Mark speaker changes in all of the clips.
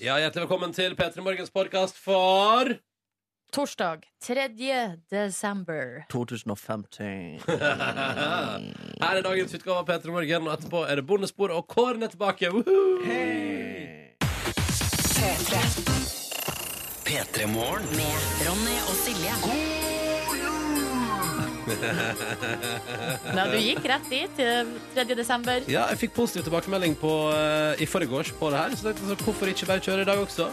Speaker 1: Ja, Hjertelig velkommen til P3 Morgens podkast for
Speaker 2: Torsdag 3. desember.
Speaker 3: 2015.
Speaker 1: Her er dagens utgave av P3 Morgen, og etterpå er det Bondespor og Kåren er tilbake. Woohoo!
Speaker 2: Med Ronny og Silje. Nei, du gikk rett dit. eh, 3. desember.
Speaker 1: Ja, jeg fikk positiv tilbakemelding på, eh, i forgårs på det her, så tenkte jeg så hvorfor ikke bare kjøre i dag også?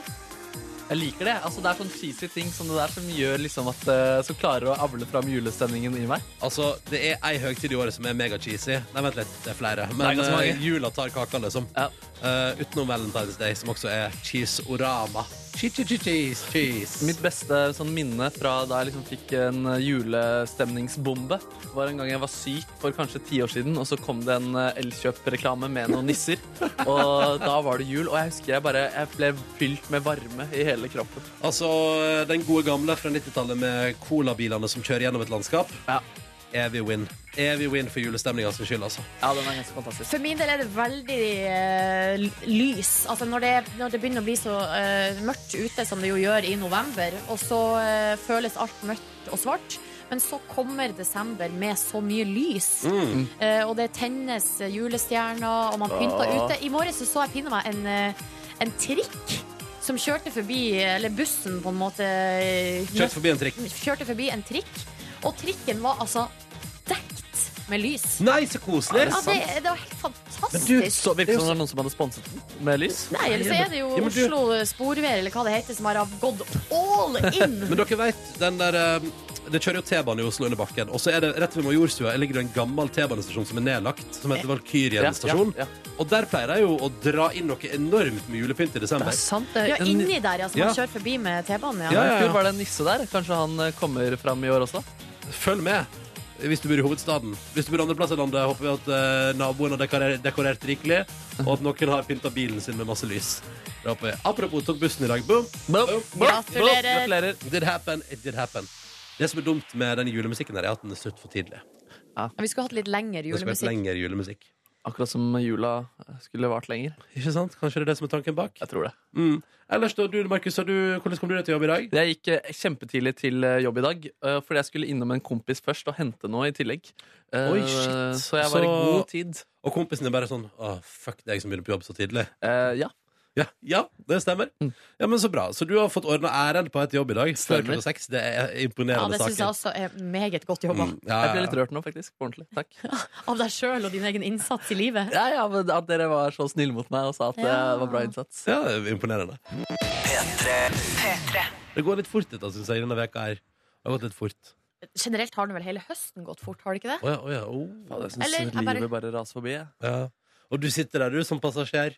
Speaker 3: Jeg liker det. altså Det er sånn cheesy ting som det der som gjør liksom at eh, Som klarer å avle fram julestemningen i meg.
Speaker 1: Altså, Det er ei høytid i året som er mega-cheesy. Nei, vent litt, det er flere.
Speaker 3: Det er
Speaker 1: Men
Speaker 3: ganske
Speaker 1: eh,
Speaker 3: mange.
Speaker 1: jula tar kaka, liksom.
Speaker 3: Ja.
Speaker 1: Eh, utenom Valentine's Day, som også er cheese-orama. Cheese, cheese, cheese, cheese.
Speaker 3: Mitt beste sånn minne fra da jeg liksom fikk en eh, julestemningsbombe, var en gang jeg var syk for kanskje ti år siden, og så kom det en eh, Elkjøp-reklame med noen nisser. Og da var det jul, og jeg husker jeg bare jeg ble fylt med varme i hele kroppen.
Speaker 1: Altså, den gode gamle fra 90-tallet med colabilene som kjører gjennom et landskap.
Speaker 3: Ja,
Speaker 1: Evig win. Evig win for julestemninga sin skyld, altså.
Speaker 3: ja den er ganske fantastisk.
Speaker 2: For min del er det veldig eh, l- lys. Altså når det, når det begynner å bli så eh, mørkt ute som det jo gjør i november, og så eh, føles alt mørkt og svart. Men så kommer desember med så mye lys, Eh, og det tennes julestjerner, og man pynter
Speaker 3: Ah.
Speaker 2: ute. I morges så, så jeg pinne meg en, eh, en trikk som kjørte forbi, eh, eller bussen på en måte eh,
Speaker 1: Kjørt forbi en trikk.
Speaker 2: kjørte forbi en trikk, og trikken var altså dekt med lys.
Speaker 1: Nei, så koselig!
Speaker 2: Ja, det, det var helt
Speaker 3: Men
Speaker 2: fantastisk.
Speaker 3: du, så virker det som det var noen som hadde sponset den med lys.
Speaker 2: Nei, eller så er det jo
Speaker 1: Ja, men du-
Speaker 2: Oslo Sporveier, eller hva det heter, som har gått all in.
Speaker 1: Men dere vet, den der eh, Det kjører jo T-bane i Oslo under bakken, og så er det rett ved Majorstua ligger det en gammel T-banestasjon som er nedlagt, som heter Valkyrien stasjon.
Speaker 3: Ja, ja,
Speaker 1: Og der pleier de jo å dra inn noe enormt med julepynt i
Speaker 3: Det
Speaker 1: desember.
Speaker 3: er sant, det.
Speaker 2: Ja,
Speaker 3: En-
Speaker 2: inni der, ja, som man
Speaker 1: Ja.
Speaker 2: kjører forbi med T-banen.
Speaker 3: Ja,
Speaker 2: Ja.
Speaker 3: I fjor var det en nisse der. Kanskje han eh, kommer fram i år også?
Speaker 1: Følg med hvis du bor i hovedstaden. Hvis du bor andre plasser i landet, håper vi at eh, naboen har dekorer- dekorert rikelig, og at noen har pynta bilen sin med masse lys. Det håper jeg. Apropos, tok bussen i dag. Boom!
Speaker 3: Blå, blå, blå.
Speaker 2: Gratulerer.
Speaker 3: Gratulerer.
Speaker 1: It did happen. It did happen. Det som er dumt med den julemusikken, her, er at den er slutt for tidlig.
Speaker 2: Vi skulle hatt litt lengre
Speaker 1: Det skulle vært
Speaker 2: julemusikk.
Speaker 1: lengre julemusikk.
Speaker 3: Akkurat som jula skulle vart lenger.
Speaker 1: Ikke sant? Kanskje det er det som er tanken bak?
Speaker 3: Jeg tror det.
Speaker 1: Mm. Ellers, da, du, Markus, har du, hvordan kom du deg til jobb i dag?
Speaker 3: Jeg gikk eh, kjempetidlig til eh, jobb i dag, eh, fordi jeg skulle innom en kompis først og hente noe i tillegg. Eh,
Speaker 1: Oi, shit.
Speaker 3: Så jeg var i
Speaker 1: Så-
Speaker 3: god tid.
Speaker 1: Og kompisen er bare sånn Å, fuck deg som begynner på jobb så tidlig.
Speaker 3: Eh, ja.
Speaker 1: Ja, ja det stemmer.
Speaker 3: Mm.
Speaker 1: Ja, men Så bra. Så du har fått ordna ærend på et jobb i dag før
Speaker 3: Stemmer.
Speaker 1: klokka seks. Det er
Speaker 2: Ja,
Speaker 1: imponerende
Speaker 2: det syns jeg
Speaker 1: saker.
Speaker 2: også er meget godt jobba.
Speaker 1: Mm, ja,
Speaker 3: Jeg
Speaker 1: ja,
Speaker 3: ble
Speaker 1: ja.
Speaker 3: litt rørt nå, faktisk. På ordentlig. Takk.
Speaker 2: Av deg sjøl og din egen innsats i livet.
Speaker 3: Ja, ja, men At dere var så snille mot meg og sa at det
Speaker 2: Ja.
Speaker 3: var bra innsats.
Speaker 1: Ja, det er imponerende. Det går litt fort, dette, syns jeg, denne veka her. Det har gått litt fort.
Speaker 2: Generelt har den vel hele høsten gått fort, har det ikke det?
Speaker 1: Å ja, å ja. å.
Speaker 3: Faen, jeg
Speaker 2: Eller,
Speaker 3: syns
Speaker 2: jeg bare-
Speaker 3: livet bare raser forbi. jeg.
Speaker 1: ja. Og du sitter der, du, som passasjer,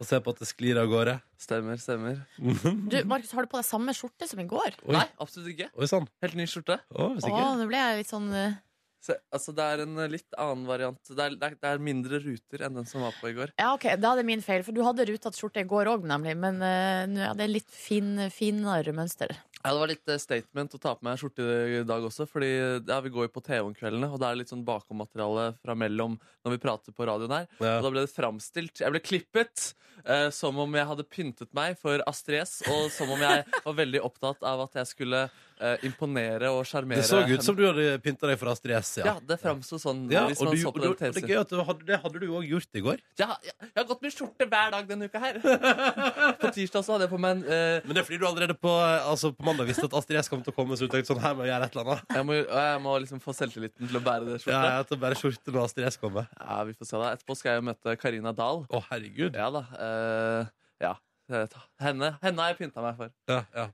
Speaker 1: og ser på at det sklir av gårde.
Speaker 3: Stemmer, stemmer.
Speaker 2: Du, Markus, har du på deg samme skjorte som i går?
Speaker 1: Oi.
Speaker 3: Nei, absolutt ikke.
Speaker 1: Oi sann.
Speaker 3: Helt ny skjorte.
Speaker 1: Å,
Speaker 2: Å,
Speaker 1: sikkert.
Speaker 2: nå ble jeg litt sånn eh,
Speaker 3: Se, altså, det er en eh, litt annen variant. Det er, det, er, det er mindre ruter enn den som var på i går.
Speaker 2: Ja, OK, da er det min feil, for du hadde rutete skjorte i går òg, nemlig. Men eh, nå er det litt fin, finere mønster.
Speaker 3: Ja, Det var litt eh, statement å ta på meg skjorte i dag også. Fordi ja, Vi går jo på TV om kveldene, og da er det litt sånn bakommateriale fra mellom når vi prater på radioen her.
Speaker 1: Ja.
Speaker 3: Og da ble det framstilt. Jeg ble klippet eh, som om jeg hadde pyntet meg for Astrid S, og som om jeg var veldig opptatt av at jeg skulle eh, imponere og sjarmere.
Speaker 1: Det så
Speaker 3: henne.
Speaker 1: ut som du hadde pynta deg for Astrid S.
Speaker 3: ja, det framsto sånn.
Speaker 1: Ja,
Speaker 3: hvis
Speaker 1: og,
Speaker 3: man
Speaker 1: du,
Speaker 3: så
Speaker 1: og,
Speaker 3: på
Speaker 1: du,
Speaker 3: den
Speaker 1: og det er
Speaker 3: TV-serien.
Speaker 1: gøy at du hadde, det hadde du òg gjort i går.
Speaker 3: Ja, ja, jeg har gått med skjorte hver dag denne uka her. på tirsdag så hadde jeg på meg en eh,
Speaker 1: Men det er fordi du allerede på, altså, på mandag visste at Astrid S kom til å komme. Så du tenkte sånn, her må jeg gjøre et eller annet
Speaker 3: jeg, må, jeg må liksom få selvtilliten til å bære det
Speaker 1: Ja,
Speaker 3: skjorta.
Speaker 1: jeg tar bare skjorte når Astrid S kommer.
Speaker 3: Ja, vi får se da. Etterpå skal jeg jo møte Karina Dahl.
Speaker 1: Å, herregud.
Speaker 3: Ja da. eh, ja. Eh, ta- Henne, henne har jeg pynta meg for.
Speaker 1: Ja, ja.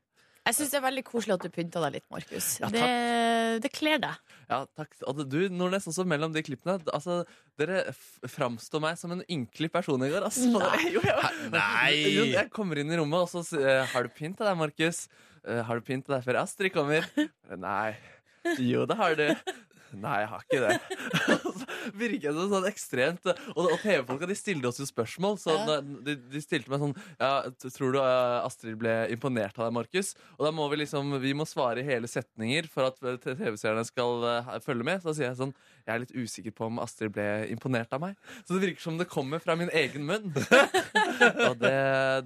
Speaker 2: Jeg syns det er veldig koselig at du pynta deg litt, Markus.
Speaker 3: Ja, takk.
Speaker 2: det det kler deg.
Speaker 3: Ja, takk. Og du, Nordnes, også sånn mellom de klippene. Altså, dere f- framstår meg som en ynkelig person i går. Altså.
Speaker 2: Nei.
Speaker 3: Jo, ja.
Speaker 1: Nei.
Speaker 3: Jo, jeg kommer inn i rommet, og så sier jeg, Har du pynt til deg, Markus? «Eh, Har du pynt til deg før Astrid kommer? Eh, Nei. Jo, det har du. Nei, jeg har ikke det. Så Virker jeg som sånn ekstremt Og, og TV-folka de stilte oss jo spørsmål. Så
Speaker 2: Ja.
Speaker 3: da- de, de stilte meg sånn ja, t- Tror du eh, Astrid ble imponert av deg, Markus? Og da må vi liksom Vi må svare i hele setninger for at eh, t- TV-seerne skal eh, ha- følge med. Så da sier jeg sånn Jeg er litt usikker på om Astrid ble imponert av meg. Så det virker som det kommer fra min egen munn. Og det,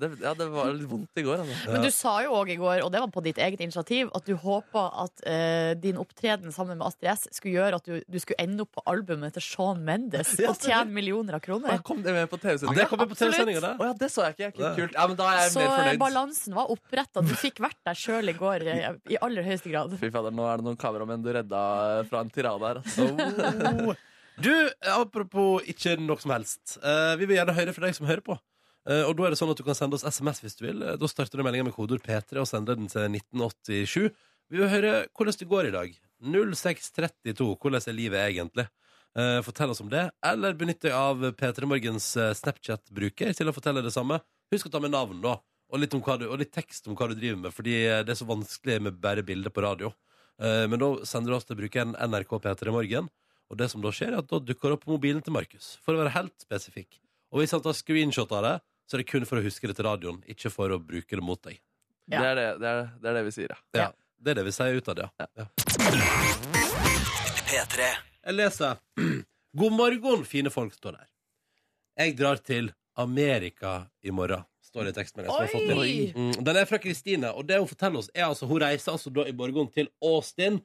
Speaker 3: det, ja, det var litt vondt i går. Altså.
Speaker 2: Men du sa jo òg i går, og det var på ditt eget initiativ, at du håpa at eh, din opptreden sammen med Astrid S skulle gjøre at du, du skulle ende opp på albumet til Sean Mendes og tjene millioner av
Speaker 3: Ja,
Speaker 2: kroner.
Speaker 3: Kom det med på TV-sendinga?
Speaker 1: Det kommer på TV-sendinga, det.
Speaker 3: Å ja, det så jeg ikke. ikke. Kult. Ja, men da er jeg
Speaker 2: Så
Speaker 3: mer
Speaker 2: eh,
Speaker 3: fornøyd.
Speaker 2: balansen var oppretta. Du fikk vært deg sjøl i går, eh, i aller høyeste grad.
Speaker 3: Fy fader, nå er det noen kameramenn du redda eh, fra en tirade her. Altså.
Speaker 1: Oh. Du, apropos ikke noe som helst. Eh, vi vil gjerne høre fra deg som hører på. Eh, og da er det sånn at Du kan sende oss SMS hvis du vil. Eh, Da starter du meldinga med kodeord P3 og sender den til 1987. Vi vil høre hvordan det går i dag. 0632. Hvordan er livet egentlig? Eh, fortell oss om det. Eller benytt deg av P3 Morgens eh, Snapchat-bruker til å fortelle det samme. Husk å ta med navn, da. Og litt, om hva du, og litt tekst om hva du driver med, fordi eh, det er så vanskelig med bare bilder på radio. Eh, men da sender du oss til brukeren NRK P3 Morgen. Og det som da skjer er at da dukker det opp på mobilen til Markus For å være helt spesifikk Og hvis han tar screenshot av det Så er det kun for å huske det til radioen Ikke for å bruke det mot deg
Speaker 2: Ja.
Speaker 3: Det, er det, det, er, det er det vi sier, ja.
Speaker 1: ja. Det er det vi sier ut av det ja. Jeg leser God morgen, fine folk står der Jeg drar til Amerika i morgen Står det i tekstmeldingen som jeg har fått i dag.
Speaker 2: Oi!
Speaker 1: Mm, den er fra Kristine, og det hun forteller oss er altså Hun reiser altså da i morgen til Austin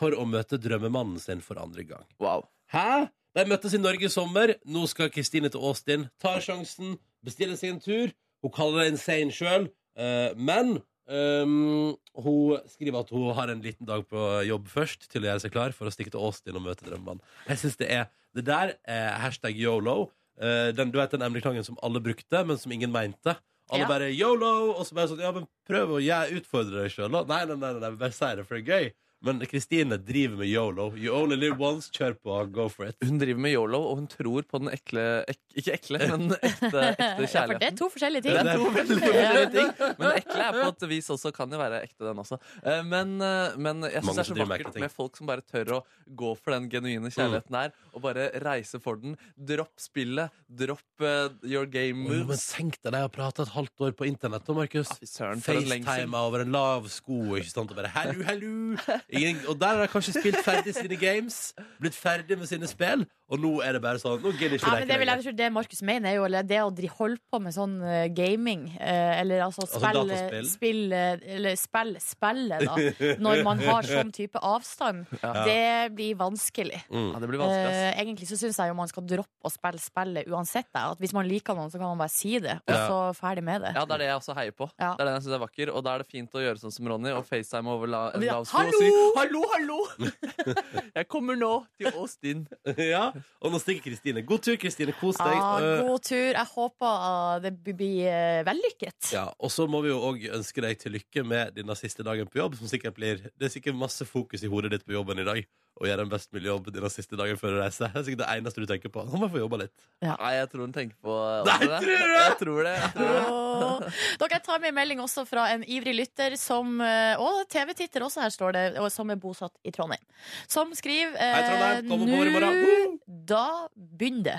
Speaker 1: For å møte drømmemannen sin for andre gang
Speaker 3: Wow.
Speaker 1: Hæ? De møttes i Norge i sommer. Nå skal Kristine til Austin. Tar sjansen, bestiller sin tur. Hun kaller det insane sjøl, Eh, men ehm, hun skriver at hun har en liten dag på jobb først til å gjøre seg klar for å stikke til Austin og møte drømmemannen. Jeg synes det er Det der er hashtag yolo. Eh, den, du vet den emneklangen som alle brukte, men som ingen mente. Alle
Speaker 2: Ja.
Speaker 1: bare yolo, og så bare sånn Ja, men prøv å gjøre- utfordre deg sjøl, da. Nei, nei, nei, nei, bare si det for det er gøy. Men Kristine driver med yolo. You only live once. Kjør på. Go for it.
Speaker 3: Hun driver med yolo, og hun tror på den ekle ek, Ikke ekle, men ekte, ekte
Speaker 2: Ja, for det er
Speaker 3: kjærligheten.
Speaker 2: to forskjellige
Speaker 3: Det
Speaker 2: ting.
Speaker 3: er to veldig forskjellige ting. Men ekle er på et vis også kan jo være ekte, den også. Eh, Men, eh, men jeg
Speaker 1: Mange
Speaker 3: syns det er
Speaker 1: som
Speaker 3: så
Speaker 1: driver med ekle
Speaker 3: vakkert
Speaker 1: ting.
Speaker 3: med folk som bare tør å gå for den genuine
Speaker 1: Mm.
Speaker 3: kjærligheten her, og bare reise for den. Dropp spillet. Dropp eh, your game
Speaker 1: Jo, men
Speaker 3: moves.
Speaker 1: tenk deg deg å prate et halvt år på internett da, Markus.
Speaker 3: Fy søren, for en lengsel.
Speaker 1: FaceTime over en lav sko, ikke sant? Og bare hello, hello. Ingen, og der har de kanskje spilt ferdig sine games, blitt ferdig med sine spill, og nå er det bare sånn Nå gidder jeg
Speaker 2: Ja,
Speaker 1: ikke
Speaker 2: men det, vil jeg
Speaker 1: lenger.
Speaker 2: tro det Markus mener, er jo eller det å dri- holde på med sånn eh, gaming, eh, eller altså spill,
Speaker 1: dataspill?
Speaker 2: spill eh, Eller spill, spillet, da. Når man har sånn type avstand.
Speaker 3: Ja.
Speaker 2: Det blir vanskelig.
Speaker 1: Mm.
Speaker 3: Ja, det blir vanskelig, ass.
Speaker 2: Eh, egentlig så syns jeg jo man skal droppe å spille spillet uansett. jeg. At hvis man liker noen, så kan man bare si det, og
Speaker 1: Ja.
Speaker 2: så ferdig med det.
Speaker 3: Ja, det er det jeg også heier på.
Speaker 2: Ja.
Speaker 3: Det er det jeg synes er vakker Og da er det fint å gjøre sånn som Ronny og facetime over la en
Speaker 2: Ja,
Speaker 3: lav sko og
Speaker 2: hallo!
Speaker 3: si Hallo, hallo! jeg kommer nå til Austin.
Speaker 1: ja, og nå stikker Kristine. God tur, Kristine. Kos deg.
Speaker 2: Ah,
Speaker 1: Eh,
Speaker 2: god tur. Jeg håper ah, det b- blir eh, vellykket.
Speaker 1: Ja, og så må vi jo òg ønske deg til lykke med dine siste dagen på jobb. Som sikkert blir, det er sikkert masse fokus i hodet ditt på jobben i dag. Og gjøre en best mulig jobb dine siste dagen før du reiser. Det er sikkert det eneste du tenker på. Nå må jeg få jobba litt.
Speaker 3: Nei, jeg tror hun tenker på
Speaker 1: Nei, tror du det?
Speaker 3: Jeg tror det. Jeg tror det.
Speaker 2: Åh. Dere, jeg tar med en melding også fra en ivrig lytter som eh, Og TV-titter også, her står det, og som er bosatt i Trondheim. Som skriver
Speaker 1: Hei,
Speaker 2: eh,
Speaker 1: Trondheim. Kom og bor i morgen.
Speaker 2: Nå da begynner det.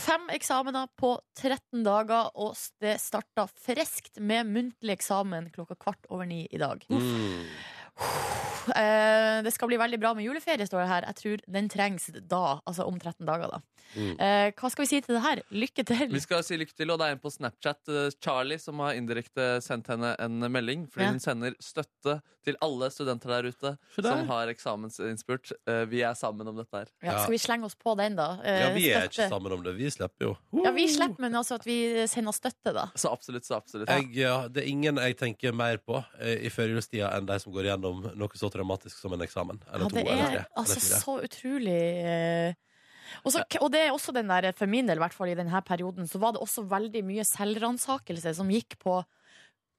Speaker 2: Fem eksamener på 13 dager, og det starta friskt med muntlig eksamen klokka kvart over ni i dag. Eh, det skal bli veldig bra med juleferie, står det her. Jeg tror den trengs da, altså om 13 dager, da.
Speaker 1: Mm.
Speaker 2: Eh, hva skal vi si til det her? Lykke til!
Speaker 3: Vi skal si lykke til, og det er en på Snapchat, eh, Charlie, som har indirekte sendt henne en melding. Fordi
Speaker 2: Ja.
Speaker 3: hun sender støtte til alle studenter der ute
Speaker 1: Se der.
Speaker 3: som har eksamensinnspurt. Eh, Vi er sammen om dette her.
Speaker 2: Ja,
Speaker 1: Ja.
Speaker 2: skal vi slenge oss på den, da? Eh,
Speaker 1: Ja, vi er ikke
Speaker 2: støtte.
Speaker 1: sammen om det. Vi slipper jo.
Speaker 2: Ja, vi slipper, men altså at vi sender støtte, da.
Speaker 3: Så absolutt, så absolutt.
Speaker 1: Jeg, ja, det er ingen jeg tenker mer på eh, i førjulstida enn de som går gjennom noe så traumatisk som en eksamen.
Speaker 2: Ja,
Speaker 1: Eller to,
Speaker 2: det
Speaker 1: eller tre.
Speaker 2: er
Speaker 1: eller
Speaker 2: altså
Speaker 1: fire.
Speaker 2: så utrolig eh, og så- og det er også den der, eh, for min del, i hvert fall i denne perioden, så var det også veldig mye selvransakelse som gikk på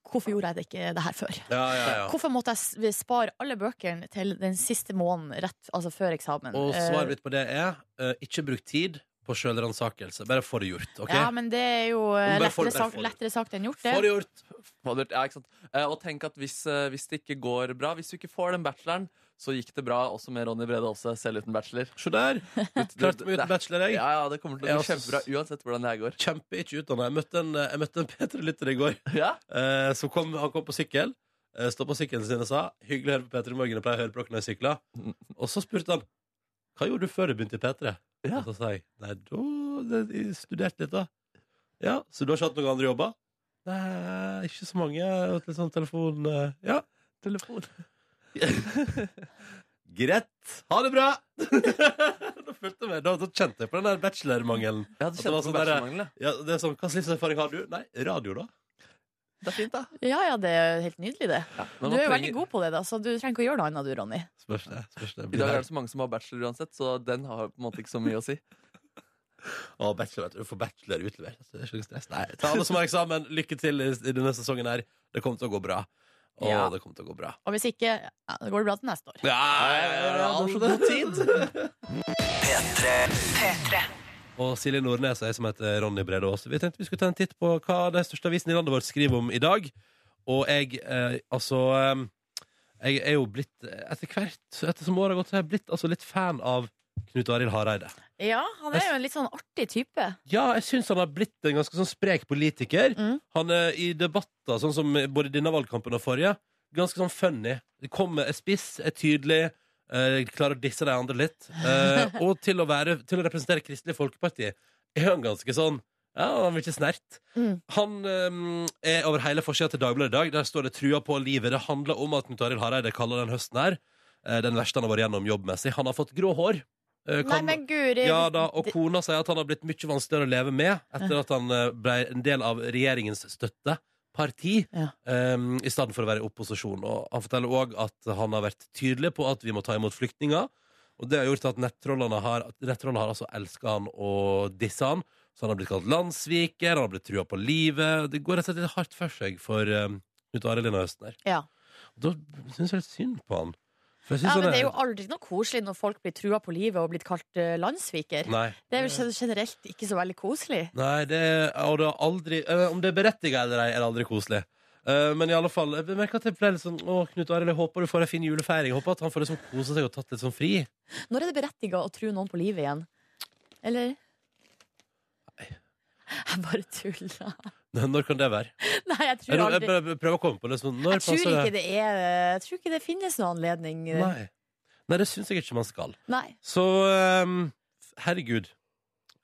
Speaker 2: Hvorfor gjorde jeg det ikke det her før?
Speaker 1: Ja, ja, ja.
Speaker 2: Hvorfor måtte jeg s- spare alle bøkene til den siste måneden rett, altså før eksamen?
Speaker 1: Og svaret
Speaker 2: Eh,
Speaker 1: mitt på det er eh, ikke bruk tid på sjølransakelse. Bare få det gjort. OK?
Speaker 2: Ja, men det er jo eh,
Speaker 1: Men bare for-
Speaker 2: lettere,
Speaker 1: bare
Speaker 2: sak,
Speaker 1: for-
Speaker 2: lettere sagt enn gjort,
Speaker 1: Få
Speaker 2: det.
Speaker 1: det gjort!
Speaker 3: Hva du- Ja, ikke sant? Eh, Og tenk at hvis, eh, hvis det ikke går bra, hvis du ikke får den bacheloren, så gikk det bra også med Ronny Brede Aase, selv uten bachelor.
Speaker 1: Se der. Klarte meg uten bachelor, jeg.
Speaker 3: Ja, ja, det kommer til å
Speaker 1: Jeg
Speaker 3: gå
Speaker 1: også-
Speaker 3: kjempebra uansett hvordan det her går.
Speaker 1: Kjempe ikke utdanna. Jeg møtte en, jeg møtte en P3-lytter i går.
Speaker 3: Ja,
Speaker 1: Eh, som kom, han kom på sykkel, eh, stod på sykkelen sin og sa 'Hyggelig å høre på P3 i morgen', jeg pleier å høre på dere når jeg sykler. Og så spurte han 'Hva gjorde du før du begynte i P3?'
Speaker 3: Ja.
Speaker 1: Og så sa jeg 'Nei, da det- jeg studerte litt, da'. Ja, Så du har ikke hatt noen andre jobber? Nei, ikke så mange. Jeg har hatt Litt sånn telefon eh, Ja, telefon. Greit. Ha det bra! da følte jeg meg, da, da kjente jeg på den der bachelormangelen.
Speaker 3: Jeg
Speaker 1: At
Speaker 3: hadde
Speaker 1: det
Speaker 3: kjent
Speaker 1: var
Speaker 3: på
Speaker 1: sånn der-
Speaker 3: bachelormangel. jeg.
Speaker 1: Ja, det er sånn, Hva slags livserfaring har du? Nei, radio, da.
Speaker 3: Det er fint, da.
Speaker 2: Ja, ja, det er helt nydelig, det. Du er
Speaker 3: Men man
Speaker 2: jo
Speaker 3: trenger-
Speaker 2: veldig god på det, da, så du trenger ikke å gjøre noe annet, du, Ronny.
Speaker 1: Spørs det. spørs det.
Speaker 3: I dag er det så mange som har bachelor uansett, så den har på en måte ikke så mye å si.
Speaker 1: Å, bachelor, vet du. Du får bachelor utlevert. altså, Det er ikke noe stress. Nei, ta alle som har eksamen. Lykke til i, i denne sesongen her. Det kommer til å gå bra. Å,
Speaker 2: Ja.
Speaker 1: det kommer til å gå bra.
Speaker 2: Og hvis ikke, ja, da går det bra til neste år.
Speaker 1: Ja, ja, ja, ja,
Speaker 3: Eh, All
Speaker 1: alt.
Speaker 3: god tid.
Speaker 1: Og Silje Nordnes og jeg som heter Ronny Brede Aase. Vi tenkte vi skulle ta en titt på hva de største avisene i landet vårt skriver om i dag. Og jeg, eh, altså eh, Jeg er jo blitt, eh, etter hvert etter som året har gått, så er jeg blitt altså, litt fan av Knut Arild Hareide.
Speaker 2: Ja, han er jo en litt sånn artig type.
Speaker 1: Ja, jeg syns han har blitt en ganske sånn sprek politiker.
Speaker 2: Mm.
Speaker 1: Han er i debatter, sånn som både denne valgkampen og forrige, ganske sånn funny. Kommer, er spiss, er tydelig, eh, klarer å disse de andre litt. Eh, og til å, være, til å representere Kristelig Folkeparti er han ganske sånn ja, han vil ikke snert.
Speaker 2: Mm.
Speaker 1: Han eh, er over hele forsida til Dagbladet i dag. Der står det 'Trua på livet'. Det handler om at Knut Arild Hareide kaller den høsten her eh, den verste han har vært gjennom jobbmessig. Han har fått grå hår. Eh,
Speaker 2: Nei,
Speaker 1: kan-
Speaker 2: men guri.
Speaker 1: ja da, og kona sier at han har blitt mye vanskeligere å leve med etter at han eh, ble en del av regjeringens støtteparti
Speaker 2: Ja.
Speaker 1: em, i stedet for å være i opposisjon. Og han forteller òg at han har vært tydelig på at vi må ta imot flyktninger. Og det har gjort at nettrollene har, at nettrollene har altså elska han og dissa han. Så han har blitt kalt landssviker, han har blitt trua på livet. Det går rett og slett litt hardt for seg for um, Knut Arild denne høsten her.
Speaker 2: Ja.
Speaker 1: Da syns jeg litt synd på han. For jeg synes
Speaker 2: Ja, men
Speaker 1: han
Speaker 2: det er jo aldri noe koselig når folk blir trua på livet og blitt kalt eh, landssviker.
Speaker 1: Nei.
Speaker 2: Det er jo generelt ikke så veldig koselig.
Speaker 1: Nei, det, og det har aldri eh, Om det er berettiget eller ei, er det aldri koselig. Eh, men i alle fall, jeg merker at jeg ble litt sånn Å, Knut Arild, jeg håper du får ei en fin julefeiring. Jeg håper at han får liksom kose seg og tatt litt sånn fri.
Speaker 2: Når er det berettiga å tro noen på livet igjen? Eller? Jeg bare tuller.
Speaker 1: Når når kan det være?
Speaker 2: Nei, jeg
Speaker 1: Jeg,
Speaker 2: tror
Speaker 1: jeg,
Speaker 2: aldri
Speaker 1: bare- jeg prøver å komme på det. Sånn, når
Speaker 2: Jeg tror
Speaker 1: passer
Speaker 2: ikke det er Jeg tror ikke det finnes noen anledning. Nei.
Speaker 1: Nei. Nei, det syns jeg ikke man skal. Så ehm, herregud.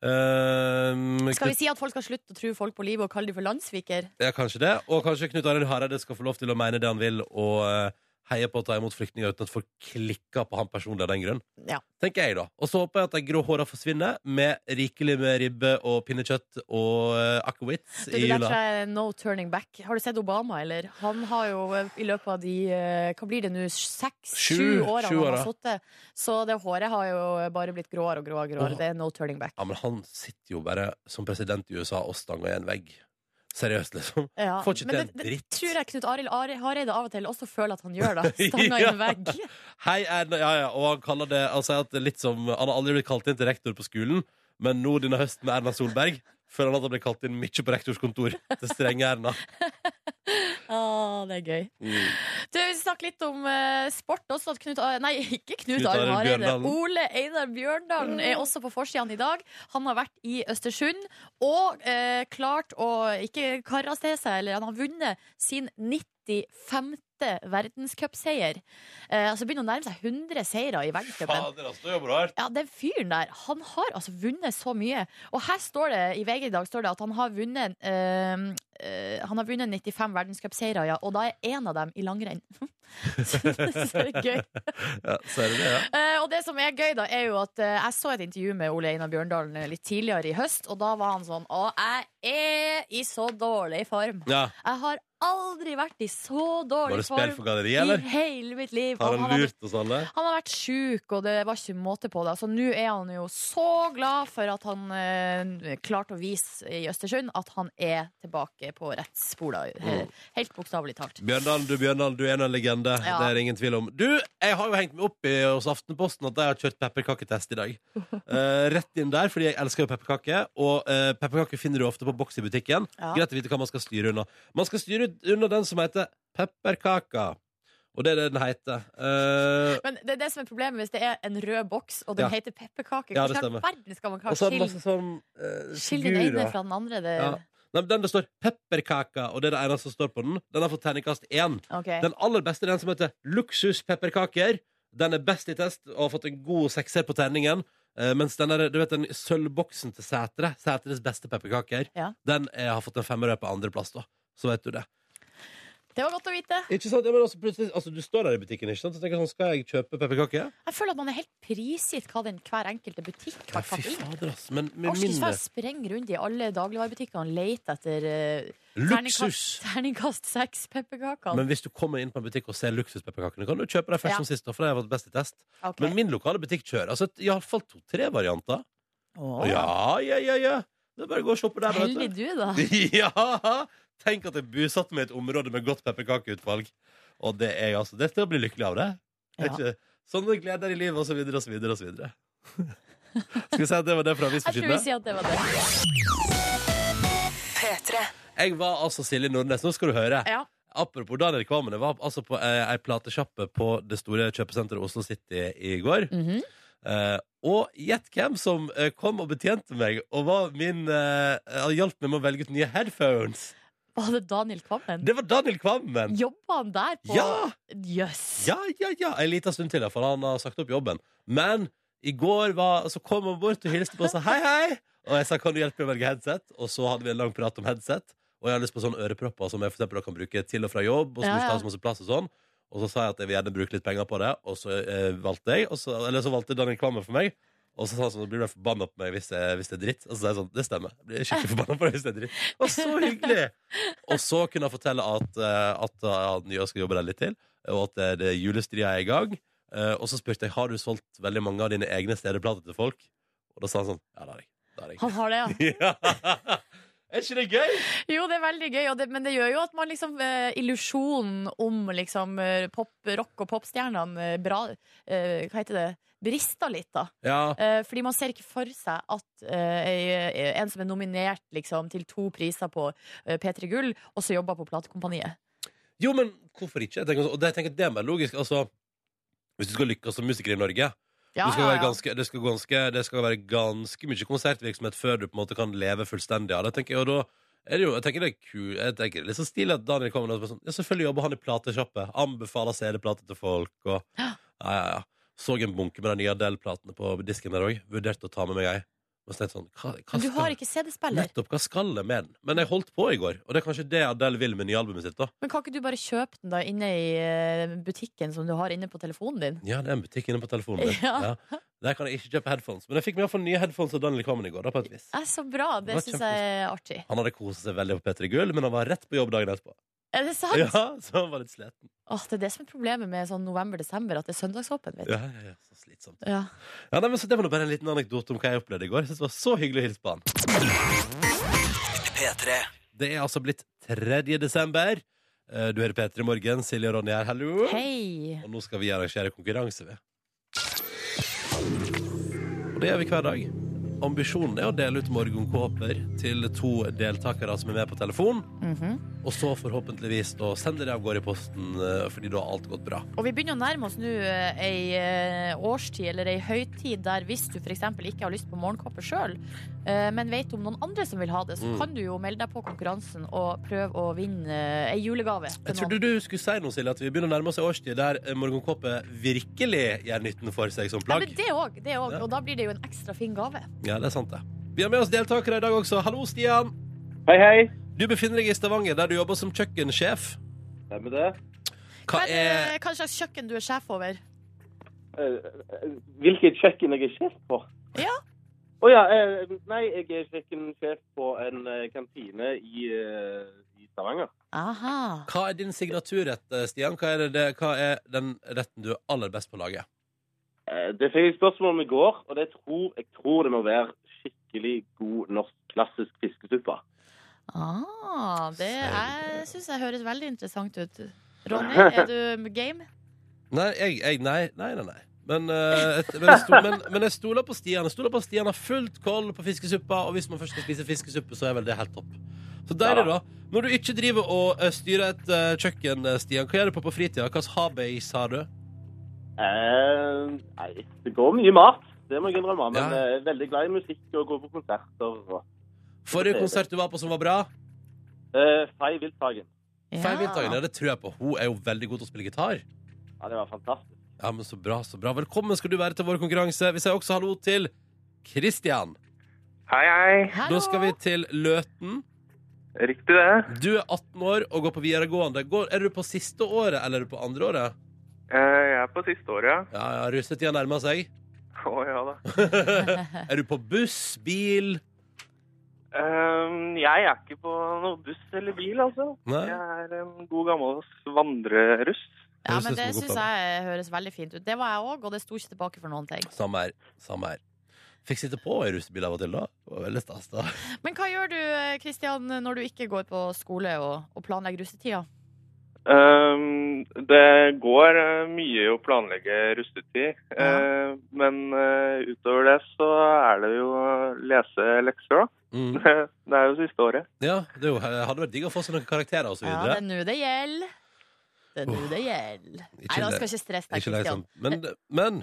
Speaker 1: Ehm,
Speaker 2: Skal vi
Speaker 1: Knut,
Speaker 2: si at folk skal slutte å tro folk på livet og kalle dem for landssviker?
Speaker 1: ja, kanskje det. Og kanskje Knut Arild Hareide skal få lov til å mene det han vil, og eh, heie på å ta imot flyktninger uten at folk klikker på han personlig av den grunn.
Speaker 2: Ja.
Speaker 1: tenker jeg da. Og så håper jeg at de grå håra forsvinner med rikelig med ribbe og pinnekjøtt og uh, akowitz
Speaker 2: Du,
Speaker 1: i
Speaker 2: det der tror
Speaker 1: jula.
Speaker 2: jeg er no turning back. Har du sett Obama, eller? Han har jo eh, i løpet av de eh, Hva blir det nå? Seks?
Speaker 1: Sju-
Speaker 2: Sju årene
Speaker 1: sju
Speaker 2: han
Speaker 1: år,
Speaker 2: har sittet. Så det håret har jo bare blitt gråere og gråere. og
Speaker 1: Åh.
Speaker 2: gråere. Det er no turning back.
Speaker 1: Ja, men han sitter jo bare som president i USA og stanger i en vegg. Seriøst, liksom.
Speaker 2: Ja,
Speaker 1: Får ikke
Speaker 2: men
Speaker 1: til
Speaker 2: det-
Speaker 1: en dritt.
Speaker 2: Det tror jeg Knut Arild Are- Hareide av og til også føler at han gjør, da. Stanga i
Speaker 1: Ja.
Speaker 2: en vegg.
Speaker 1: Hei, Erna. Ja, ja. Og han kaller det Han sier at det er litt som Han har aldri blitt kalt inn til rektor på skolen, men nå denne høsten med Erna Solberg føler han at han blir kalt inn mye på rektors kontor til strenge Erna.
Speaker 2: Ah, det er gøy.
Speaker 1: Mm.
Speaker 2: Du, Vi snakker litt om eh, sport også. At Knut, Ar- nei, ikke Knut,
Speaker 1: Knut Arild
Speaker 2: Arild Hareide.
Speaker 1: Bjørndalen.
Speaker 2: Ole Einar Bjørndalen er også på forsiden i dag. Han har vært i Østersund og eh, klart å ikke karre til seg, eller han har vunnet sin 95. verdenscupseier. Eh, altså begynner å nærme seg 100 seire i verdenscupen.
Speaker 1: altså, det er jo bra.
Speaker 2: Ja, den fyren der, han har altså vunnet så mye. Og her står det, i VG i dag står det at han har vunnet ehm, eh, Han har vunnet 95 verdenscupseiere, ja, og da er én av dem i langrenn. så det er gøy.
Speaker 1: Ja, så er det det, ja.
Speaker 2: Eh, og det som er gøy, da, er jo at eh, jeg så et intervju med Ole Einar Bjørndalen eh, litt tidligere i høst, og da var han sånn Å, jeg er i så dårlig form.
Speaker 1: ja.
Speaker 2: Jeg har aldri vært i så
Speaker 1: Var
Speaker 2: dårlig
Speaker 1: det spill
Speaker 2: form
Speaker 1: for galleriet,
Speaker 2: i
Speaker 1: eller?
Speaker 2: hele mitt liv.
Speaker 1: Har
Speaker 2: Og
Speaker 1: han
Speaker 2: hadde-
Speaker 1: lurt oss alle?
Speaker 2: han har vært sjuk, og det var ikke måte på det. Så nå er han jo så glad for at han eh, klarte å vise i Østersund at han er tilbake på rett spor. da. He-
Speaker 1: Mm.
Speaker 2: Helt bokstavelig talt.
Speaker 1: Bjørndalen, du Bjørndalen, du er en legende.
Speaker 2: Ja.
Speaker 1: Det er det ingen tvil om. Du, jeg har jo hengt meg opp i hos Aftenposten at de har kjørt pepperkaketest i dag. Eh, rett inn der, fordi jeg elsker jo pepperkaker. Og uh, pepperkaker finner du ofte på boks i butikken.
Speaker 2: Ja.
Speaker 1: Greit å vite hva man skal styre unna. Man skal styre unna den som heter pepperkaka. Og det er det den heter. Eh,
Speaker 2: Men det er det som er problemet hvis det er en rød boks, og den
Speaker 1: Ja.
Speaker 2: heter pepperkake.
Speaker 1: Ja, det
Speaker 2: Hvordan i
Speaker 1: stemmer.
Speaker 2: all verden skal man
Speaker 1: og
Speaker 2: klare
Speaker 1: så
Speaker 2: å
Speaker 1: er det masse
Speaker 2: skille-
Speaker 1: sånn uh,
Speaker 2: skille den ene fra den andre? Det,
Speaker 1: Ja. Nei, men den det står 'pepperkaka', og det er det eneste som står på den. Den har fått terningkast én.
Speaker 2: Ok.
Speaker 1: Den aller beste er den som heter Luksuspepperkaker. Den er best i test og har fått en god sekser på terningen. Eh, mens den, der, du vet, den sølvboksen til Sætre, Sætres beste pepperkaker,
Speaker 2: Ja.
Speaker 1: den eh, har fått en femmerød på andreplass, da. Så vet du det.
Speaker 2: Det var godt å vite.
Speaker 1: Ikke sant? Ja, men også plutselig, altså, du står der i butikken ikke sant? og tenker sånn Skal jeg kjøpe pepperkake?
Speaker 2: Jeg føler at man er helt prisgitt hva den hver enkelte butikk
Speaker 1: Ja,
Speaker 2: har
Speaker 1: fy
Speaker 2: tatt inn.
Speaker 1: fader, ass. Men med
Speaker 2: Orsker ikke
Speaker 1: mindre
Speaker 2: jeg sprenge rundt i alle dagligvarebutikkene og lete etter eh,
Speaker 1: luksus!
Speaker 2: terningkast- terningkast seks-pepperkaker.
Speaker 1: Men hvis du kommer inn på en butikk og ser luksuspepperkakene, kan du kjøpe dem først
Speaker 2: Ja.
Speaker 1: som sist. da, For det har vært best i test.
Speaker 2: Ok.
Speaker 1: Men min lokale butikk kjører altså, iallfall to-tre varianter.
Speaker 2: Åh,
Speaker 1: Ja, ja, ja, ja. Det er bare å gå og shoppe der. da, vet du.
Speaker 2: Heldig du, da.
Speaker 1: Ja! Tenk at jeg bosatte meg i et område med godt pepperkakeutvalg. Og det er jeg altså Det skal jeg bli lykkelig av det. Er
Speaker 2: Ja.
Speaker 1: ikke- Sånne gleder i livet, og så videre, og så videre, og så videre. skal vi si at det var det fra
Speaker 2: Jeg tror vi
Speaker 1: avisforsidene?
Speaker 2: sier at det var det.
Speaker 1: Jeg var altså Silje Nordnes. Nå skal du høre.
Speaker 2: Ja.
Speaker 1: Apropos Daniel Kvammen. Jeg var altså på eh, ei platesjappe på det store kjøpesenteret Oslo City i går.
Speaker 2: Mhm.
Speaker 1: Eh, og gjett hvem som eh, kom og betjente meg og var min eh, hjalp meg med å velge ut nye headphones.
Speaker 2: Var det Daniel Kvammen?
Speaker 1: Det var Daniel Kvammen!
Speaker 2: Jobba han der på
Speaker 1: Ja!
Speaker 2: Jøss.
Speaker 1: Ja, ja, ja, en liten stund til, for han har sagt opp jobben. Men i går var, så kom han bort og hilste på og sa hei, hei. Og jeg sa kan du hjelpe meg å velge headset? Og så hadde vi en lang prat om headset. Og jeg har lyst på sånne ørepropper som jeg for eksempel da kan bruke til og fra jobb. Og som
Speaker 2: Ja,
Speaker 1: ikke
Speaker 2: ja.
Speaker 1: tar så masse plass og sånn. Og så sa jeg at jeg vil gjerne bruke litt penger på det, og så eh, valgte jeg. Og så, eller så valgte Daniel Kvammen for meg. Og så sa han sånn, blir du forbanna på meg hvis, jeg, hvis det er dritt? Og så sa jeg sånn, det stemmer. Jeg blir skikkelig forbanna på deg hvis det er dritt. Det var så hyggelig! Og så kunne han fortelle at, eh, at han nye skal jobbe der litt til, og at eh, det- det julestria er i gang. Eh, Og så spurte jeg har du solgt veldig mange av dine egne stedeplater til folk. Og da sa han sånn Ja, det har jeg. Det har jeg.
Speaker 2: Han har det, ja.
Speaker 1: Ja. Er ikke det gøy?
Speaker 2: Jo, det er veldig gøy, og det, men det gjør jo at man liksom eh, Illusjonen om liksom eh, pop, rock og popstjernene eh, bra, eh, Hva heter det? Brister litt, da.
Speaker 1: Ja.
Speaker 2: Eh, fordi man ser ikke for seg at eh, ei- en som er nominert liksom, til to priser på eh, P3 Gull, også jobber på platekompaniet.
Speaker 1: Jo, men hvorfor ikke? Jeg tenker, også- og det, jeg tenker det er mer logisk. Altså, hvis du skal lykkes som musiker i Norge
Speaker 2: Ja,
Speaker 1: det, skal
Speaker 2: ja,
Speaker 1: være
Speaker 2: ja.
Speaker 1: ganske, det, skal ganske, det skal være ganske mye konsertvirksomhet før du på en måte kan leve fullstendig av det. tenker jeg, og da er det jo, jeg tenker det er kul, jeg tenker det er litt så stilig at Daniel kommer og er sånn, ja, selvfølgelig jobber han i platesjappe. Anbefaler CD-plater til folk. og ja, ja, ja. Så en bunke med de nye Adele-platene på disken der òg. Vurderte å ta med meg ei. Men så tenkte jeg sånn, hva, hva
Speaker 2: Men du
Speaker 1: skal-
Speaker 2: har ikke CD-spiller.
Speaker 1: Nettopp, hva skal jeg med den? Men jeg holdt på i går, og det er kanskje det Adele vil med nyalbumet sitt. da.
Speaker 2: Men kan ikke du bare kjøpe den da inne i eh, butikken som du har inne på telefonen din?
Speaker 1: Ja, det er en butikk inne på telefonen min. Ja.
Speaker 2: Ja.
Speaker 1: Der kan jeg ikke kjøpe headphones. Men jeg fikk meg iallfall nye headphones av Daniel Kvammen i går. da, på et vis.
Speaker 2: Eh, så bra.
Speaker 1: Det
Speaker 2: Det,
Speaker 1: var
Speaker 2: synes syns jeg er artig.
Speaker 1: Han hadde koset seg veldig på P3 Gull, men han var rett på jobb dagen etterpå.
Speaker 2: Er det sant?
Speaker 1: Ja, så han var litt sliten.
Speaker 2: Åh, det er det som er problemet med sånn november-desember, at det er søndagsåpen. Vet du.
Speaker 1: Ja, ja, ja, så slitsomt.
Speaker 2: Ja.
Speaker 1: Ja, nei, men så Det var nå bare en liten anekdote om hva jeg opplevde i går. Jeg synes det var så hyggelig å hilse på han. Det er altså blitt 3. desember. Eh, Du hører P3 Morgen. Silje og Ronny her, hallo.
Speaker 2: Hei!
Speaker 1: Og nå skal vi arrangere konkurranse, vi. Og det gjør vi hver dag. Ambisjonen er å dele ut morgenkåper til to deltakere som er med på telefon.
Speaker 2: Mhm.
Speaker 1: Og så forhåpentligvis da sender de av gårde i posten eh, fordi da har alt gått bra.
Speaker 2: Og vi begynner å nærme oss nå eh, ei eh, årstid eller ei høytid der hvis du f.eks. ikke har lyst på morgenkåpe sjøl, men vet om noen andre som vil ha det, så
Speaker 1: Mm.
Speaker 2: kan du jo melde deg på konkurransen og prøve å vinne eh, ei julegave.
Speaker 1: Jeg
Speaker 2: Til
Speaker 1: trodde
Speaker 2: noen.
Speaker 1: du skulle si noe, Silje, at vi begynner å nærme oss en årstid der eh, morgenkåpe virkelig gjør nytten for seg som
Speaker 2: Ja,
Speaker 1: plagg.
Speaker 2: men det òg. Det òg.
Speaker 1: Ja.
Speaker 2: Og da blir det jo en ekstra fin gave.
Speaker 1: Ja, det er sant, det. Vi har med oss deltakere i dag også. Hallo, Stian.
Speaker 4: Hei, hei.
Speaker 1: Du befinner deg i Stavanger, der du jobber som kjøkkensjef.
Speaker 4: Stemmer det?
Speaker 1: Hva er
Speaker 2: eh, hva slags kjøkken du er sjef over?
Speaker 4: Eh, Hvilket kjøkken jeg er sjef på?
Speaker 2: Ja.
Speaker 4: Å ja. eh, Nei, jeg er kjøkkensjef på en eh, kantine i, eh, i Stavanger.
Speaker 2: Aha.
Speaker 1: Hva er din signaturrett, eh, Stian? Hva er, det- det, hva er den retten du er aller best på å lage?
Speaker 4: Eh, Det fikk jeg spørsmål om i går, og det tror, jeg tror det må være skikkelig god norsk klassisk fiskesuppe.
Speaker 2: Ah, det
Speaker 1: Ser-
Speaker 2: syns jeg høres veldig interessant ut. Ronny, er du game?
Speaker 1: Nei, jeg, jeg nei, nei, nei, nei. Men, eh, et, men, jeg sto- men, men jeg stoler på Stian. Jeg stoler på at Stian har fullt koll på fiskesuppa, og hvis man først skal spise fiskesuppe, så er vel det helt topp. Så deilig, da. Når du ikke driver og eh, styrer et eh, kjøkken, eh, Stian, hva gjør du på på fritida? Hva slags hobbies har du?
Speaker 4: Eh, nei, det går mye mat. Det må jeg innrømme. Men
Speaker 1: Ja.
Speaker 4: eh, jeg er veldig glad i musikk og går på konserter. Og,
Speaker 1: Forrige konsert du var på som var bra?
Speaker 4: eh, Fei Wildtagen.
Speaker 1: Feil Wildtagen, ja, det tror jeg på. Hun er jo veldig god til å spille gitar.
Speaker 4: Ja, det var fantastisk.
Speaker 1: Ja, men så bra, så bra. Velkommen skal du være til vår konkurranse. Vi sier også hallo til Kristian.
Speaker 5: Hei, hei.
Speaker 1: Da skal vi til Løten.
Speaker 5: Riktig det.
Speaker 1: Du er 18 år og går på videregående. Går, er du på siste året, eller er du på andre året?
Speaker 5: Eh, Jeg er på siste året, ja.
Speaker 1: Ja, ja, russetida nærmer seg.
Speaker 5: Å ja da.
Speaker 1: er du på buss, bil?
Speaker 5: Eh, Jeg er ikke på noen buss eller bil, altså.
Speaker 1: Nei?
Speaker 5: Jeg er en god gammel vandreruss.
Speaker 2: Ja,
Speaker 1: Høres
Speaker 2: men
Speaker 1: ut som
Speaker 2: Det
Speaker 1: en god
Speaker 2: syns jeg høres veldig fint ut. Det var jeg òg, og det sto ikke tilbake for noen ting.
Speaker 1: Samme her. Samme her. Fikk sitte på i russebil av og til, da. Det var veldig stas, da.
Speaker 2: Men hva gjør du eh, Christian, når du ikke går på skole og, og planlegger russetida?
Speaker 5: Ehm, Det går eh, mye i å planlegge rustetid, eh, men eh, utover det så er det jo å lese lekser, da.
Speaker 1: Mm.
Speaker 5: Det er jo siste året.
Speaker 1: Ja, det er jo, eh, hadde vært digg å få seg noen karakterer og så
Speaker 2: Ja,
Speaker 1: videre.
Speaker 2: det er nå det gjelder. Det er nå det gjelder. Nei, da skal jeg ikke stresse deg,
Speaker 1: Ikke legg
Speaker 2: Christian.
Speaker 1: sånn. Men, men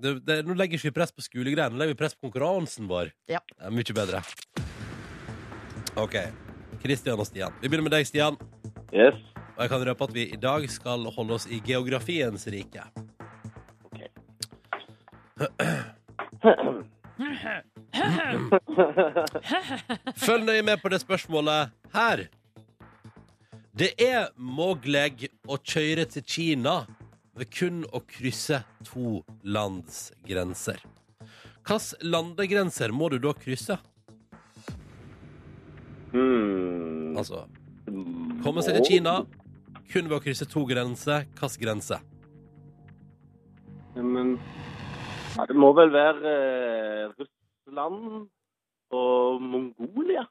Speaker 1: det, det, nå legger ikke vi press på skolegreiene, nå legger vi press på konkurransen vår.
Speaker 2: Ja.
Speaker 1: Det er mye bedre. OK. Kristian og Stian. Vi begynner med deg, Stian.
Speaker 4: Yes.
Speaker 1: Og jeg kan røpe at vi i dag skal holde oss i geografiens rike. Følg nøye med på det spørsmålet her. Det er mulig å kjøre til Kina ved kun å krysse to lands grenser. Hvilke landegrenser må du da krysse?
Speaker 4: Hmm.
Speaker 1: Altså, komme seg til Kina kun ved å krysse to grenser. Hvilken grense?
Speaker 4: Ja, Men ja, det må vel være eh, Russland og Mongolia?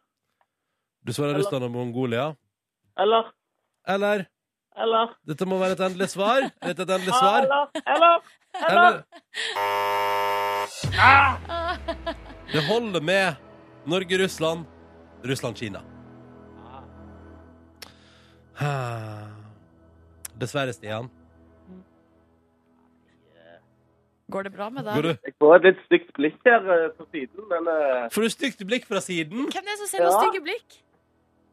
Speaker 1: Du svarer
Speaker 4: Eller-
Speaker 1: Russland og Mongolia.
Speaker 4: Eller?
Speaker 1: Eller
Speaker 4: Eller?
Speaker 1: Dette må være et endelig svar. Dette er et endelig svar.
Speaker 4: Eller? Eller?
Speaker 1: Eller Det holder med Norge, Russland, Russland, Kina. Ah. Dessverre, Stian.
Speaker 2: Går det bra med
Speaker 1: Går du?
Speaker 2: deg?
Speaker 4: Jeg får et litt stygt blikk her eh, på siden, men eh,
Speaker 1: Får du stygt blikk fra siden?
Speaker 2: Hvem er det som sender
Speaker 4: Ja.
Speaker 2: stygge blikk?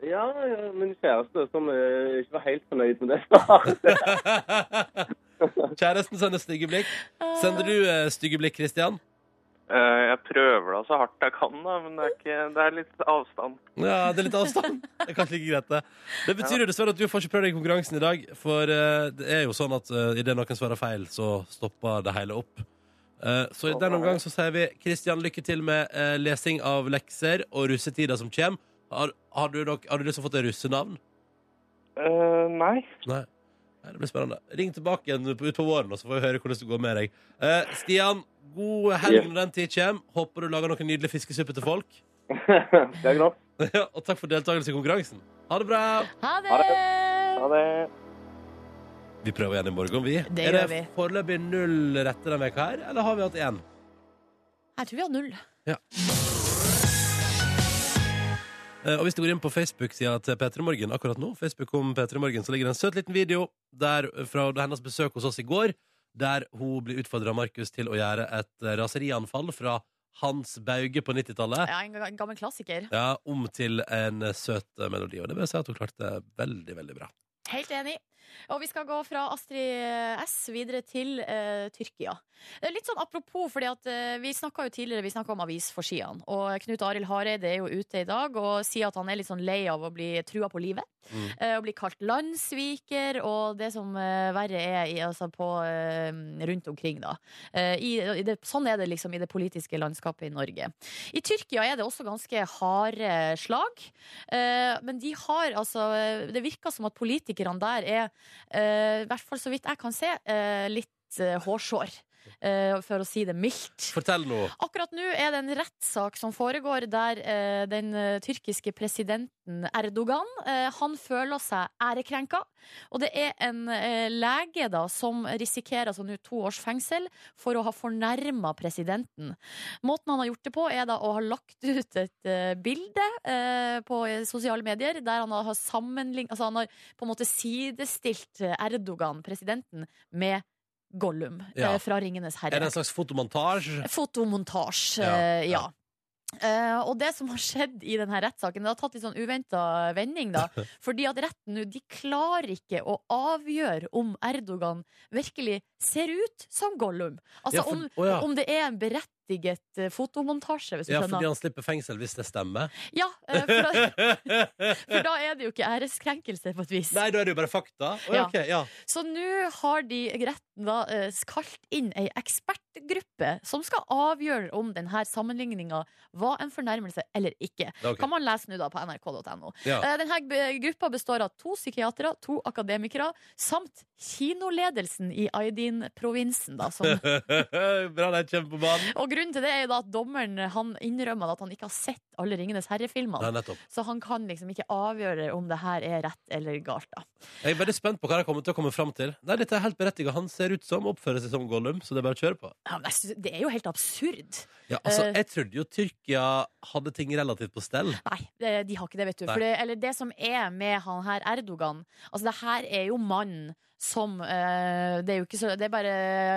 Speaker 4: ja, ja, min kjæreste som eh, ikke var helt fornøyd med det svaret.
Speaker 1: Kjæresten sender stygge blikk. Sender du eh, stygge blikk, Kristian?
Speaker 5: Eh, Jeg prøver da så hardt jeg kan, da, men det er, ikke, det er litt avstand.
Speaker 1: Ja, det er litt avstand. Det er kanskje ikke greit, det. Det betyr jo dessverre at du får ikke prøvd deg i konkurransen i dag, for eh, det er jo sånn at uh, idet noen svarer feil, så stopper det hele opp. Eh, så i den omgang så sier vi Kristian, lykke til med eh, lesing av lekser og russetida som kommer. Har, har, du nok, har du lyst til å få et russenavn?
Speaker 5: Eh, Nei.
Speaker 1: Nei. Nei, det blir spennende. Ring tilbake igjen på- utpå våren, og så får vi høre hvordan det går med deg. Eh, Stian, god helg når den tid kommer. Håper du lager noen nydelig fiskesuppe til folk.
Speaker 4: det er nok.
Speaker 1: Ja, og takk for deltakelse i konkurransen. Ha det bra!
Speaker 2: Ha det!
Speaker 4: Ha Ja, det
Speaker 1: Vi prøver igjen i morgen, vi.
Speaker 2: Det
Speaker 1: er det
Speaker 2: gjør vi.
Speaker 1: foreløpig null rette denne veka her, eller har vi hatt én?
Speaker 2: Jeg tror vi har null.
Speaker 1: Eh, Og hvis du går inn på Facebook-sida til P3 Morgen akkurat nå, Facebook om P3 Morgen, så ligger det en søt liten video der eh, fra hennes besøk hos oss i går, der hun blir utfordra av Markus til å gjøre et eh, raserianfall fra Hans Bauge på 90-tallet.
Speaker 2: Ja, en ga- gammel klassiker.
Speaker 1: Ja, om til en eh, søt eh, melodi. Og det vil jeg si at hun klarte veldig, veldig bra.
Speaker 2: Helt enig. Og vi skal gå fra Astrid S videre til eh, Tyrkia. Det er Litt sånn apropos, fordi at eh, vi snakka jo tidligere vi snakket om avisforsidene. Og Knut Arild Hareide er jo ute i dag og sier at han er litt sånn lei av å bli trua på livet.
Speaker 1: Mm.
Speaker 2: eh, og blir kalt landssviker og det som eh, verre er i, altså på, eh, rundt omkring. Da. Eh, i, i det, sånn er det liksom i det politiske landskapet i Norge. I Tyrkia er det også ganske harde slag, eh, men de har altså eh, Det virker som at politikerne der er, eh, i hvert fall så vidt jeg kan se, eh, litt eh, hårsår. eh, for å si det mildt.
Speaker 1: Fortell nå.
Speaker 2: Akkurat nå er det en rettssak som foregår der eh, den eh, tyrkiske presidenten Erdogan eh, han føler seg ærekrenka. Og det er en eh, lege da som risikerer altså nå to års fengsel for å ha fornærma presidenten. Måten han har gjort det på, er da å ha lagt ut et eh, bilde eh, på eh, sosiale medier der han har sammenlign... Altså han har på en måte sidestilt eh, Erdogan, presidenten, med Gollum
Speaker 1: Ja.
Speaker 2: eh, fra Ringenes herre
Speaker 1: Er det en slags fotomontasje?
Speaker 2: fotomontasje.
Speaker 1: Ja,
Speaker 2: eh, ja. Eh, og det som har skjedd i denne rettssaken, det har tatt litt sånn uventa vending. da Fordi at retten nå, de klarer ikke å avgjøre om Erdogan virkelig ser ut som Gollum. Altså
Speaker 1: Ja, for-
Speaker 2: om,
Speaker 1: å, ja.
Speaker 2: om det er en berettiget eh, fotomontasje, hvis du
Speaker 1: Ja, fordi
Speaker 2: skjønner.
Speaker 1: han slipper fengsel hvis det stemmer.
Speaker 2: Ja, eh, for, da,
Speaker 1: Nei,
Speaker 2: for da er det jo ikke æreskrenkelse, på et vis.
Speaker 1: da er det jo bare fakta. Å, ja,
Speaker 2: Ja.
Speaker 1: ok, ja.
Speaker 2: Så nå har de retten da eh, kalt inn ei ekspertgruppe som skal avgjøre om denne sammenligninga var en fornærmelse eller ikke.
Speaker 1: Det er ok.
Speaker 2: Kan man lese nå da på nrk.no.
Speaker 1: Ja.
Speaker 2: Eh, Denne be- gruppa består av to psykiatere, to akademikere samt kinoledelsen i Aydin-provinsen. da, som-
Speaker 1: Bra, de kommer på banen.
Speaker 2: Og grunnen til det er jo da at dommeren han innrømmer at han ikke har sett alle Ringenes herre-filmene.
Speaker 1: Nei, nettopp.
Speaker 2: Så han kan liksom ikke avgjøre om det her er rett eller galt. da.
Speaker 1: Jeg er veldig spent på hva de kommer til å komme fram til. Nei, dette er helt berettiget. Han ser ut som, oppfører seg som Gollum, så det er bare å kjøre på.
Speaker 2: Ja, men jeg synes- det er jo helt absurd.
Speaker 1: Ja, altså,
Speaker 2: Eh.
Speaker 1: jeg trodde jo Tyrkia hadde ting relativt på stell.
Speaker 2: Nei, det- de har ikke det, vet du.
Speaker 1: Nei.
Speaker 2: For det, eller det som er med han her Erdogan Altså, det her er jo mannen som eh, Det er jo ikke så Det er bare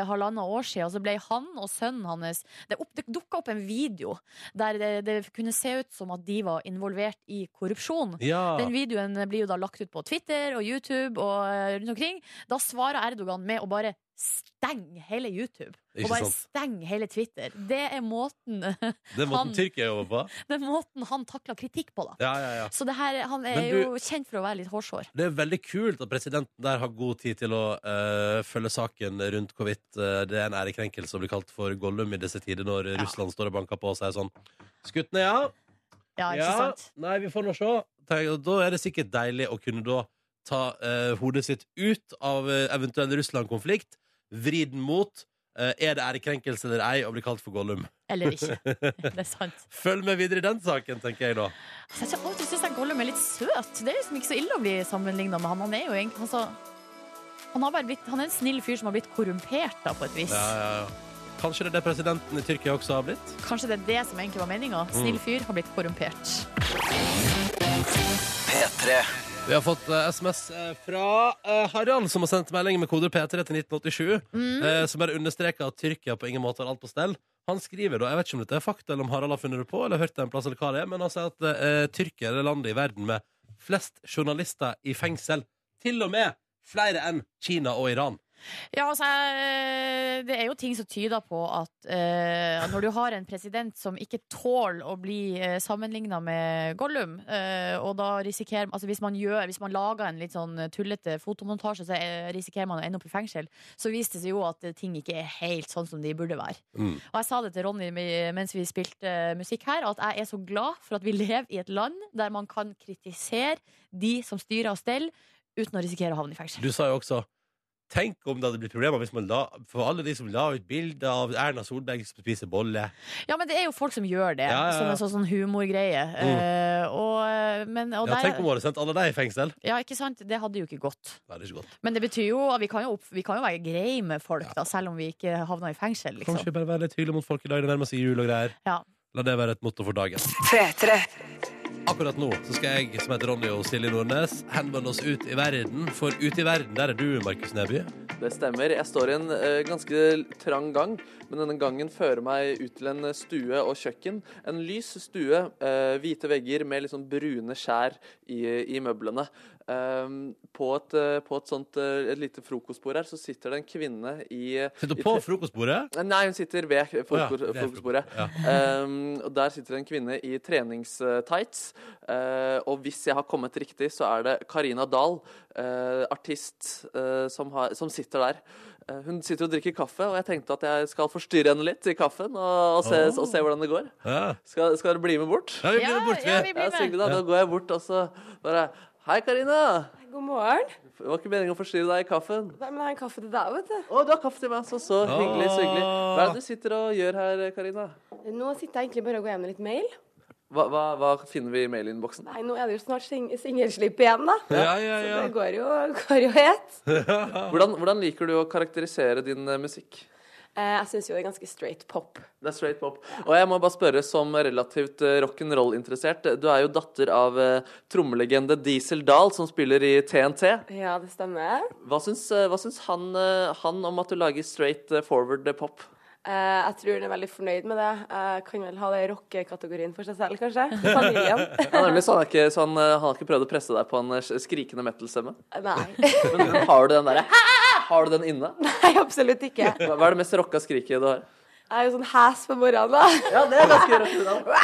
Speaker 2: halvannet år siden, og så ble han og sønnen hans Det, opp, det dukka opp en video der det, det kunne se ut som at de var involvert i korrupsjon.
Speaker 1: Ja.
Speaker 2: Den videoen blir jo da lagt ut på Twitter og YouTube og eh, rundt omkring. Da svarer Erdogan med å bare stenge hele YouTube.
Speaker 1: Ikke
Speaker 2: og bare
Speaker 1: sant.
Speaker 2: stenge hele Twitter. Det er måten, det
Speaker 1: Det er måten
Speaker 2: han-
Speaker 1: Tyrkia jobber på.
Speaker 2: er måten han takler kritikk på, da.
Speaker 1: Ja, ja, ja.
Speaker 2: Så det her, han er
Speaker 1: Men du-
Speaker 2: jo kjent for å være litt hårsår.
Speaker 1: Det er veldig kult at presidenten der har god tid til å eh, følge saken rundt hvorvidt eh, det er en ærekrenkelse å bli kalt for Gollum i disse tider, når Russland står og banker på og sier sånn Skutt ned, ja.
Speaker 2: Ja, ikke
Speaker 1: ja.
Speaker 2: sant?
Speaker 1: Nei, vi får nå se. Tenk, og Da er det sikkert deilig å kunne da ta eh, hodet sitt ut av eh, eventuell Russland-konflikt, vri den mot eh, er det ærekrenkelse eller ei å bli kalt for Gollum.
Speaker 2: Eller ikke. Det er sant.
Speaker 1: Følg med videre i den saken, tenker jeg da.
Speaker 2: Altså, jeg alltid synes jeg Gollum er litt søt. Det er liksom ikke så ille å bli sammenlignet med han. Han er jo egentlig altså, han, har bare blitt, han er en snill fyr som har blitt korrumpert, da, på et vis.
Speaker 1: Ja, ja, ja. Kanskje det er det presidenten i Tyrkia også har blitt?
Speaker 2: Kanskje det er det som egentlig var meninga.
Speaker 1: Mm.
Speaker 2: Snill fyr har blitt korrumpert.
Speaker 1: Vi har fått eh, SMS eh, fra eh, Harald, som har sendt melding med koder P3 til 1987, eh, som bare understreker at Tyrkia på ingen måte har alt på stell. Han skriver da, jeg vet ikke om dette er fakta, eller om Harald har funnet det på, eller hørt det en plass, eller hva det er, men han sier at eh, Tyrkia er det landet i verden med flest journalister i fengsel, til og med flere enn Kina og Iran.
Speaker 2: Ja, altså, eh, det er jo ting som tyder på at eh, når du har en president som ikke tåler å bli eh, sammenligna med Gollum, eh, og da risikerer altså hvis man, gjør, hvis man lager en litt sånn tullete fotomontasje, så eh, risikerer man å ende opp i fengsel, så viste det seg jo at eh, ting ikke er helt sånn som de burde være.
Speaker 1: Mm.
Speaker 2: Og jeg sa det til Ronny mi- mens vi spilte eh, musikk her, at jeg er så glad for at vi lever i et land der man kan kritisere de som styrer og steller, uten å risikere å havne i fengsel.
Speaker 1: Du sa jo også Tenk om det hadde blitt problemer hvis man la, for alle de som la ut bilder av Erna Solberg som spiser bolle.
Speaker 2: Ja, men det er jo folk som gjør det,
Speaker 1: Ja, ja, ja.
Speaker 2: som en sånn, sånn humorgreie. Eh, og, men, og
Speaker 1: Ja,
Speaker 2: der,
Speaker 1: tenk om hun hadde sendt alle deg i fengsel.
Speaker 2: ja, ikke sant? Det hadde jo ikke gått.
Speaker 1: Nei, det er ikke godt.
Speaker 2: Men det betyr jo at vi kan jo, opp, vi kan jo være greie med folk, da, selv om vi ikke havna i fengsel. Liksom.
Speaker 1: Kanskje bare være litt hyggelig mot folk i dag. Det nærmer seg jul og greier.
Speaker 2: Ja.
Speaker 1: La det være et motto for dagen. Akkurat nå så skal jeg, som heter Ronny og Silje Nordnes, henvende oss ut i verden. For ute i verden, der er du, Markus Neby.
Speaker 3: Det stemmer. Jeg står i en eh, ganske trang gang, men denne gangen fører meg ut til en stue og kjøkken. En lys stue, eh, hvite vegger med litt sånn brune skjær i, i møblene. Ehm, på, et, eh, på et sånt eh, et lite frokostbord her så sitter det en kvinne i
Speaker 1: Sitter
Speaker 3: i
Speaker 1: på
Speaker 3: tre-
Speaker 1: frokostbordet.
Speaker 3: Nei, hun sitter ved
Speaker 1: ja,
Speaker 3: frokos-
Speaker 1: ved
Speaker 3: frokostbordet.
Speaker 1: Ja.
Speaker 3: Ehm, og Der sitter en kvinne i treningstights. Eh, og hvis jeg har kommet riktig, så er det Karina Dahl, eh, artist, eh, som, har, som sitter der. Eh, hun sitter og drikker kaffe, og jeg tenkte at jeg skal forstyrre henne litt i kaffen. Og, og, se,
Speaker 1: Åh.
Speaker 3: og se hvordan det går.
Speaker 1: Ja.
Speaker 3: Skal, skal dere bli med bort?
Speaker 1: ja, vi blir bort, vi.
Speaker 2: ja, vi
Speaker 3: Ja,
Speaker 2: blir
Speaker 3: så
Speaker 2: med.
Speaker 3: hyggelig da. Da går jeg bort og så bare Hei, Karina!
Speaker 6: God morgen.
Speaker 3: Det var ikke meningen å forstyrre deg i kaffen.
Speaker 6: Nei, men jeg har en kaffe til deg, vet du.
Speaker 3: Å, du har kaffe til meg. Så så hyggelig. så hyggelig. Hva er det du sitter og gjør her, Karina?
Speaker 6: Nå sitter jeg egentlig bare og går gjennom litt mail.
Speaker 3: Hva, hva, hva finner vi i mailinnboksen?
Speaker 6: Nei, nå er det jo snart sing singelslipp igjen, da.
Speaker 1: Ja, ja, ja.
Speaker 6: Så det går jo, går jo het.
Speaker 3: Hvordan, hvordan liker du å karakterisere din eh, musikk?
Speaker 6: Eh, jeg syns jo det er ganske straight pop.
Speaker 3: Det er straight pop. Og jeg må bare spørre, som relativt eh, rock'n'roll-interessert, eh, du er jo datter av eh, trommelegende Diesel Dahl, som spiller i TNT.
Speaker 6: Ja, det stemmer.
Speaker 3: Hva syns, eh, hva syns han, eh, han om at du lager straight eh, forward eh, pop?
Speaker 6: Eh, jeg tror hun er veldig fornøyd med det. Jeg kan vel ha det i rockekategorien for seg selv, kanskje. Familien.
Speaker 3: Ja, nemlig, så han, er ikke, så han, eh, han har ikke prøvd å presse deg på en eh, skrikende metal-stemme.
Speaker 6: Nei.
Speaker 3: Men har du den derre Har du den inne?
Speaker 6: Nei, absolutt ikke.
Speaker 3: Hva hva er det mest rocka skriket du har?
Speaker 6: Jeg er jo sånn hæs på morgenen, da.
Speaker 3: Ja, det er ganske rocka.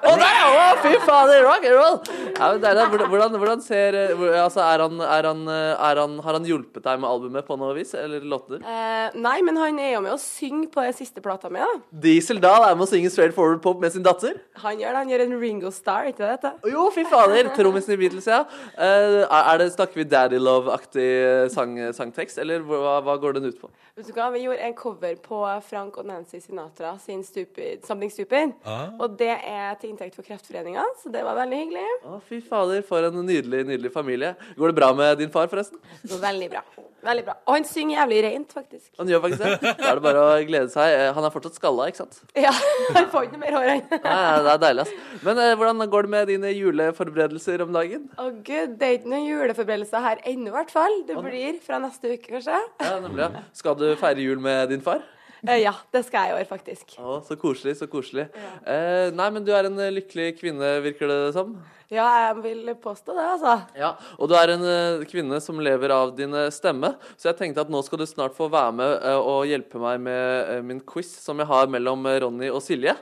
Speaker 3: Å, der, ja! Å, fy fader, rock and roll! Ja, men det er det. Hvordan- Hvordan, hvordan ser eh, hvor- altså, er han, er han, eh, er han, Har han hjulpet deg med albumet på noe vis, eller låter?
Speaker 6: Eh, nei, men han er jo med og synger på den siste plata mi, da.
Speaker 3: Diesel Dahl er med å synge straight forward pop med sin datter?
Speaker 6: Han gjør det. Han gjør en Ringo Star, ikke det det? heter?
Speaker 3: Jo, fy fader! Trommisen i Beatles, ja. Eh, er det, snakker vi Daddy Love-aktig eh, sang, sangtekst, eller hva, hva går den ut på?
Speaker 6: Vet du hva, vi gjorde en cover på Frank og Nancy Sinatra sin stupid, Something Stupid.
Speaker 1: Ah.
Speaker 6: Og det er til inntekt for Kreftforeninga, så det var veldig hyggelig.
Speaker 3: Å, fy fader, for en nydelig, nydelig familie. Går det bra med din far, forresten?
Speaker 6: Det var veldig bra. Veldig bra. Og han synger jævlig rent, faktisk.
Speaker 3: Han gjør faktisk det. Da er det bare å glede seg. Eh, Han er fortsatt skalla, ikke sant?
Speaker 6: Ja, han får ikke noe mer hår, han.
Speaker 3: Nei, nei, det er deilig, ass. Men eh, hvordan går det med dine juleforberedelser om dagen?
Speaker 6: Å gud, det er ikke noen juleforberedelser her ennå, i hvert fall. Det blir fra neste uke, kanskje.
Speaker 3: Ja, nemlig, ja. Skal du feire jul med din far?
Speaker 6: Eh, Ja, det skal jeg i år, faktisk.
Speaker 3: Å, så koselig, så koselig. Eh, nei, men du er en eh, lykkelig kvinne, virker det som.
Speaker 6: Ja, jeg vil påstå det, altså.
Speaker 3: Ja, og du er en eh, kvinne som lever av din eh, stemme, så jeg tenkte at nå skal du snart få være med eh, og hjelpe meg med eh, min quiz som jeg har mellom eh, Ronny og Silje.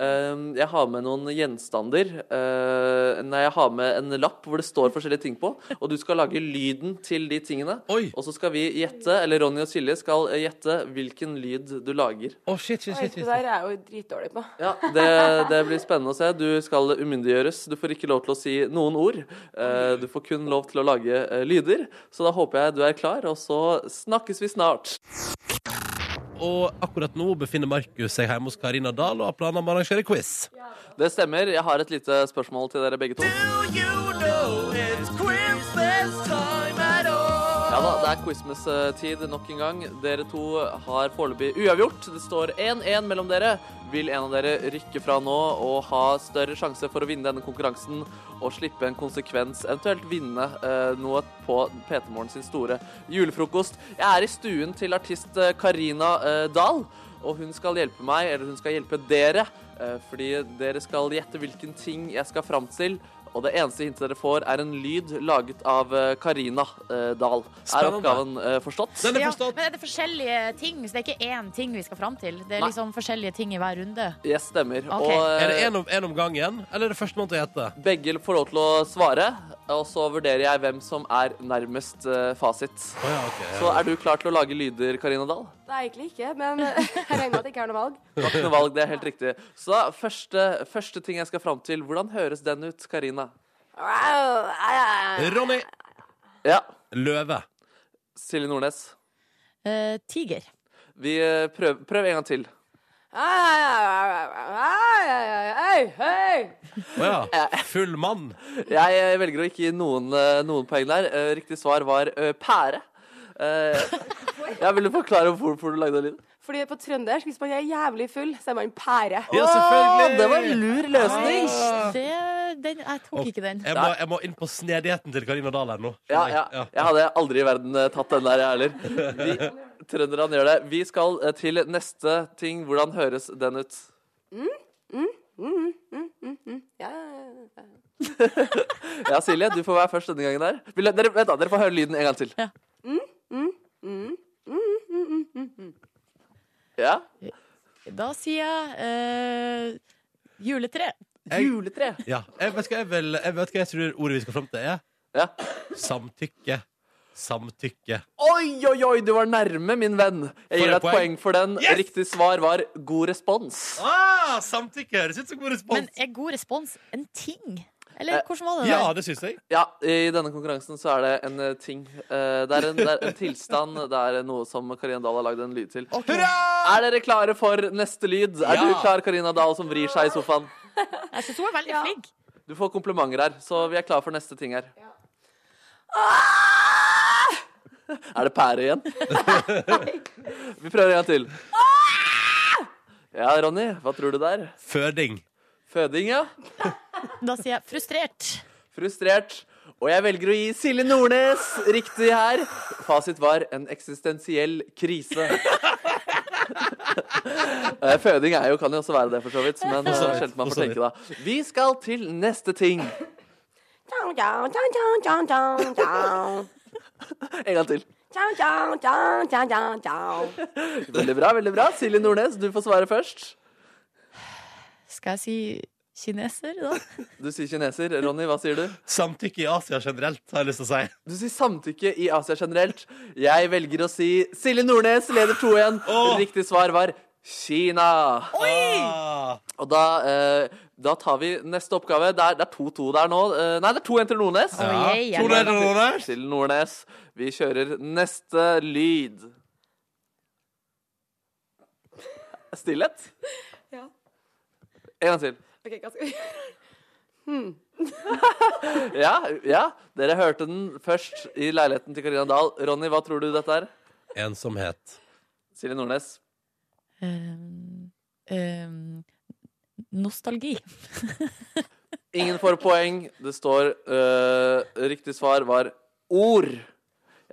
Speaker 3: Eh, Jeg har med noen gjenstander eh, Nei, jeg har med en lapp hvor det står forskjellige ting på, og du skal lage lyden til de tingene.
Speaker 1: Oi.
Speaker 3: Og så skal vi gjette, eller Ronny og Silje skal eh, gjette hvilken lyd du lager.
Speaker 1: Å, shit, shit,
Speaker 6: Oi,
Speaker 1: shit,
Speaker 6: det
Speaker 1: shit.
Speaker 6: der er jeg jo dritdårlig på.
Speaker 3: Ja, det, det blir spennende å se. Du skal umyndiggjøres. Du får ikke lov til å si noen ord. Eh, Du får kun lov til å lage eh, lyder. Så da håper jeg du er klar, og så snakkes vi snart.
Speaker 1: Og akkurat nå befinner Markus seg hjemme hos Karina Dahl og har planer om å arrangere quiz.
Speaker 3: Det stemmer. Jeg har et lite spørsmål til dere begge to. Ja da, det er Christmas-tid nok en gang. Dere to har foreløpig uavgjort. Det står 1-1 mellom dere. Vil en av dere rykke fra nå og ha større sjanse for å vinne denne konkurransen og slippe en konsekvens, eventuelt vinne eh, noe på PT-morgen sin store julefrokost? Jeg er i stuen til artist eh, Karina eh, Dahl, og hun skal hjelpe meg, eller hun skal hjelpe dere, eh, fordi dere skal gjette hvilken ting jeg skal fram til. Og det eneste hintet dere får, er en lyd laget av eh, Karina eh, Dahl. Er
Speaker 1: Spennende.
Speaker 3: oppgaven eh, forstått?
Speaker 1: Den er
Speaker 2: Ja,
Speaker 1: forstått.
Speaker 2: men er det forskjellige ting? Så det er ikke én ting vi skal fram til? Det er
Speaker 3: Nei.
Speaker 2: liksom forskjellige ting i hver runde?
Speaker 3: Yes, stemmer.
Speaker 2: Ok.
Speaker 3: Og
Speaker 1: Er
Speaker 3: eh,
Speaker 1: det én om, en om gangen, eller er det førstemann til å gjette?
Speaker 3: begge får lov til å svare, og så vurderer jeg hvem som er nærmest eh, fasit.
Speaker 1: Å ja, ok.
Speaker 3: Så er du klar til å lage lyder, Karina Dahl?
Speaker 6: Nei, egentlig ikke, men jeg regner med at jeg ikke har noe valg.
Speaker 3: Det var ikke noe valg, det er helt riktig. Så da, første, første ting jeg skal fram til, hvordan høres den ut, Karina?
Speaker 1: Ronny
Speaker 3: Ja,
Speaker 1: Løve.
Speaker 3: Silje Nordnes.
Speaker 2: Eh, tiger.
Speaker 3: Vi eh, prøv, prøv en gang til.
Speaker 1: Å ja. Full mann.
Speaker 3: Jeg eh, velger å ikke gi noen, eh, noen poeng der. Eh, Riktig svar var eh, pære. Eh, ja, vil du forklare hvorfor du lagde den lyden?
Speaker 6: Fordi det er på trøndersk, hvis man er jævlig full, så er man pære.
Speaker 1: Ja, selvfølgelig.
Speaker 3: Å, det var en lur
Speaker 1: Ah.
Speaker 3: løsning!
Speaker 2: Det, den, jeg tok ikke den.
Speaker 1: Jeg må, jeg må inn på snedigheten til Karina Dahl her nå.
Speaker 3: Ja,
Speaker 1: skjønner
Speaker 3: ja.
Speaker 1: jeg. Ja.
Speaker 3: Jeg hadde aldri i verden eh, tatt den der, jeg heller. Vi- Trønderne gjør det. Vi skal eh, til neste ting. Hvordan høres den ut?
Speaker 6: Ja, ja, ja.
Speaker 3: Ja, Silje, du får være først denne gangen der. Vil dere, vent da, dere får høre lyden en gang til. Ja?
Speaker 2: Da sier jeg eh, juletre.
Speaker 3: Juletre.
Speaker 1: Ja. Jeg, vet, ikke, jeg, vel, jeg vet hva jeg tror ordet vi skal fram til, er.
Speaker 3: Ja.
Speaker 1: Samtykke. Samtykke.
Speaker 3: Oi, oi, oi, du var nærme, min venn. Jeg
Speaker 1: Får
Speaker 3: gir
Speaker 1: jeg
Speaker 3: deg et poeng
Speaker 1: poeng?
Speaker 3: for den.
Speaker 1: Yes!
Speaker 3: Riktig svar var god respons.
Speaker 1: Ah, samtykke høres ut som god
Speaker 2: Men
Speaker 1: respons.
Speaker 2: er god respons en ting? Eller
Speaker 3: Eh,
Speaker 2: hvordan var det?
Speaker 1: Ja,
Speaker 2: der?
Speaker 1: det syns jeg.
Speaker 3: Ja, i denne konkurransen så er det en eh, ting. Eh, Det er en, det er en tilstand. Det er noe som Karina Dahl har lagd en lyd til. Er dere klare for neste lyd? Er
Speaker 1: Ja.
Speaker 3: du klar, Karina Dahl, som vrir seg i sofaen?
Speaker 2: Jeg syns Altså, hun er veldig flink.
Speaker 3: Du får komplimenter her, så vi er klare for neste ting her. Ah! Er det pære igjen? Vi prøver en gang til. Ja, Ronny, hva tror du der?
Speaker 1: Føding.
Speaker 3: Føding, ja.
Speaker 2: Da sier jeg frustrert.
Speaker 3: Frustrert. Og jeg velger å gi Silje Nordnes riktig her. Fasit var en eksistensiell krise. Eh, Føding er jo, kan jo også være det, for så vidt. Men
Speaker 1: For så
Speaker 3: eh,
Speaker 1: vidt,
Speaker 3: sjelden man
Speaker 1: for
Speaker 3: får
Speaker 1: så
Speaker 3: tenke da. Vi skal til neste ting.
Speaker 6: Tjau, tjau, tjau, tjau, tjau, tjau, tjau.
Speaker 3: En gang til.
Speaker 6: Tjau, tjau, tjau, tjau, tjau, tjau.
Speaker 3: Veldig bra. veldig bra Silje Nordnes, du får svare først.
Speaker 2: Skal jeg si kineser, da?
Speaker 3: Du sier kineser. Ronny, hva sier du?
Speaker 1: Samtykke i Asia generelt, har jeg lyst til å si.
Speaker 3: Du sier samtykke i Asia generelt. Jeg velger å si Silje Nordnes leder 2-1.
Speaker 1: Åh!
Speaker 3: Riktig svar var Kina.
Speaker 1: Ah.
Speaker 3: Og da, eh, da tar vi neste oppgave. Det er det er 2-2 der nå. Eh, nei, det er 2-1 til Nordnes.
Speaker 1: Ja.
Speaker 7: jeg-
Speaker 1: Tror du det er noe der?
Speaker 3: Til Nordnes. Vi kjører neste lyd. Stillhet?
Speaker 6: Ja.
Speaker 3: En gang til.
Speaker 6: Ok, hva skal vi gjøre?
Speaker 3: Ja, ja. Dere hørte den først i leiligheten til Karina Dahl. Ronny, hva tror du dette er?
Speaker 1: Ensomhet.
Speaker 3: Silje Nordnes.
Speaker 2: Um, um, nostalgi.
Speaker 3: Ingen får poeng. Det står øh, Riktig svar var ord.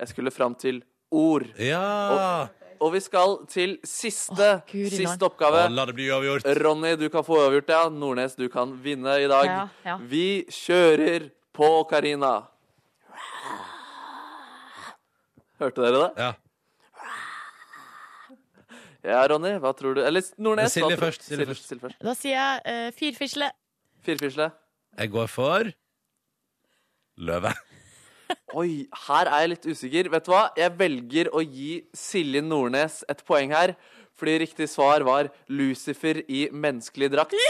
Speaker 3: Jeg skulle fram til ord.
Speaker 1: Ja!
Speaker 3: Og vi skal til siste,
Speaker 2: Åh, Guri land.
Speaker 3: siste oppgave.
Speaker 1: Og la det bli uavgjort.
Speaker 3: Ronny, du kan få overgjort det. Ja. Nordnes, du kan vinne i dag.
Speaker 2: Ja, ja.
Speaker 3: Vi kjører på, Karina. Hørte dere det?
Speaker 1: Ja.
Speaker 3: Ja, Ronny, hva tror du Eller Nordnes.
Speaker 1: Silje
Speaker 3: hva tror-
Speaker 1: først, Silje først.
Speaker 3: Silje først.
Speaker 2: Da sier jeg eh, firfisle.
Speaker 3: Firfisle.
Speaker 1: Jeg går for løve.
Speaker 3: Oi, her er jeg litt usikker. Vet du hva? Jeg velger å gi Silje Nordnes et poeng her. Fordi riktig svar var Lucifer i menneskelig drakt.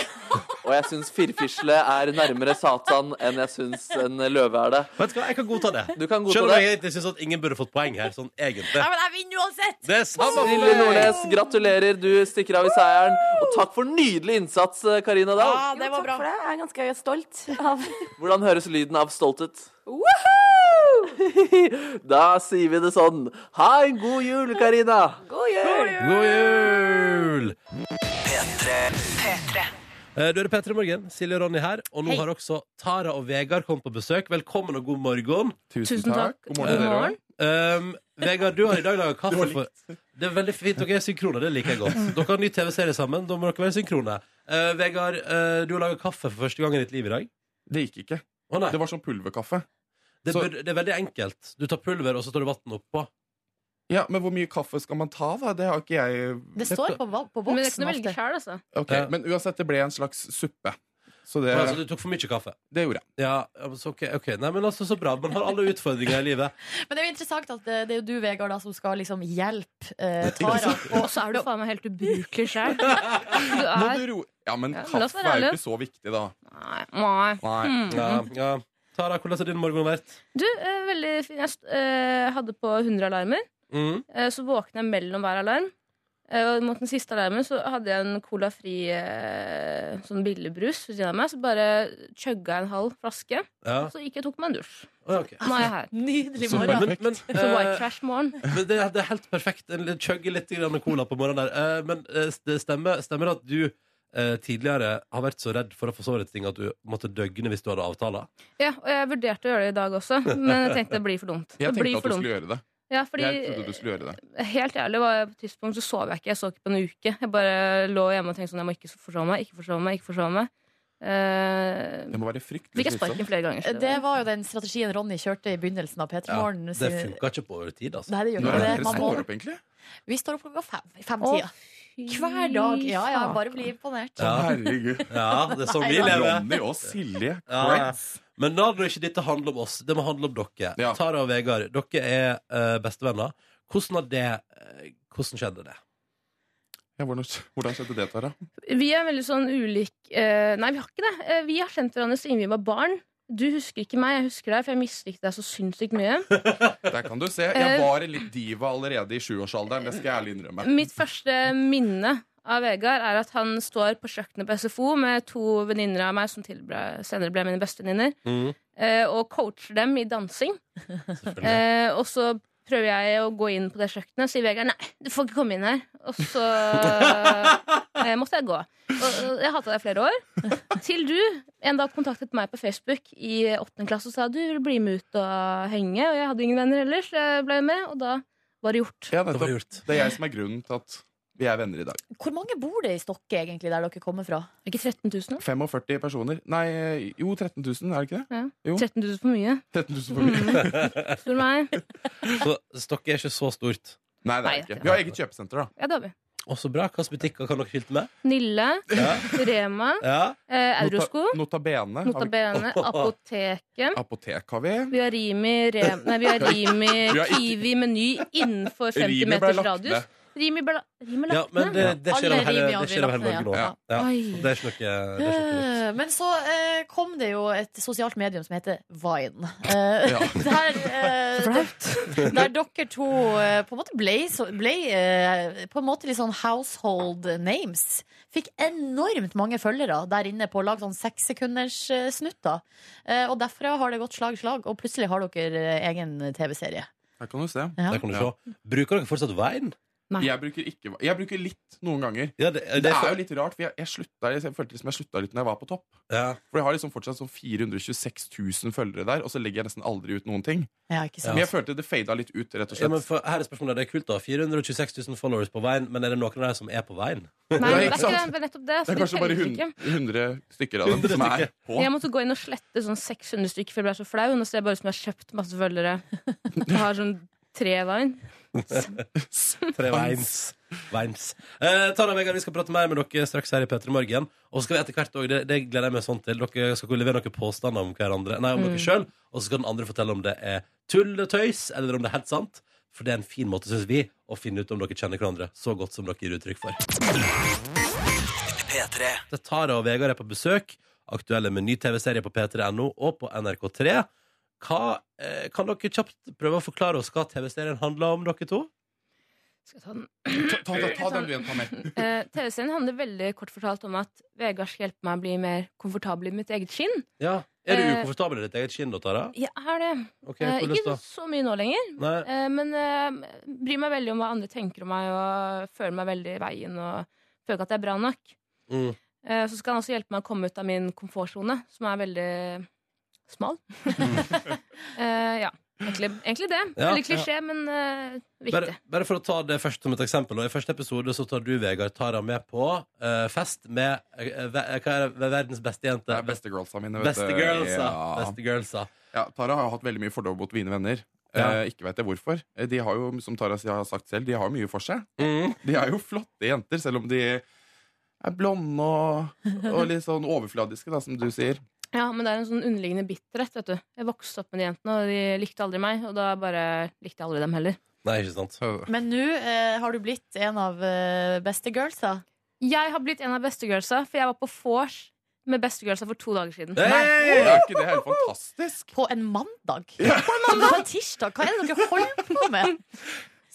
Speaker 3: Og jeg syns firfisle er nærmere Satan enn jeg syns en løve er det.
Speaker 1: Vet du hva, jeg kan godta det.
Speaker 3: Du kan
Speaker 1: Selv
Speaker 3: godta
Speaker 1: om
Speaker 3: det.
Speaker 1: jeg egentlig syns at ingen burde fått poeng her, sånn egentlig.
Speaker 2: Nei, men jeg vinner uansett!
Speaker 1: Det er samme for
Speaker 3: Silje
Speaker 1: meg!
Speaker 3: Nordnes, gratulerer. Du stikker av i seieren. Og takk for nydelig innsats, Karina Dahl.
Speaker 2: Ja, det
Speaker 6: Jo,
Speaker 2: var
Speaker 6: takk
Speaker 2: bra.
Speaker 6: for det. Jeg er ganske stolt av
Speaker 3: Hvordan høres lyden av stolt ut?
Speaker 6: Woohoo!
Speaker 3: Da sier vi det sånn. Ha en god jul, Karina.
Speaker 6: God jul!
Speaker 1: God jul! Eh, Du er P3 Morgen. Silje og Ronny her. Og nå
Speaker 7: Hei.
Speaker 1: har også Tara og Vegard kommet på besøk. Velkommen og god morgen.
Speaker 7: Tusen takk.
Speaker 8: God morgen til
Speaker 1: God
Speaker 8: dere
Speaker 7: morgen.
Speaker 8: òg.
Speaker 1: Um, Vegard, du har i dag laga kaffe for Det er veldig fint. Dere er synkrone. Det liker jeg godt. Dere har en ny TV-serie sammen. Da må dere være synkrone. Eh, Vegard, eh, du har laga kaffe for første gang i ditt liv i dag.
Speaker 8: Det gikk ikke.
Speaker 1: Å nei.
Speaker 8: Det var sånn pulverkaffe.
Speaker 1: Det,
Speaker 8: så-
Speaker 1: bør, det er veldig enkelt. Du tar pulver, og så tar du vann oppå.
Speaker 8: Ja, Men hvor mye kaffe skal man ta, da? Det har ikke jeg
Speaker 2: Det står på, va- på
Speaker 9: Men det kan
Speaker 2: boksen.
Speaker 9: du velge
Speaker 2: ofte.
Speaker 9: sjøl, altså.
Speaker 8: Ok,
Speaker 1: Ja.
Speaker 8: Men uansett, det ble en slags suppe. Så det,
Speaker 1: Altså, du tok for mye kaffe.
Speaker 8: det gjorde jeg.
Speaker 1: Ja, ja, men så, ok, ok. Nei, men altså, så bra. Man har alle utfordringer i livet.
Speaker 2: Men det er jo interessant at eh, det, det er jo du, Vegard, da, som skal liksom hjelpe eh, Tara.
Speaker 9: Og så er du faen meg helt ubrukelig sjøl. Du
Speaker 8: Må
Speaker 9: er
Speaker 8: du ro ja, men
Speaker 9: Ja, men la oss
Speaker 8: kaffe er
Speaker 9: være
Speaker 8: jo
Speaker 9: ærlige.
Speaker 8: ikke så viktig, da.
Speaker 9: Nei. nei.
Speaker 8: Nei.
Speaker 9: Mm.
Speaker 1: Ja, ja. Tara, hvordan har din morgen vært?
Speaker 9: Du, eh, veldig fin. Jeg st- eh, hadde på 100 alarmer.
Speaker 1: Mm.
Speaker 9: Eh, så våkna jeg mellom hver alarm. Eh, og mot den siste alarmen så hadde jeg en colafri eh, sånn billigbrus ved siden av meg. Så bare chugga jeg en halv flaske.
Speaker 1: Ja.
Speaker 9: Så gikk jeg og tok meg en dusj.
Speaker 1: Å, ja, ok.
Speaker 9: Nå er jeg her.
Speaker 2: Nydelig
Speaker 8: Så
Speaker 2: morgen.
Speaker 1: Men, men,
Speaker 9: Så white
Speaker 1: eh,
Speaker 9: trash morgen.
Speaker 1: men det, er- det er helt perfekt. En litt- Chugge litt grann cola på morgenen der. Eh, Men eh, det stemmer, stemmer det at du eh, tidligere har vært så redd for å forsove ting at du måtte døgne hvis du hadde avtaler?
Speaker 9: Ja, og jeg vurderte å gjøre det i dag også, men jeg tenkte det blir for dumt.
Speaker 8: Jeg
Speaker 9: Det blir
Speaker 8: tenkte at
Speaker 9: for
Speaker 8: du
Speaker 9: dumt.
Speaker 8: skulle gjøre det.
Speaker 9: Ja, fordi
Speaker 8: Jeg trodde du skulle gjøre det.
Speaker 9: Helt ærlig var jeg på et tidspunkt så sov jeg ikke. Jeg så ikke på en uke. Jeg bare lå hjemme og tenkte sånn Jeg må ikke forsove meg, ikke forsove meg, ikke forsove meg. Eh,
Speaker 8: Det må være
Speaker 9: fikk
Speaker 8: fryktelig
Speaker 9: jeg sparken
Speaker 8: slitsomt.
Speaker 9: flere ganger. så
Speaker 2: Eh, Det var jo den strategien Ronny kjørte i begynnelsen av P3
Speaker 1: Ja,
Speaker 2: Morgen.
Speaker 1: det funka ikke på over tid, altså.
Speaker 2: Nei, det gjør
Speaker 8: Når er
Speaker 2: ikke det.
Speaker 8: det dere
Speaker 2: Man må,
Speaker 8: står opp, egentlig?
Speaker 2: vi står opp klokka fem. i
Speaker 9: var-
Speaker 2: Femtida. Hver dag. Ja, ja,
Speaker 9: faen.
Speaker 2: bare bli imponert.
Speaker 8: Å,
Speaker 1: Ja.
Speaker 8: Herregud.
Speaker 1: Ja, det er sånn vi lever.
Speaker 8: Ronny og Silje.
Speaker 1: Ja. Men da bør ikke dette handle om oss, det må handle om dere.
Speaker 8: Ja.
Speaker 1: Tara og Vegard, dere er eh, bestevenner. Hvordan, har det, eh, hvordan skjedde det?
Speaker 8: Ja, hvordan, hvordan skjedde det, Tara?
Speaker 9: Vi er veldig sånn ulik eh, Nei, vi har ikke det. Eh, vi har kjent hverandre siden vi var barn. Du husker ikke meg, jeg husker deg, for jeg mislikte deg så sinnssykt mye. Eh,
Speaker 8: Der kan du se. Jeg var litt diva allerede i sjuårsalderen. Det skal jeg ærlig innrømme.
Speaker 9: Mitt første minne av Vegard er at han står på kjøkkenet på SFO med to venninner av meg som tilbre, senere ble mine bestevenninner,
Speaker 8: Mm.
Speaker 9: eh, og coacher dem i dansing.
Speaker 1: Selvfølgelig.
Speaker 9: Eh, og så prøver jeg å gå inn på det kjøkkenet, og sier Vegard nei, du får ikke komme inn her. Og så eh, måtte jeg gå. Og, og jeg hata deg i flere år. Til du en dag kontaktet meg på Facebook i åttende klasse og sa du vil bli med ut og henge. Og jeg hadde ingen venner ellers, så jeg ble med, og da var det gjort.
Speaker 8: Ja,
Speaker 1: Det var
Speaker 8: nettopp.
Speaker 1: gjort.
Speaker 8: Det er jeg som er grunnen til at Vi er venner i dag.
Speaker 2: Hvor mange bor det i Stokke, egentlig, der dere kommer fra?
Speaker 9: Er ikke 13 000? da?
Speaker 8: 45 personer. Nei, jo, 13 000, er det ikke det?
Speaker 9: Ja.
Speaker 8: Jo.
Speaker 9: 13 000 for mye.
Speaker 8: 13 000 for mye.
Speaker 9: Mm. Spør du meg.
Speaker 1: Så Stokke er ikke så stort.
Speaker 8: Nei, det
Speaker 9: Nei,
Speaker 8: er det
Speaker 9: det
Speaker 8: ikke. Vi har eget kjøpesenter, da.
Speaker 9: Ja, det har vi.
Speaker 1: Å, så bra. Hvilke butikker kan dere skilte med?
Speaker 9: Nille,
Speaker 1: Ja.
Speaker 9: Rema,
Speaker 1: ja.
Speaker 9: eh, Eurosko,
Speaker 8: Nota- Notabene. har vi-
Speaker 9: Notabene, Apoteket.
Speaker 8: Apotek har vi.
Speaker 9: Vi har Rimi, Rem, nei, vi har Rimi
Speaker 8: Vi har ikke-
Speaker 9: Kiwi Meny innenfor 50
Speaker 8: Rimi ble
Speaker 9: meters
Speaker 8: lagt
Speaker 9: radius.
Speaker 8: ned.
Speaker 9: Rimi ble la- Rimi
Speaker 1: ja,
Speaker 9: lagt
Speaker 1: men
Speaker 9: ned?
Speaker 1: det, det skjer
Speaker 2: Alle
Speaker 1: over hele,
Speaker 2: rimer har
Speaker 1: det
Speaker 2: vi
Speaker 1: skjer over hele
Speaker 2: lagt ned,
Speaker 1: Norge nå.
Speaker 8: ja.
Speaker 1: Ja.
Speaker 9: Oi.
Speaker 1: Så Det er ikke noe, det er ikke noe nytt.
Speaker 2: Eh, Men så eh, kom det jo et sosialt medium som heter Vine. Eh,
Speaker 8: Ja.
Speaker 2: Der, eh, der dere to eh, på en måte ble, så- ble eh, på en måte litt sånn household names. Fikk enormt mange følgere der inne på å lage sånn sekssekunderssnutter. Eh, og derfra har det gått slag i slag, og plutselig har dere eh, egen TV-serie.
Speaker 8: Her kan du se.
Speaker 2: Ja.
Speaker 1: Der kan du se. Bruker dere fortsatt veien?
Speaker 9: Nei.
Speaker 8: Jeg bruker, ikke, jeg bruker litt noen ganger.
Speaker 1: Ja, det,
Speaker 8: Det er jo litt rart, for jeg, jeg, slutta, jeg følte liksom jeg slutta litt når jeg var på topp.
Speaker 1: ja.
Speaker 8: For jeg har liksom fortsatt sånn 426 000 følgere der, og så legger jeg nesten aldri ut noen ting.
Speaker 2: Ja, ikke sant?
Speaker 8: Men jeg følte det fada litt ut, rett og
Speaker 1: Ja, men
Speaker 8: slett.
Speaker 1: for, her er spørsmålet, det er kult da 426 000 followers på veien, men er det noen av dere som er på veien?
Speaker 9: Nei, det
Speaker 8: ikke
Speaker 9: er ikke det.
Speaker 8: sant.
Speaker 9: Det er nettopp det. så
Speaker 8: Det er
Speaker 9: det
Speaker 8: kanskje bare
Speaker 9: teller
Speaker 8: 100,
Speaker 9: ikke.
Speaker 8: 100 stykker av dem
Speaker 1: 100
Speaker 8: som er
Speaker 1: stykker.
Speaker 8: på.
Speaker 9: Jeg måtte gå inn og slette sånn 600 stykker, for jeg ble så flau. Nå ser jeg bare ut som jeg har kjøpt masse følgere. Jeg har sånn tre Vine.
Speaker 1: Tre veins. veins. Eh, Tara og Vegard, vi skal prate mer med dere straks her i P3 Morgen. Og så skal vi etter hvert også, det, det gleder jeg meg sånn til, dere skal kunne levere noen påstander om hverandre, nei, om dere sjøl, og så skal den andre fortelle om det er tull og tøys, eller om det er helt sant. For det er en fin måte, syns vi, å finne ut om dere kjenner hverandre så godt som dere gir uttrykk for. Det er Tara og Vegard er på besøk, aktuelle med ny TV-serie på p3.no og på NRK3. Hva, eh, kan dere kjapt prøve å forklare oss hva TV-serien handler om, dere to?
Speaker 9: Skal jeg ta den?
Speaker 8: Ta, ta, ta, ta den du igjen, ta med.
Speaker 9: Eh, TV-serien handler veldig kort fortalt om at Vegard skal hjelpe meg å bli mer komfortabel i mitt eget skinn.
Speaker 1: Ja. Er du
Speaker 9: Eh,
Speaker 1: ukomfortabel i ditt eget skinn da, Tara?
Speaker 9: Jeg er det.
Speaker 1: Ok,
Speaker 9: Eh,
Speaker 1: hvordan
Speaker 9: ikke
Speaker 1: da?
Speaker 9: så mye nå lenger,
Speaker 1: Nei.
Speaker 9: eh, men eh, bryr meg veldig om hva andre tenker om meg, og føler meg veldig i veien og føler ikke at jeg er bra nok.
Speaker 1: Mm.
Speaker 9: Eh, så skal han også hjelpe meg å komme ut av min komfortsone, som er veldig smal. eh, ja. Egentlig, egentlig det.
Speaker 1: Ja,
Speaker 9: veldig klisjé, men eh, viktig.
Speaker 1: Bare, bare for å ta det først som et eksempel. Og I første episode så tar du, Vegard, Tara med på eh, fest med eh, ve- hva er det, verdens beste
Speaker 8: Det
Speaker 1: jente.
Speaker 8: er beste girlsa mine. vet
Speaker 1: Beste
Speaker 8: du.
Speaker 1: girlsa.
Speaker 8: Ja.
Speaker 1: Beste girlsa.
Speaker 8: Ja, Tara har jo hatt veldig mye fordommer mot mine venner.
Speaker 1: Ja.
Speaker 8: Eh, ikke vet jeg hvorfor. Eh, De har jo, som Tara har sagt selv, de har jo mye for seg.
Speaker 1: Mm.
Speaker 8: De er jo flotte jenter, selv om de er blonde og, og litt sånn overfladiske, da, som du sier.
Speaker 9: Ja, men det er en sånn underliggende bitterhet, vet du. Jeg vokste opp med de jentene, og de likte aldri meg, og da bare likte jeg aldri dem heller.
Speaker 1: Nei, ikke sant?
Speaker 2: Men nå eh, har du blitt en av eh, beste girlsa.
Speaker 9: Jeg har blitt en av bestegirlsa, for jeg var på vors med bestegirlsa for to dager siden.
Speaker 8: Det
Speaker 1: Hey!
Speaker 8: er ikke det helt fantastisk?
Speaker 2: På en mandag? Som på en tirsdag? Hva er det dere holder på med?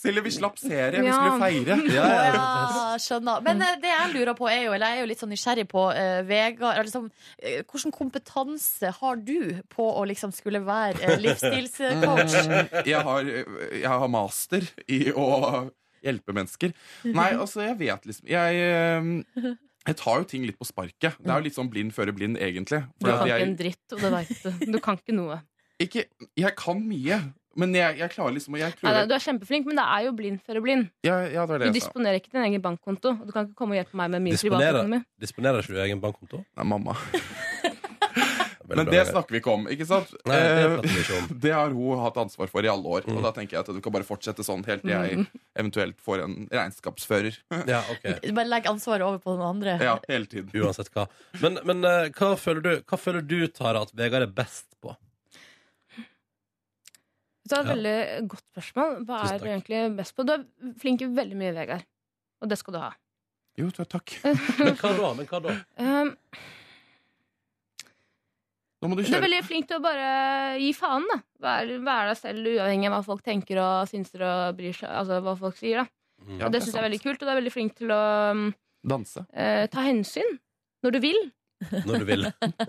Speaker 8: Silje, vi slapp serie. Vi
Speaker 9: Ja.
Speaker 8: skulle feire.
Speaker 1: Ja, ja, ja.
Speaker 2: Ja, skjønner. Men eh, det jeg lurer på er jo, eller jeg er jo litt sånn nysgjerrig på eh, Vegard eller liksom, eh, Hvilken kompetanse har du på å liksom skulle være eh, livsstilscoach?
Speaker 8: Jeg har, jeg har master i å hjelpe mennesker. Nei, altså, jeg vet liksom Jeg, eh, jeg tar jo ting litt på sparket. Det er jo litt sånn blind føre blind, egentlig.
Speaker 9: Du
Speaker 8: at
Speaker 9: kan ikke
Speaker 8: jeg,
Speaker 9: en dritt, og det vet du. Du kan ikke noe.
Speaker 8: ikke, jeg kan mye, men jeg, jeg klarer liksom jeg
Speaker 9: Nei, nei,
Speaker 8: klarer,
Speaker 9: du er kjempeflink, men det er jo blind føre blind.
Speaker 8: ja, ja, det var
Speaker 9: Du
Speaker 8: det jeg sa.
Speaker 9: disponerer ikke din egen bankkonto. Og du kan ikke komme og hjelpe meg med min
Speaker 1: Disponerer.
Speaker 9: privatøkonomi.
Speaker 1: Disponerer ikke du egen bankkonto?
Speaker 8: Nei, mamma.
Speaker 1: Veldig
Speaker 8: Men
Speaker 1: bra,
Speaker 8: det
Speaker 1: Vegard.
Speaker 8: snakker vi ikke om, ikke sant?
Speaker 1: Nei, det
Speaker 8: Eh,
Speaker 1: prater vi ikke om.
Speaker 8: Det har hun hatt ansvar for i alle år.
Speaker 1: Mm.
Speaker 8: Og da tenker jeg at du kan bare fortsette sånn helt til
Speaker 3: Mhm.
Speaker 8: jeg eventuelt får en regnskapsfører.
Speaker 1: Ja, ok
Speaker 2: Bare legg ansvaret over på den andre.
Speaker 8: Ja, hele tiden.
Speaker 1: Uansett hva. Men, men eh, hva, føler du, hva føler du, Tara, at Vegard er best på?
Speaker 9: Det er et
Speaker 1: Ja.
Speaker 9: veldig godt spørsmål. Hva
Speaker 1: Tusen
Speaker 9: er du
Speaker 1: takk.
Speaker 9: egentlig best på? Du er flink i veldig mye, Vegard. Og det skal du ha.
Speaker 8: Jo, ta- takk.
Speaker 1: Men hva da? Men hva da?
Speaker 9: Um,
Speaker 8: Nå må du
Speaker 9: du er
Speaker 8: kjøre.
Speaker 9: veldig flink til å bare gi faen, da. Være, være deg selv uavhengig av hva folk tenker og synser og bryr seg Altså hva folk sier, da.
Speaker 1: Mm.
Speaker 8: Ja,
Speaker 9: Og
Speaker 8: det
Speaker 9: det
Speaker 8: er
Speaker 9: syns jeg er
Speaker 8: sant.
Speaker 9: veldig kult. Og du er veldig flink til å um,
Speaker 8: Danse.
Speaker 9: eh, ta hensyn når du vil.
Speaker 1: Når du vil.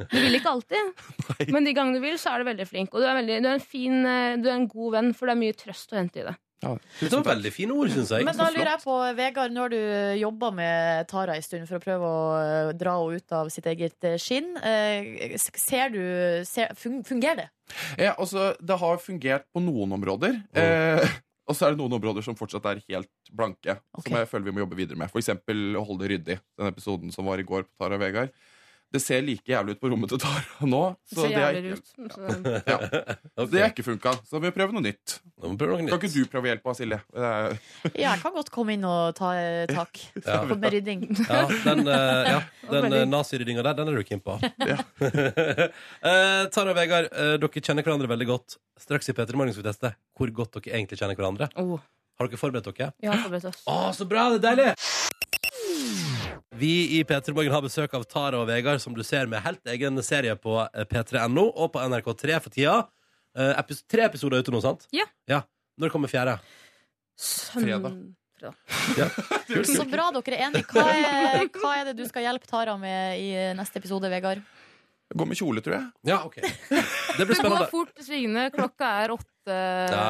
Speaker 9: Du vil ikke alltid, men de gangene du vil, så er du veldig flink. Og du er, veldig, du er, en, fin, eh, du er en god venn, for det er mye trøst å hente i det.
Speaker 8: Ja,
Speaker 1: Det var
Speaker 8: tusen takk.
Speaker 1: veldig fine ord, syns jeg.
Speaker 2: Men da lurer jeg på, Vegard, nå har du jobba med Tara en stund for å prøve å eh, dra henne ut av sitt eget eh, skinn. Eh, s- Ser du ser, fun- Fungerer det?
Speaker 8: Ja, altså, det har fungert på noen områder. Eh, Og så er det noen områder som fortsatt er helt blanke,
Speaker 2: Ok.
Speaker 8: som jeg føler vi må jobbe videre med. For eksempel å holde det ryddig. Den episoden som var i går på Tara og Vegard. Det ser like jævlig ut på rommet til Tara nå.
Speaker 9: Det ser
Speaker 8: det er
Speaker 9: jævlig
Speaker 8: ikke-
Speaker 9: ut. Så-
Speaker 1: Ok.
Speaker 8: det har ikke funka, så vi må prøve noe nytt.
Speaker 1: Nå må vi prøve noe
Speaker 8: Kan
Speaker 1: nytt.
Speaker 8: ikke du prøve å hjelpe oss, Silje? Det er-
Speaker 2: Ja, jeg kan godt komme inn og ta eh, tak
Speaker 1: Ja.
Speaker 2: på med rydding.
Speaker 1: Ja, den, eh, ja, den eh, naziryddinga der, den er du keen på.
Speaker 8: Ja.
Speaker 1: Eh, Tara og Vegard, eh, dere kjenner hverandre veldig godt. Straks i P3 Morgen skal vi teste hvor godt dere egentlig kjenner hverandre.
Speaker 9: Oh,
Speaker 1: Har dere forberedt dere?
Speaker 9: vi har forberedt oss.
Speaker 8: Ah,
Speaker 1: Å, så bra! Det er deilig! Vi i P3 Morgen har besøk av Tara og Vegard, som du ser med helt egen serie på eh, p3.no og på NRK3 for tida. Eh, epis tre episoder ute nå, sant?
Speaker 9: Ja.
Speaker 1: Når kommer fjerde?
Speaker 9: Søn-
Speaker 8: Fredag.
Speaker 2: Så bra dere er enige. Hva er, hva er det du skal hjelpe Tara med i neste episode, Vegard?
Speaker 8: Gå med kjole, tror jeg.
Speaker 1: Ja, ok Det blir
Speaker 9: Det går
Speaker 1: spennende.
Speaker 9: fort svingende. Klokka er
Speaker 1: Ja,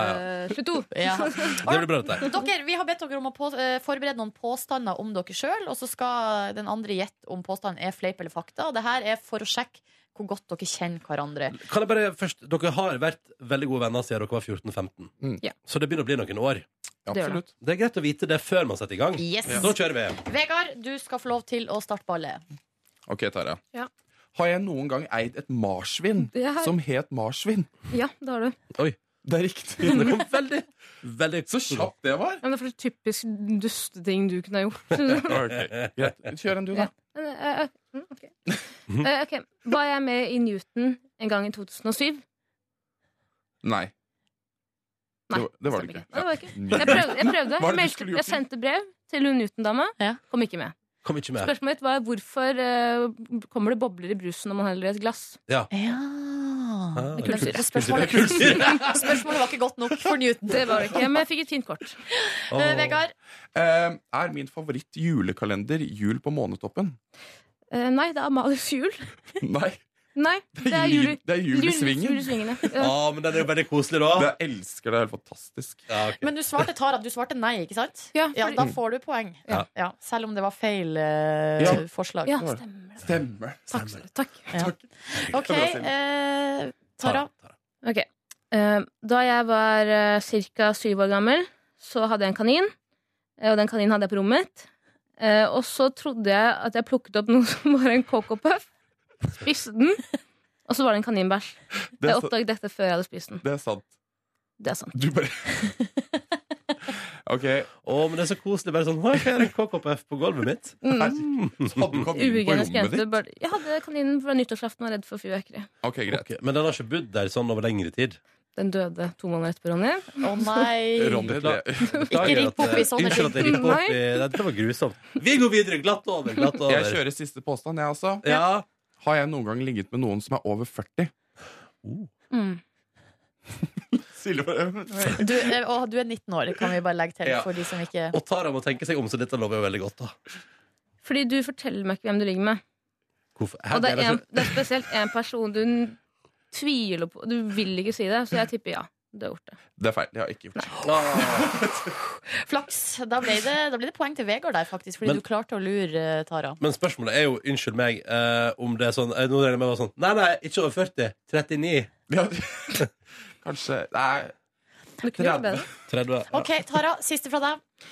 Speaker 9: 8.22.
Speaker 2: Ja.
Speaker 1: Det blir bra, dette.
Speaker 2: Dere, vi har bedt dere om å på, eh, forberede noen påstander om dere sjøl, og så skal den andre gjette om påstanden er fleip eller fakta. Og det her er for å sjekke hvor godt dere kjenner hverandre.
Speaker 1: Kan jeg bare først, Dere har vært veldig gode venner siden dere var 14-15.
Speaker 8: Mm.
Speaker 9: Ja.
Speaker 1: Så det begynner å bli noen år.
Speaker 9: Det gjør
Speaker 8: Absolutt.
Speaker 1: Det er greit å vite det før man setter i gang.
Speaker 2: Yes.
Speaker 1: Da kjører vi.
Speaker 2: Vegard, du skal få lov til å starte ballet.
Speaker 8: Ok, Tara.
Speaker 9: Ja.
Speaker 8: Har jeg noen gang eid et marsvin
Speaker 9: Det er-
Speaker 8: som het marsvin?
Speaker 9: Ja, det har du.
Speaker 8: Det er riktig.
Speaker 1: Det kom veldig, veldig
Speaker 8: Så kjapt det var.
Speaker 9: Men det er for typisk dusteting du kunne ha gjort.
Speaker 8: Ok, greit. Kjør en du, da.
Speaker 9: Men, eh, eh, mm, ok. Eh, ok. Var jeg med i Newton en gang i 2007?
Speaker 8: Nei.
Speaker 9: Nei,
Speaker 8: Det var- det var det
Speaker 9: stemmer
Speaker 8: ikke.
Speaker 9: Nei, det var ikke.
Speaker 8: Ny-
Speaker 9: Jeg prøvde.
Speaker 8: Hva er
Speaker 9: Jeg, prøvde. jeg,
Speaker 8: det du skulle
Speaker 9: meldte,
Speaker 8: gjort?
Speaker 9: jeg sendte brev til hun Newton-dama.
Speaker 2: Ja.
Speaker 9: Kom ikke med.
Speaker 1: Kom ikke med.
Speaker 9: Spørsmålet mitt var hvorfor eh, kommer det bobler i brusen når man heller i et glass?
Speaker 2: Ja
Speaker 1: Ah,
Speaker 2: Men
Speaker 1: det er kult.
Speaker 2: spørsmålet, spørsmålet var ikke godt nok for Newton.
Speaker 9: Det var det ikke, men jeg fikk et fint kort.
Speaker 1: Åh.
Speaker 2: Eh, Vegard,
Speaker 8: Eh, er min favoritt julekalender Jul på månetoppen?
Speaker 9: Eh, nei, det er Amalies jul.
Speaker 8: Nei.
Speaker 9: Nei, det er jul,
Speaker 8: jul, det er jul i
Speaker 9: jul i
Speaker 8: svingen.
Speaker 9: svingene.
Speaker 1: Å,
Speaker 9: Ja.
Speaker 1: men den er jo veldig koselig, da.
Speaker 8: Jeg elsker det. Det er helt fantastisk.
Speaker 1: Ja, ok.
Speaker 2: men du svarte Tara, du svarte nei, ikke sant?
Speaker 9: Ja,
Speaker 2: Ja,
Speaker 9: fordi-
Speaker 2: Da får du poeng.
Speaker 1: Ja.
Speaker 2: Ja, selv om det var feil eh,
Speaker 8: Ja.
Speaker 2: forslag.
Speaker 9: ja stemmer det.
Speaker 8: Stemmer.
Speaker 9: Takk. takk.
Speaker 2: OK, eh, Tara.
Speaker 9: Ok. Eh, Da jeg var uh, ca. syv år gammel, så hadde jeg en kanin. eh, Og den kaninen hadde jeg på rommet mitt. Eh, og så trodde jeg at jeg plukket opp noe som var en Coco Puff. Spiste den, og så var det en kaninbæsj.
Speaker 8: Det
Speaker 9: Jeg
Speaker 8: er, sa-
Speaker 9: oppdaget dette før jeg hadde spist den.
Speaker 8: det er sant.
Speaker 9: Det er sant.
Speaker 8: Du bare OK.
Speaker 1: Å, men det er så koselig. Bare sånn Oi, jeg har en KKPF på gulvet mitt.
Speaker 9: Mm.
Speaker 8: Herregud. Så hadde du kanin på
Speaker 9: Uhygienisk
Speaker 8: rommet
Speaker 9: jente.
Speaker 8: ditt?
Speaker 9: Bare, jeg hadde kaninen fra nyttårsaften og var redd for fyrverkeri.
Speaker 8: OK, greit.
Speaker 1: Ok, Men den har ikke bodd der sånn over lengre tid.
Speaker 9: Den døde to måneder etterpå, Ronny.
Speaker 2: Å nei.
Speaker 8: Ronny, det-
Speaker 1: Beklager
Speaker 2: rikk
Speaker 1: at,
Speaker 2: opp i sånne
Speaker 1: Unnskyld at jeg rikk opp i Dette var grusomt. Vi går videre. Glatt over. Glatt over.
Speaker 8: Jeg kjører siste påstand, jeg også.
Speaker 1: Ja.
Speaker 8: Har jeg noen gang ligget med noen som er over 40?
Speaker 9: Mm.
Speaker 8: Silje bare
Speaker 2: Du, eh, å, du er 19 år, kan vi bare legge til
Speaker 1: Ja.
Speaker 2: for de som ikke
Speaker 1: Og Tara må tenke seg om, så dette lover jo veldig godt. da
Speaker 9: Fordi du forteller meg ikke hvem du ligger med.
Speaker 1: Hvorfor? Hæ, altså,
Speaker 9: Og det er,
Speaker 1: jeg
Speaker 9: en,
Speaker 8: altså-
Speaker 9: det er spesielt én person du n- tviler på. Du vil ikke si det, så jeg tipper ja. Du har gjort det.
Speaker 8: Det er feil. Det har jeg ikke gjort.
Speaker 1: så- Ah.
Speaker 2: Flaks! Da ble, det, da ble det poeng til Vegard der, faktisk, fordi
Speaker 1: Men-
Speaker 2: du klarte å lure eh, Tara.
Speaker 1: Men spørsmålet er jo, unnskyld meg, eh, om det er sånn eh, Nå regner jeg med å være sånn Nei, nei, ikke over 40. 39.
Speaker 8: Ja. Kanskje Nei.
Speaker 9: Du kunne gjort bedre.
Speaker 1: 30.
Speaker 2: OK, Tara, siste fra deg.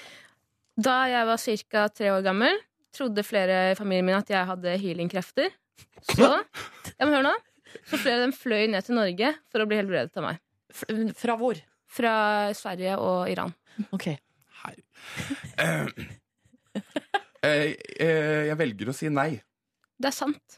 Speaker 9: Da jeg var ca. tre år gammel, trodde flere i familien min at jeg hadde healingkrefter. Så ja, men hør nå Så flere av dem fløy ned til Norge for å bli helbredet av meg.
Speaker 2: F mm, fra hvor?
Speaker 9: Fra Sverige og Iran.
Speaker 2: OK.
Speaker 8: Her. Eh, eh, jeg velger å si nei.
Speaker 9: Det er sant.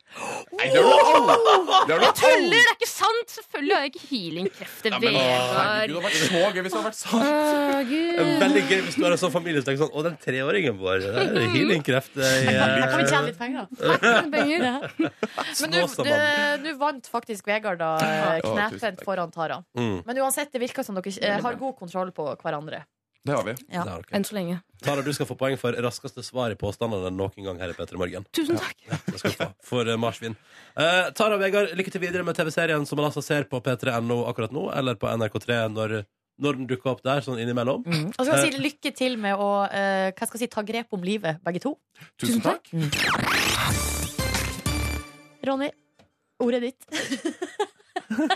Speaker 8: Nei, det har du aldri! Det har du
Speaker 9: Jeg tuller!
Speaker 8: aldri.
Speaker 9: Det er ikke sant! Selvfølgelig har jeg ikke healingkrefter,
Speaker 8: Ja, men, å, herregud,
Speaker 9: Vegard.
Speaker 8: det hadde vært så gøy hvis det hadde vært sant.
Speaker 9: Å,
Speaker 1: Det er
Speaker 9: Gud.
Speaker 1: Veldig gøy hvis du har en sånn familie som tenker sånn Å, den treåringen vår. Det er healingkreft. i,
Speaker 2: Her kan vi
Speaker 1: eh,
Speaker 2: tjene litt penger, da.
Speaker 9: Penger.
Speaker 2: Men du,
Speaker 1: Snåsamannen.
Speaker 2: du, du vant faktisk Vegard da, eh,
Speaker 8: Å, tusen
Speaker 2: knepent
Speaker 8: takk.
Speaker 2: foran Tara.
Speaker 1: Mm.
Speaker 2: Men uansett, det virker som dere eh, har god kontroll på hverandre.
Speaker 8: Det har vi.
Speaker 2: Ja.
Speaker 1: Det er ok.
Speaker 9: Enn så lenge.
Speaker 1: Tara, du skal få poeng for raskeste svar i påstandene noen gang her i P3 Morgen.
Speaker 9: Tusen takk.
Speaker 1: Det skal du få for eh, marsvin. Eh, Tara og Vegard, lykke til videre med TV-serien som man altså ser på p3.no akkurat nå, eller på NRK3 når, når den dukker opp der, sånn innimellom.
Speaker 2: Og så skal
Speaker 1: Eh.
Speaker 2: jeg si lykke til med å eh, hva skal jeg si, ta grep om livet, begge to.
Speaker 8: Tusen takk.
Speaker 1: Mm.
Speaker 2: Ronny, ordet er ditt.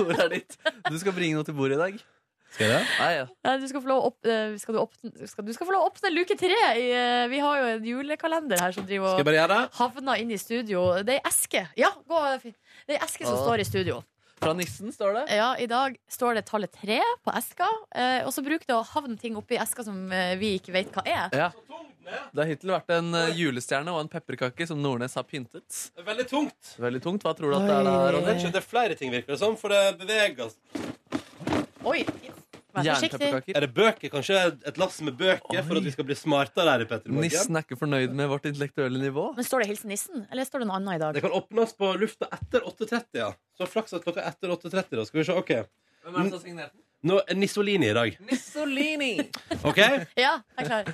Speaker 3: Hvor er ditt? Du skal bringe noe til bordet i dag.
Speaker 1: Skal jeg det?
Speaker 3: Nei, ja.
Speaker 2: Nei, du skal få lov å opp, eh, skal du, åpne- skal, du skal få lov å åpne luke tre. I, eh, vi har jo en julekalender her som driver
Speaker 1: Skal
Speaker 2: og
Speaker 1: jeg bare gjøre det?
Speaker 2: havna inn i studio. Det er ei eske. Ja, gå, Finn. det er ei eske
Speaker 1: Ah.
Speaker 2: som
Speaker 3: Åh.
Speaker 2: står i studio.
Speaker 3: Fra nissen, står det.
Speaker 2: Ja, I dag står det tallet tre på eska. Eh, og så bruker det å havne ting oppi eska som eh, vi ikke vet hva er.
Speaker 3: Ja. Det har hittil vært en eh, julestjerne og en pepperkake som Nordnes har pyntet.
Speaker 1: Det er veldig tungt.
Speaker 3: Veldig tungt. Hva tror du at det er da,
Speaker 1: Det
Speaker 3: Ronny?
Speaker 1: er, ikke, det er flere ting, virker det som, for det beveger seg.
Speaker 2: Oi! Vær forsiktig.
Speaker 3: Jernpepperkaker.
Speaker 1: Er det bøker? Kanskje et lass med bøker for at vi skal bli smartere her i Petter Morgen?
Speaker 3: Nissen er ikke fornøyd med vårt intellektuelle nivå.
Speaker 2: Men Står det 'Hilsen nissen', eller står det noe annet i dag?
Speaker 1: Det kan åpnes på lufta etter 8.30, ja. Så flaks at klokka er etter 8.30, da. Skal vi se. OK.
Speaker 3: Hvem er det som har signert den?
Speaker 1: Nå er Nissolini i dag.
Speaker 3: Nissolini!
Speaker 1: OK?
Speaker 2: Ja, jeg er klar.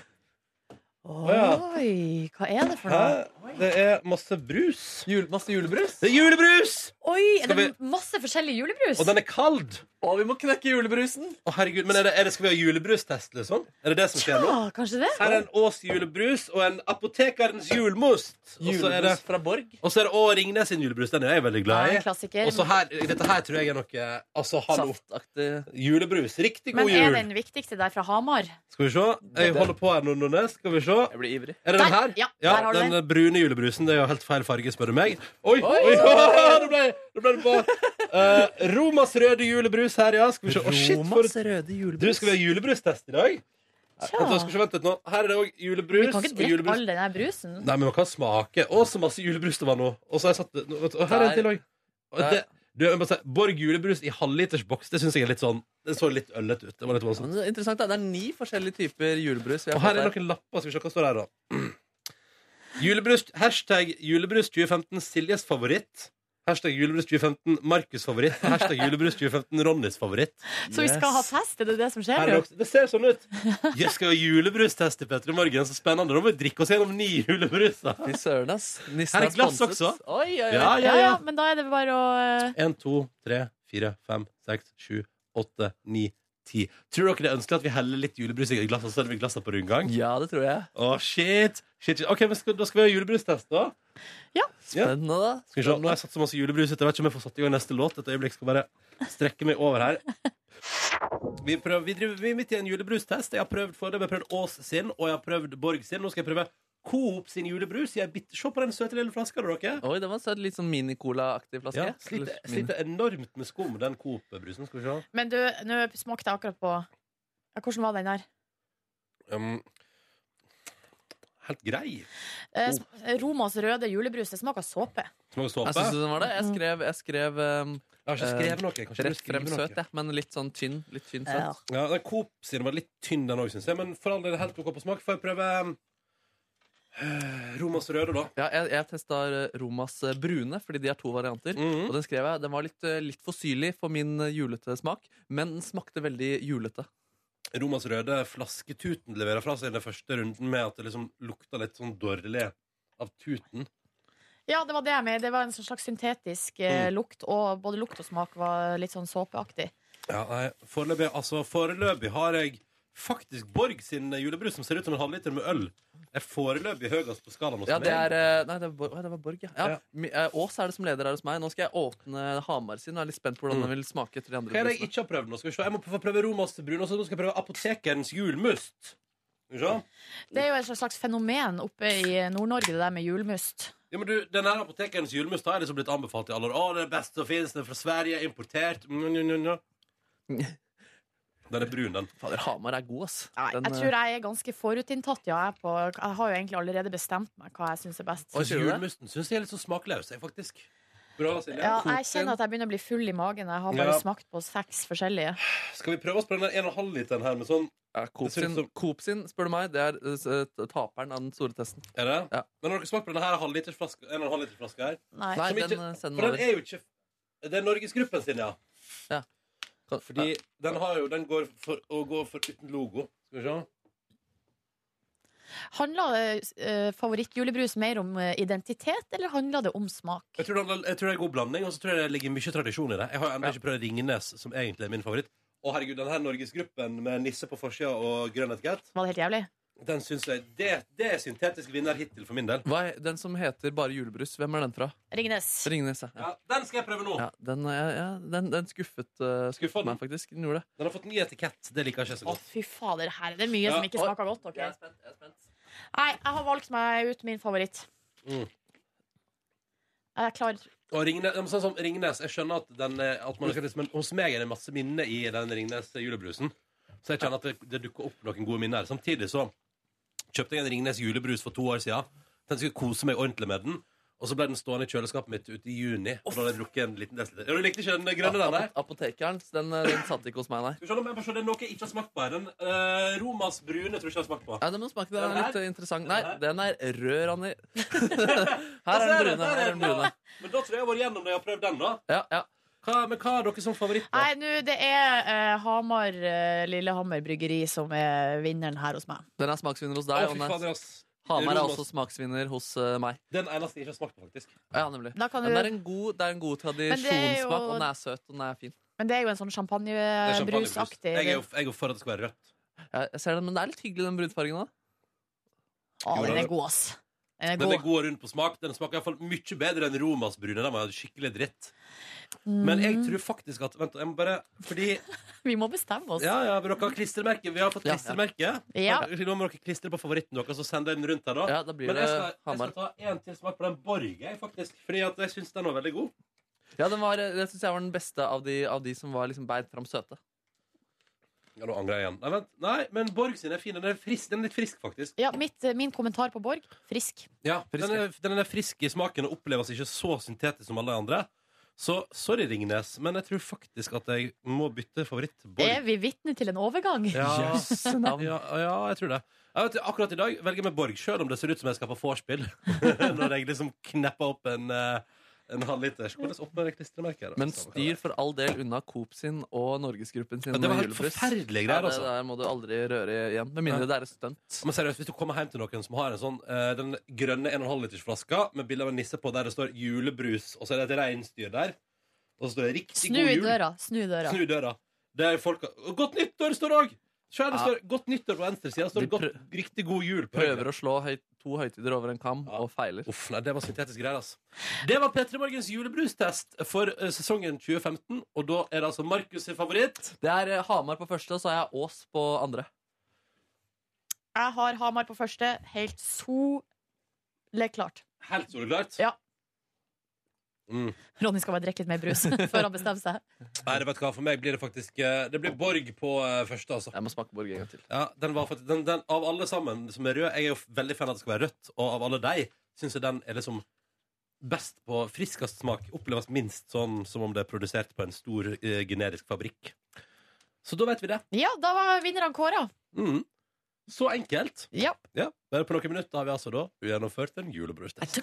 Speaker 1: ja.
Speaker 2: Oi, hva er det for
Speaker 1: Hæ?
Speaker 2: noe?
Speaker 1: Det er masse brus.
Speaker 3: Jul, masse julebrus.
Speaker 1: Det er julebrus!
Speaker 2: Oi, er
Speaker 1: Skal
Speaker 2: det masse forskjellig julebrus?
Speaker 1: Og den er kald.
Speaker 3: Å, vi må knekke julebrusen!
Speaker 1: Å, herregud, men er det, er det, Skal vi ha julebrustest, liksom? Er det det som skjer nå?
Speaker 2: Ja, kanskje det?
Speaker 1: Her er en Ås julebrus og en Apotekerens julmost. Og så er det,
Speaker 3: Julebrus fra Borg.
Speaker 1: og så er det også Ringnes sin julebrus. Den er jeg veldig
Speaker 2: Ja,
Speaker 1: glad i.
Speaker 2: en klassiker.
Speaker 1: Og så her, dette her tror jeg er noe Altså, hallo.
Speaker 3: Saftaktig.
Speaker 1: Julebrus. Riktig
Speaker 2: Men
Speaker 1: god
Speaker 2: er
Speaker 1: jul.
Speaker 2: den viktigste der fra Hamar?
Speaker 1: Skal vi se. Jeg
Speaker 3: Det-
Speaker 1: holder på her nå, Nordnes. Skal vi se.
Speaker 3: Jeg blir ivrig.
Speaker 1: Er det den
Speaker 2: Der!
Speaker 1: her?
Speaker 2: Ja, der har du
Speaker 1: den
Speaker 2: den.
Speaker 1: brune julebrusen. Det er jo helt feil farge, spør du meg. Oi, oi,
Speaker 3: Oi,
Speaker 1: oi,
Speaker 3: oi.
Speaker 1: nå ble, nå ble det på. Eh, Romas røde julebrus her, ja. Skal vi se. Å, shit, for et
Speaker 3: Romas røde
Speaker 1: Du, skal vi ha julebrustest i dag?
Speaker 2: Tja.
Speaker 1: Vent, da, skal vi se, vent litt nå. Her er det òg
Speaker 2: Vi
Speaker 1: julebrus
Speaker 2: kan ikke
Speaker 1: og
Speaker 2: drikke
Speaker 1: julebrus
Speaker 2: all den der brusen.
Speaker 1: Nei, men man kan smake. Å, så masse julebrus det var nå. Og så har jeg satt det nå, vet du, Og her er en
Speaker 3: Der.
Speaker 1: til òg.
Speaker 3: Der.
Speaker 1: Borg julebrus i halvlitersboks, det syns jeg er litt sånn Det så litt øllete ut. Det var litt voldsomt.
Speaker 3: Men det er interessant, da. Det er ni forskjellige typer julebrus. Vi har
Speaker 1: Og her er
Speaker 3: fått her.
Speaker 1: noen lapper. Skal vi se hva står her, da. Julebrus, hashtag julebrus 2015 Siljes favoritt. Hashtag julebrus 2015 Markus favoritt. Hashtag julebrus 2015 Ronnys favoritt.
Speaker 2: Så vi skal ha test, er det det som
Speaker 1: Her
Speaker 2: skjer?
Speaker 1: er det,
Speaker 2: nå?
Speaker 1: også, det ser sånn ut. Jeg skal ha julebrustest i Petter i morgen. Så spennende. Da må vi drikke oss gjennom ni julebruser.
Speaker 3: Fy søren, ass. Nissen
Speaker 1: Her er glass
Speaker 3: sponset.
Speaker 1: også.
Speaker 3: Oi, oi, oi.
Speaker 1: Ja,
Speaker 2: Ja, ja, men da er det bare å eh,
Speaker 1: En, to, tre, fire, fem, seks, sju, åtte, ni, ti. Tror dere det er ønskelig at vi heller litt julebrus i glassene, så selger vi glassene på rundgang?
Speaker 3: ja, det tror jeg.
Speaker 1: Å, shit! shit, shit. Ok, men skal, Da skal vi ha julebrustest, da. Ja.
Speaker 3: Spennende, da.
Speaker 1: Skal vi se, Nå har jeg satt så masse julebrus ut. Jeg vet ikke om jeg får satt i gang neste låt. Et øyeblikk skal jeg bare strekke meg over her. Vi, prøver, vi, driver, vi er midt i en julebrustest. Jeg har prøvd for dem. Jeg har prøvd Ås sin, og jeg har prøvd Borg sin. Nå skal jeg prøve Coop sin julebrus. Jeg bit, se på den søte lille flaska, da, dere.
Speaker 3: Oi, den var søt. Litt sånn mini-cola-aktig flaske.
Speaker 1: Ja, sliter,
Speaker 3: Eller mini-
Speaker 1: sliter enormt med skum, den Coop-brusen. Skal vi se.
Speaker 2: Men du, nå smakte jeg akkurat på ja, Hvordan var den der?
Speaker 1: Um, helt grei.
Speaker 2: Eh, sm- Romas røde julebrus, det smaker såpe.
Speaker 1: Smaker såpe.
Speaker 3: Jeg synes den var det. Jeg skrev, jeg skrev um,
Speaker 1: Jeg har ikke skrevet noe. Kanskje du
Speaker 3: eh, rett frem
Speaker 1: skriver noe.
Speaker 3: søt, jeg, men litt sånn tynn. Litt tynn søt.
Speaker 1: Ja, den Coop sin var litt tynn, den òg, syns jeg. Men for all del helt OK på smak. Får jeg prøve eh, Romas røde, da?
Speaker 3: Ja, jeg, jeg testa eh, Romas eh, brune, fordi de har to varianter.
Speaker 1: Mhm.
Speaker 3: Og den skrev jeg, den var litt, eh, litt for syrlig for min eh, julete smak, men den smakte veldig julete.
Speaker 1: Romas røde flasketuten leverer fra seg den første runden med at det liksom lukta litt sånn dårlig av tuten.
Speaker 2: Ja, det var det jeg med. Det var en sånn slags syntetisk
Speaker 1: Mm.
Speaker 2: eh, lukt, og både lukt og smak var litt sånn såpeaktig.
Speaker 1: Ja, nei, foreløpig, altså, foreløpig har jeg faktisk Borg sin julebrus, som ser ut som en halvliter med øl. Er foreløpig høyest på skalaen hos
Speaker 3: Ja, det
Speaker 1: meg.
Speaker 3: er eh, Nei, det var, Borg- oi, det var Borg, ja. ja.
Speaker 1: Ja.
Speaker 3: mi- eh, Ås er det som leder her hos meg. Nå skal jeg åpne Hamar sin. og Jeg er litt spent på hvordan den vil smake etter de andre.
Speaker 1: Mm. Hva er det jeg
Speaker 3: brusene.
Speaker 1: ikke har prøvd nå? Skal vi se. Jeg må få prøve Romas brun, og så skal jeg prøve Apotekerens julmust. Skal vi se.
Speaker 2: Det er jo et slags fenomen oppe i Nord-Norge, det der med julmust.
Speaker 1: Ja, men du, den her Apotekerens julmust har jeg liksom blitt anbefalt i alle år. Å, det er best som finnes, den er fra Sverige, importert. Mm, mm, mm, mm. Den er brun, den.
Speaker 3: Fader, Hamar er god, ass.
Speaker 2: Nei,
Speaker 3: Den,
Speaker 2: jeg
Speaker 3: eh,
Speaker 2: tror jeg er ganske forutinntatt, ja. Jeg, er på, jeg har jo egentlig allerede bestemt meg hva jeg syns er best.
Speaker 3: Oi.
Speaker 1: Synes
Speaker 3: sier du det?
Speaker 1: Julmusten syns jeg er litt sånn smakløs, jeg, faktisk. Bra, Silje.
Speaker 2: Ja, jeg kjenner at jeg begynner å bli full i magen. Jeg har bare
Speaker 1: Ja.
Speaker 2: smakt på seks forskjellige.
Speaker 1: Skal vi prøve oss på den der 1,5 literen her med sånn?
Speaker 3: ja, Coop,
Speaker 1: det ser ut
Speaker 3: sin,
Speaker 1: som-
Speaker 3: Coop sin, spør du meg, det er eh, s- eh, taperen av den store testen.
Speaker 1: Er det?
Speaker 3: Ja.
Speaker 1: Men har dere smakt på den her halvlitersflaska 1,5 liters flaska her?
Speaker 2: Nei.
Speaker 3: Nei,
Speaker 1: Som
Speaker 3: den
Speaker 1: ikke-
Speaker 3: eh, send den
Speaker 1: For
Speaker 3: over.
Speaker 1: den er jo ikke Det er Norgesgruppen sin, ja.
Speaker 3: Kan-
Speaker 1: Fordi den har jo Den går for å gå for uten logo. Skal vi se.
Speaker 2: Handler eh, favorittjulebrus mer om eh, identitet, eller handler det om smak?
Speaker 1: Jeg tror, det, jeg tror det er god blanding, og så tror jeg det ligger mye tradisjon i det. Jeg har jo ennå
Speaker 3: Ja.
Speaker 1: ikke prøvd Ringnes, som egentlig er min favoritt. Å herregud, den her Norgesgruppen med nisse på forsida og grønn etikett
Speaker 2: Var det helt jævlig?
Speaker 1: Den syns jeg det, det er syntetisk vinner hittil for min del.
Speaker 3: Hva er, den som heter bare julebrus, hvem er den fra?
Speaker 2: Ringnes.
Speaker 3: Ringnes, ja.
Speaker 1: Ja, den skal jeg prøve nå.
Speaker 3: Ja, den, ja, ja, den, den skuffet, eh,
Speaker 1: Skuffet
Speaker 3: skuffet
Speaker 1: den?
Speaker 3: meg faktisk. Den gjorde det.
Speaker 1: Den har fått ny etikett. Det liker jeg ikke så godt.
Speaker 2: Fy fader, her er det mye
Speaker 1: Ja.
Speaker 2: som ikke smaker godt. ok? Nei, jeg har valgt meg ut min favoritt.
Speaker 1: Mm.
Speaker 2: Jeg klarer
Speaker 1: Og Ringnes, ja, men sånn som Ringnes, jeg skjønner at, den, er- at man, ikke liksom, men hos meg er det masse minner i den Ringnes julebrusen. Så jeg kjenner at det, det dukker opp noen gode minner. Samtidig så kjøpte jeg en Ringnes julebrus for to år siden. Tenkte jeg skulle kose meg ordentlig med den. Og så ble den stående i kjøleskapet mitt ute i juni. Og da hadde jeg drukket en liten desiliter. Ja, Du likte ikke den grønne, den der?
Speaker 3: Apo- Apotekeren, så den, eh, den satt ikke hos meg, nei.
Speaker 1: Skal vi se om jeg bare ser, det er noe jeg ikke har smakt på her. Den eh, Romas brune tror jeg ikke jeg har smakt på.
Speaker 3: Nei, den må smake, den
Speaker 1: Den
Speaker 3: er litt
Speaker 1: her?
Speaker 3: eh, interessant. Nei, den er rød, Ronny.
Speaker 1: Der
Speaker 3: Her er
Speaker 1: ser du,
Speaker 3: den brune.
Speaker 1: der
Speaker 3: Her er
Speaker 1: den,
Speaker 3: den brune.
Speaker 1: ja. Men da tror jeg jeg har vært gjennom det jeg har prøvd den, da.
Speaker 3: Ja, ja.
Speaker 1: Hva, men hva har dere som favoritt? da?
Speaker 2: Nei, nå, det er eh, Hamar eh, Lillehammer bryggeri som er vinneren her hos meg.
Speaker 3: Den er smaksvinner hos
Speaker 1: Å,
Speaker 3: deg.
Speaker 1: fy
Speaker 3: og den er-
Speaker 1: fader, ass.
Speaker 3: Hamar er
Speaker 1: Romas-
Speaker 3: også smaksvinner hos eh, meg.
Speaker 1: Den eneste jeg ikke har smakt på, faktisk.
Speaker 3: Ja, nemlig.
Speaker 2: Da kan
Speaker 3: Den er
Speaker 2: du,
Speaker 3: en god, det er en god
Speaker 2: det er jo-
Speaker 3: tradisjonsmak, og den er søt og den er fin.
Speaker 2: men det er jo en sånn
Speaker 1: Det er champagnebrus.
Speaker 2: champagnebrusaktig
Speaker 1: Jeg er jo jeg er jo for at det skal være rødt.
Speaker 3: Ja, Jeg ser den, Men det er litt hyggelig, den brunfargen òg.
Speaker 2: Å, den er god, ass. Den er
Speaker 1: Den er
Speaker 2: god.
Speaker 1: god og rund på smak. Den smaker i hvert fall mye bedre enn Romas brune. Den var skikkelig dritt.
Speaker 2: Mm.
Speaker 1: Men jeg tror faktisk at Vent, jeg må bare Fordi
Speaker 2: Vi må bestemme oss.
Speaker 1: Ja, ja, men dere har klistremerke. Vi har fått
Speaker 3: Ja, ja.
Speaker 1: klistremerke.
Speaker 2: Ja.
Speaker 1: Nå må dere klistre på favoritten deres og sende den rundt her, da.
Speaker 3: Ja, eh, da blir
Speaker 1: Men
Speaker 3: det
Speaker 1: jeg skal, jeg
Speaker 3: Hamar.
Speaker 1: skal ta en til smak på den Borg, jeg, faktisk. Fordi at jeg syns den var veldig god.
Speaker 3: Ja, den var, Det syns jeg var den beste av de, av de som var liksom beid fram søte.
Speaker 1: Ja, nå angrer jeg igjen. Nei, vent. Nei, men Borg sin er fin. Den er, frisk. Den er litt frisk, faktisk.
Speaker 2: Ja, mitt, eh, min kommentar på Borg frisk.
Speaker 1: Ja,
Speaker 3: Frisk,
Speaker 1: den, er, den er frisk i smaken og oppleves ikke så syntetisk som alle de andre. Så sorry, Ringnes, men jeg tror faktisk at jeg må bytte favoritt.
Speaker 2: Er
Speaker 1: Borg.
Speaker 2: vi vitne til en overgang?
Speaker 1: Ja.
Speaker 3: Jøsse navn.
Speaker 1: Ja, ja, jeg tror det. Jeg vet, akkurat i dag velger jeg meg Borg, sjøl om det ser ut som jeg skal på vorspiel. Når jeg liksom knepper opp en, eh, en halvliter. Så Hvordan opp med det klistremerket? her, da?
Speaker 3: Men styr for all del unna Coop sin og Norgesgruppen sin
Speaker 1: ja, Det var helt
Speaker 3: julebrus.
Speaker 1: forferdelige
Speaker 3: Ja,
Speaker 1: greier,
Speaker 3: det
Speaker 1: altså.
Speaker 3: der må du aldri røre igjen. Med mindre det er et stunt.
Speaker 1: Men seriøst, Hvis du kommer hjem til noen som har en sånn eh, den grønne 1,5 liters flaska med bilde av en nisse på der det står 'julebrus', og så er det et reinsdyr der, og så står det 'riktig
Speaker 2: Snu
Speaker 1: god
Speaker 2: i
Speaker 1: jul',
Speaker 2: døra. Snu i døra.
Speaker 1: snu døra. Det er folk, og 'Godt nyttår' står det òg! Sjøl det
Speaker 3: Ja.
Speaker 1: står 'Godt nyttår' på venstre side. står det
Speaker 3: De
Speaker 1: godt, 'Riktig god jul' på
Speaker 3: Prøver
Speaker 1: høyre.
Speaker 3: å slå høy, to høytider over en kam
Speaker 1: Ja.
Speaker 3: og feiler.
Speaker 1: Uff, nei, Det var syntetisk greier, altså. Det var P3 Morgens julebrustest for eh, sesongen 2015, og da er det altså Markus' sin favoritt.
Speaker 3: Det er eh, Hamar på første, og så har jeg Ås på andre.
Speaker 2: Jeg har Hamar på første. Helt soleklart.
Speaker 1: Helt soleklart.
Speaker 2: Ja.
Speaker 1: Mm.
Speaker 2: Ronny skal bare drikke litt mer brus før han bestemmer seg.
Speaker 1: Nei, det vet du hva, for meg blir det faktisk eh, Det blir Borg på eh, første, altså.
Speaker 3: Jeg må smake Borg en gang til.
Speaker 1: Ja, den var faktisk, den, den, Av alle sammen som er rød Jeg er jo veldig fan av at det skal være rødt Og av alle deg synes jeg den er liksom Best på friskast smak Oppleves minst sånn som om det er produsert på en stor eh, generisk fabrikk Så da vet vi det
Speaker 2: Ja, da var vinnerne kåra.
Speaker 1: Mhm. Så enkelt
Speaker 2: Ja.
Speaker 1: ja, Bare på noen minutter har vi altså da Gjennomført en julebrustest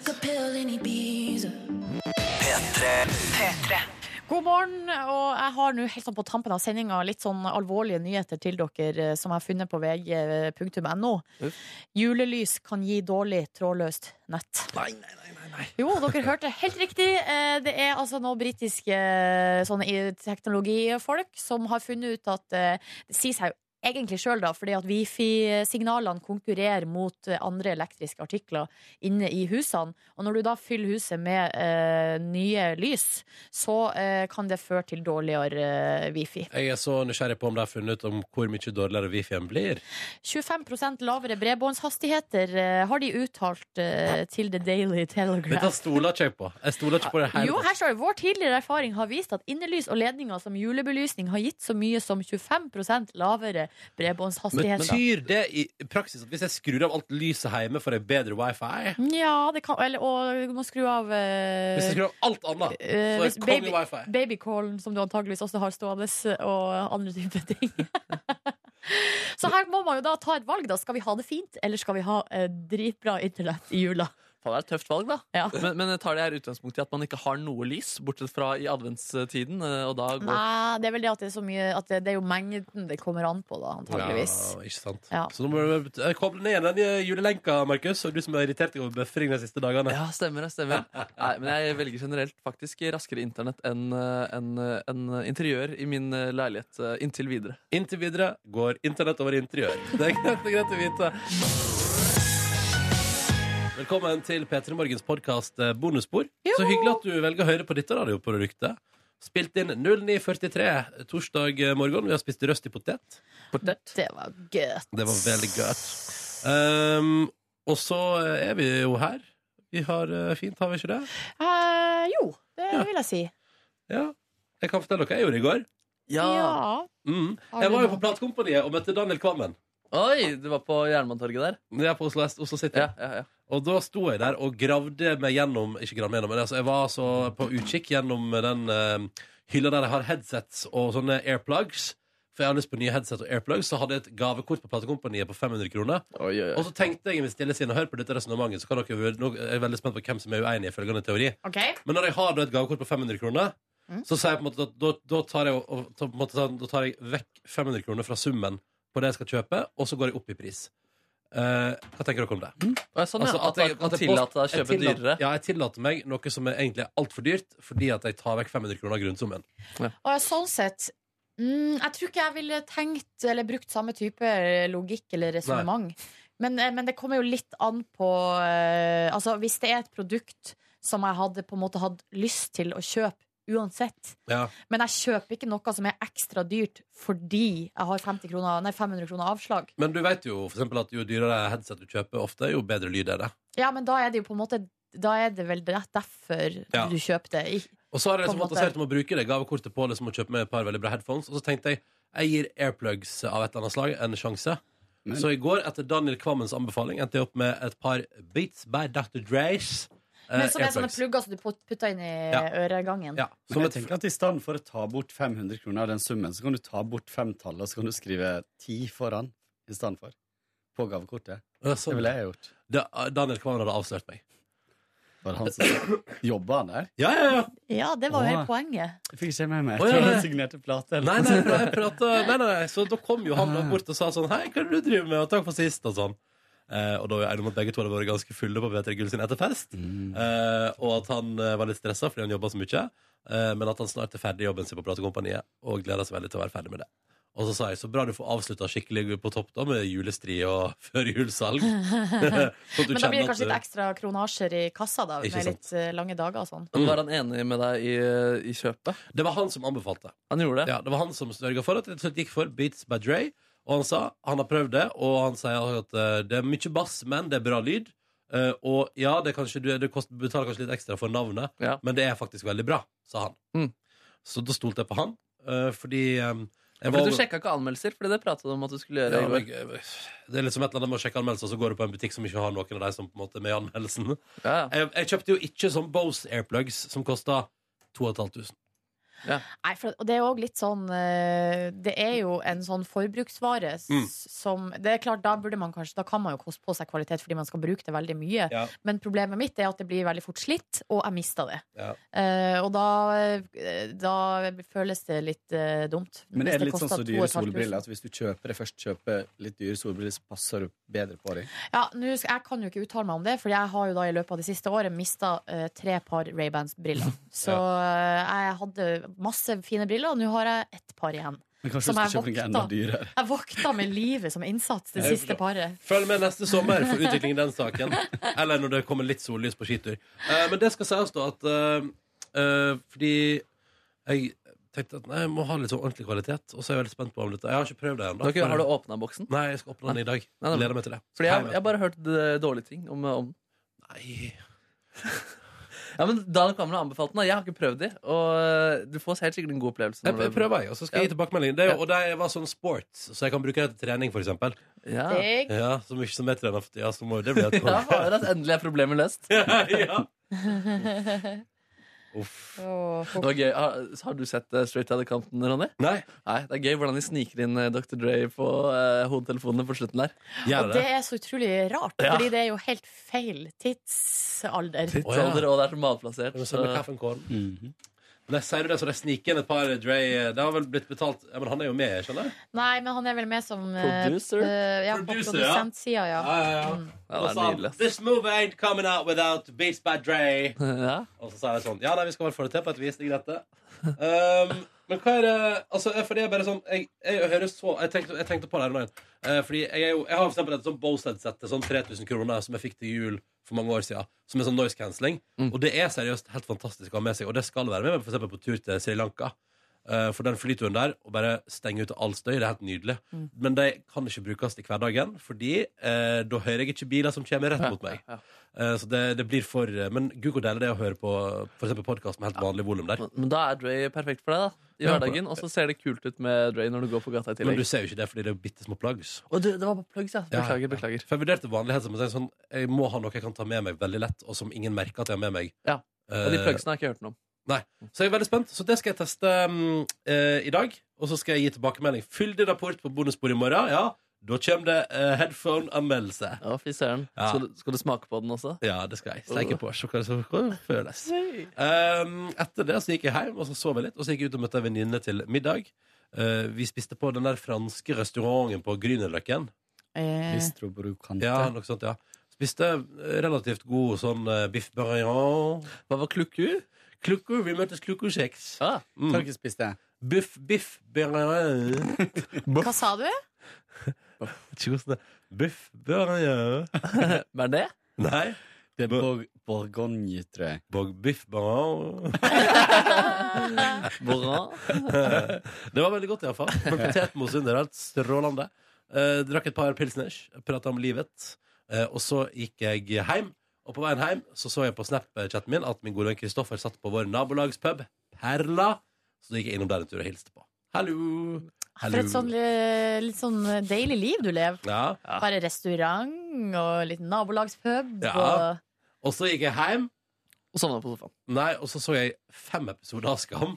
Speaker 2: God morgen. Og jeg har nå helt sånn på tampen av sendinga litt sånn alvorlige nyheter til dere eh, som jeg har funnet på eh, vg.no.
Speaker 3: Uff.
Speaker 2: Julelys kan gi dårlig trådløst nett.
Speaker 1: Nei, nei, nei, nei, nei.
Speaker 2: Jo, dere hørte helt riktig. Eh, Det er altså noen britiske eh, sånne i- teknologifolk som har funnet ut at eh, Det sier seg jo egentlig sjøl, da, fordi at wifi-signalene konkurrerer mot eh, andre elektriske artikler inne i husene. Og når du da fyller huset med eh, nye lys, så eh, kan det føre til dårligere eh, wifi.
Speaker 1: Jeg er så nysgjerrig på om det har funnet ut Om hvor mye dårligere wifi-en blir
Speaker 2: 25 lavere bredbåndshastigheter eh, har de uttalt eh, til The Daily Telegraph.
Speaker 1: Dette stoler ikke jeg på Jeg stoler ikke på det her
Speaker 2: Jo, her står det Vår tidligere erfaring har vist at innelys og ledninger som julebelysning har gitt så mye som 25 lavere
Speaker 1: Men
Speaker 2: bredbåndshastighet.
Speaker 1: betyr Altså, det i praksis at hvis jeg skrur av alt lyset hjemme for ei bedre wifi
Speaker 2: Ja, det kan Eller, og du må skru av eh,
Speaker 1: Hvis jeg skrur av alt annet, så
Speaker 2: eh,
Speaker 1: er
Speaker 2: hvis
Speaker 1: det
Speaker 2: baby,
Speaker 1: konge wifi.
Speaker 2: Babycallen, som du antageligvis også har stående, og andre typer ting. så her må man jo da ta et valg, da. Skal vi ha det fint, eller skal vi ha eh, dritbra internett i jula?
Speaker 3: faen, det er et tøft valg, da.
Speaker 2: Ja.
Speaker 3: Men, men jeg tar det her utgangspunkt i at man ikke har noe lys, bortsett fra i adventstiden. eh, Og da går
Speaker 2: Nei, det er vel det at det er så mye At det, det er jo mengden det kommer an på, da, antageligvis.
Speaker 1: Ja, ikke sant.
Speaker 2: Ja.
Speaker 1: Så nå må du eh, koble ned den eh, julelenka, Markus. Og du som har irritert deg over bøffering de siste dagene.
Speaker 3: Ja, stemmer det. stemmer Nei, Men jeg velger generelt faktisk raskere internett enn eh, enn, eh, enn interiør i min eh, leilighet eh, inntil videre.
Speaker 1: Inntil videre går internett over interiør. Det er greit, det er greit å vite. Velkommen til P3 Morgens podkast Bonusspor. Så hyggelig at du velger å høre på dette radioproduktet. Spilt inn 09.43 torsdag morgen. Vi har spist røst i potet.
Speaker 2: Det var gøt.
Speaker 1: Det var veldig godt. Um, og så eh, er vi jo her. Vi har eh, fint, har vi ikke det?
Speaker 2: Eh, jo, det
Speaker 1: Ja.
Speaker 2: vil jeg si.
Speaker 1: Ja. Jeg kan fortelle dere hva jeg gjorde i går.
Speaker 2: Ja.
Speaker 1: Mm.
Speaker 2: Har
Speaker 1: Jeg
Speaker 2: du
Speaker 1: var jo
Speaker 2: noe?
Speaker 1: på Platekompaniet og møtte Daniel Kvammen.
Speaker 3: Oi! Du var på Jernbanetorget der?
Speaker 1: Det er på Oslo, Est- Oslo City.
Speaker 3: Ja, ja, ja.
Speaker 1: Og da sto jeg der og gravde meg gjennom Ikke gravde meg gjennom, men altså, jeg var så på utkikk gjennom den eh, hylla der jeg har headsets og sånne airplugs. For jeg har lyst på nye headset og airplugs. Så hadde jeg et gavekort på platekompaniet på 500 kroner.
Speaker 3: Oi, oi,
Speaker 1: Og så tenkte jeg i mitt stille sinn og hør på dette resonnementet, så kan dere jo- nå er jeg veldig spent på hvem som er uenig i følgende teori.
Speaker 2: OK.
Speaker 1: Men når jeg har da et gavekort på 500 kroner, så sier jeg på en måte at da, da, tar jeg, og- og, ta- på en måte, da tar jeg vekk 500 kroner fra summen på det jeg skal kjøpe, og så går jeg opp i pris. Eh, hva tenker dere om det?
Speaker 3: Oi, Sånn,
Speaker 1: Altså,
Speaker 3: ja. At man kan tillate deg å
Speaker 1: jeg
Speaker 3: kjøpe
Speaker 1: tillater-
Speaker 3: dyrere.
Speaker 1: Ja, jeg tillater meg noe som er egentlig er altfor dyrt, fordi at jeg tar vekk 500 kroner av grunnsummen.
Speaker 2: Og sånn sett mm, Jeg tror ikke jeg ville tenkt eller brukt samme type logikk eller resonnement. Men, eh, men det kommer jo litt an på eh, Altså, hvis det er et produkt som jeg hadde på en måte hatt lyst til å kjøpe uansett,
Speaker 1: Ja.
Speaker 2: men jeg kjøper ikke noe som er ekstra dyrt fordi jeg har 50 kroner, nei, 500 kroner avslag.
Speaker 1: Men du vet jo for eksempel at jo dyrere headset du kjøper ofte, jo bedre lyd er det.
Speaker 2: Ja, men da er det jo på en måte Da er det vel det- derfor
Speaker 1: Ja.
Speaker 2: du kjøper det. Ik-
Speaker 1: Og så har jeg
Speaker 2: På
Speaker 1: liksom
Speaker 2: en måte.
Speaker 1: fantasert om å bruke det gavekortet på liksom, å kjøpe meg et par veldig bra headphones. Og så tenkte jeg jeg gir airplugs av et eller annet slag en sjanse. Så i går, etter Daniel Kvammens anbefaling, endte jeg opp med et par Beats by Dr. Dreis. eh,
Speaker 2: Men som er sånne
Speaker 1: airplugs.
Speaker 2: plugger som du put- putter inn i
Speaker 1: Ja.
Speaker 2: øregangen.
Speaker 1: Ja,
Speaker 10: Men
Speaker 1: som
Speaker 10: jeg
Speaker 1: et,
Speaker 10: tenker at I stedet for å ta bort 500 kroner av den summen, så kan du ta bort femtallet, og så kan du skrive 10 foran i stedet for. På gavekortet.
Speaker 1: Ja,
Speaker 10: Det
Speaker 1: sånn.
Speaker 10: ville jeg gjort.
Speaker 1: Da- Daniel Kvammen hadde avslørt meg.
Speaker 10: Var det han som jobba han der?
Speaker 1: Ja, ja, ja.
Speaker 2: Ja, det var jo hele
Speaker 10: Åh.
Speaker 2: poenget.
Speaker 10: Jeg fikk ikke med meg.
Speaker 1: Å,
Speaker 10: Jeg
Speaker 1: ja,
Speaker 10: tror
Speaker 1: nei.
Speaker 10: han signerte plate.
Speaker 1: Nei,
Speaker 10: Eller?
Speaker 1: nei, nei, jeg pratet, nei, nei, nei. Så da kom jo han da bort og sa sånn Hei, hva er det du driver med? Og takk for sist, og sånn. Eh, og da var jeg enig om at begge to hadde vært ganske fulle på P3 Gull sin etterfest.
Speaker 10: Mm.
Speaker 1: Eh, og at han eh, var litt stressa fordi han jobba så mye. Eh, men at han snart er ferdig i jobben sin på Platekompaniet og gleder seg veldig til å være ferdig med det. Og så sa jeg så bra du får avslutta skikkelig på topp da med julestri og førjulssalg. Sånn at du
Speaker 2: Men da
Speaker 1: kjenner at
Speaker 2: blir det kanskje litt
Speaker 1: du-
Speaker 2: ekstra kronasjer i kassa da,
Speaker 1: Ikke
Speaker 2: med litt eh, lange dager og sånn.
Speaker 3: Men Var han enig med deg i, eh, i kjøpet?
Speaker 1: Det var han som anbefalte.
Speaker 3: Han gjorde det?
Speaker 1: Ja, det var han som sørga for at det til slutt gikk for Beats by Dre. Og han sa han har prøvd det, og han sier at eh, det er mye bass, men det er bra lyd. Eh, og ja, det er kanskje, du, du kost, betaler kanskje litt ekstra for navnet,
Speaker 3: Ja.
Speaker 1: men det er faktisk veldig bra, sa han.
Speaker 3: Mm.
Speaker 1: Så da stolte jeg på han, eh, fordi eh, jeg
Speaker 3: For du sjekka ikke anmeldelser, Fordi det pratet du om at du skulle
Speaker 1: ja,
Speaker 3: gjøre. i går.
Speaker 1: men, jeg- Det er litt som et eller annet med å sjekke anmeldelser, så går du på en butikk som ikke har noen av de som på en måte er med i anmeldelsen.
Speaker 3: Ja, ja.
Speaker 1: Jeg, jeg kjøpte jo ikke sånn Bose Airplugs, som kosta 2500.
Speaker 2: Nei, for, og det er jo også litt sånn eh, Det er jo en sånn forbruksvare s-
Speaker 1: Mm.
Speaker 2: som Det er klart, da burde man kanskje Da kan man jo koste på seg kvalitet fordi man skal bruke det veldig mye.
Speaker 1: Ja.
Speaker 2: Men problemet mitt er at det blir veldig fort slitt, og jeg mista det.
Speaker 1: Ja.
Speaker 2: Eh, og da, eh, da føles det litt eh, dumt.
Speaker 10: Men
Speaker 2: hvis
Speaker 10: er det litt sånn
Speaker 2: koster
Speaker 10: som dyre
Speaker 2: 2500?
Speaker 10: solbriller? At hvis du kjøper det først, kjøper litt dyre solbriller, så passer du bedre på dem?
Speaker 2: Ja, nå skal, Jeg kan jo ikke uttale meg om det, for jeg har jo da i løpet av det siste året mista tre par Ray-Bans-briller. Så eh, jeg hadde masse fine briller, og nå har jeg ett par igjen.
Speaker 10: Men kanskje
Speaker 2: Som
Speaker 10: du
Speaker 2: er
Speaker 10: skal kjøpe noe
Speaker 2: vokta.
Speaker 10: enda dyrere?
Speaker 2: Jeg vokta med livet som innsats det
Speaker 1: Jeg
Speaker 2: siste
Speaker 1: forstår.
Speaker 2: paret.
Speaker 1: Følg med neste sommer for utviklingen i den saken. Eller når det kommer litt sollys på skitur. Eh, men det skal sies, da, at eh, eh, Fordi jeg tenkte at nei, jeg må ha litt sånn ordentlig kvalitet. Og så er jeg veldig spent på om dette. Jeg har ikke prøvd det ennå.
Speaker 3: Dere, har du åpna boksen?
Speaker 1: Nei, jeg skal åpne den i dag.
Speaker 3: Nei, nei.
Speaker 1: Gleder meg til det.
Speaker 3: Fordi jeg,
Speaker 1: Hei,
Speaker 3: jeg har bare hørt eh, dårlige ting om, om den.
Speaker 1: Nei.
Speaker 3: Ja, men Daniel Kvammen har anbefalt den. da. Jeg har ikke prøvd de. Og eh, du får helt sikkert en god opplevelse.
Speaker 1: Jeg, jeg prøver, jeg, og så skal jeg gi tilbakemelding. Det er jo,
Speaker 3: Ja.
Speaker 1: og det var sånn sports, så jeg kan bruke det til trening, for eksempel.
Speaker 3: Ja.
Speaker 2: Digg.
Speaker 1: Ja, så mye som jeg trener for tida, så må det bli et
Speaker 3: Ja, fader, ass, endelig er problemet løst.
Speaker 1: ja. Uff.
Speaker 7: Åh,
Speaker 3: Det var gøy. Har, har du sett eh, Straight Outta Compton, Ronny?
Speaker 1: Nei,
Speaker 3: Nei, Det er gøy hvordan de sniker inn eh, Dr. Dre på eh, hodetelefonene på slutten der.
Speaker 1: gjør
Speaker 7: Og
Speaker 1: det
Speaker 7: det er så utrolig rart,
Speaker 3: Ja.
Speaker 7: fordi det er jo helt feil tidsalder.
Speaker 3: Tidsalder, Og det er så malplassert.
Speaker 1: Men så er det
Speaker 3: så-
Speaker 1: kaffen kål.
Speaker 3: Mhm.
Speaker 1: Men jeg sier du det, så de sniker inn et par Dre Det har vel blitt betalt ja, Men han er jo med, skjønner jeg?
Speaker 7: Nei, men han er vel med som eh,
Speaker 3: Producer?
Speaker 7: eh, ja,
Speaker 1: Producer, ja.
Speaker 7: på produsentsida, ja. Mm.
Speaker 3: Ja, det er nydelig. ass.
Speaker 1: This movie ain't coming out without Beats by Dre.
Speaker 3: Ja.
Speaker 1: Og så sa jeg sånn Ja, nei, vi skal bare få det til på et vis. Det er greit, det. Um, men hva er det Altså, jeg- fordi jeg bare sånn Jeg, jeg hører så Jeg tenkte, jeg tenkte på det her om dagen. Eh, fordi jeg, er jo, jeg har for eksempel et sånt Bose-headset til sånn 3000 kroner som jeg fikk til jul for mange år siden, som er sånn noise cancelling. Og det er seriøst helt fantastisk å ha med seg, og det skal være med meg for eksempel på tur til Sri Lanka. Eh, for den flyturen der, å bare stenge ut all støy, det er helt nydelig. Men de kan ikke brukes i hverdagen, fordi eh, da hører jeg ikke biler som kommer rett mot meg. Eh, Så det, det blir for eh, Men gud hvor deilig det er å høre på For eksempel podkast med helt vanlig volum der.
Speaker 3: Men, men da er Dre perfekt for deg, da. I
Speaker 1: Ja.
Speaker 3: hverdagen. Og så ser det kult ut med Dre når du går på gata i
Speaker 1: Men
Speaker 3: tillegg.
Speaker 1: du ser jo ikke det fordi det er bitte små plugs.
Speaker 3: Å, du, det var på plugs, ja. Beklager,
Speaker 1: Ja.
Speaker 3: beklager.
Speaker 1: For jeg vurderte vanlighet som å si sånn Jeg må ha noe jeg kan ta med meg veldig lett, og som ingen merker at jeg har med meg.
Speaker 3: Ja. Og de
Speaker 1: Eh,
Speaker 3: plugsene har jeg ikke hørt noe om.
Speaker 1: så jeg er veldig spent. Så det skal jeg teste mm, eh, i dag. Og så skal jeg gi tilbakemelding. Fyldig rapport på bonusbordet i morgen. Ja, da kommer det eh, headphone-anmeldelse.
Speaker 3: Ja, fy søren.
Speaker 1: Ja.
Speaker 3: Skal, du- skal du smake på den også?
Speaker 1: Ja, det skal jeg. Steike på. Så hva det så- hva det føles. Um, etter det så gikk jeg hjem og så sov jeg litt, og så gikk jeg ut og møtte en venninne til middag. Eh, vi spiste på den der franske restauranten på Grünerløkken.
Speaker 7: Eh,
Speaker 10: Bistro Brocante.
Speaker 1: Ja, noe sånt, ja. Spiste eh, relativt god sånn eh, biff barillon.
Speaker 3: Hva var klukku?
Speaker 1: Klukko, vi møtes klokko-kjeks.
Speaker 3: Ah,
Speaker 10: Kan
Speaker 1: Mm.
Speaker 10: dere spise det?
Speaker 1: Biff, biff barillon.
Speaker 7: hva sa du?
Speaker 1: Ikke hvordan det Biff barillon.
Speaker 3: hva er det?
Speaker 1: Nei.
Speaker 10: Det er
Speaker 1: Bo-
Speaker 10: bourg- bourgogne, tror jeg.
Speaker 1: Bog biff barillon.
Speaker 3: Bourrin?
Speaker 1: Det var veldig godt, iallfall. Men potetmos under alt. Strålende. Eh, drakk et par pilsners, prata om livet. Eh, og så gikk jeg hjem. Og på veien hjem så, så jeg på Snap-chatten min at min gode venn Kristoffer satt på vår nabolagspub, Perla. Så da gikk jeg innom der en tur og hilste på. Hallo!
Speaker 7: For et sånn, eh, litt sånn deilig liv du lever.
Speaker 1: Ja.
Speaker 7: Bare restaurant og litt nabolagspub.
Speaker 1: Ja.
Speaker 7: og-
Speaker 1: Og så gikk jeg hjem,
Speaker 3: Og sovna på sofaen.
Speaker 1: nei, og så så jeg fem episoder av Skam.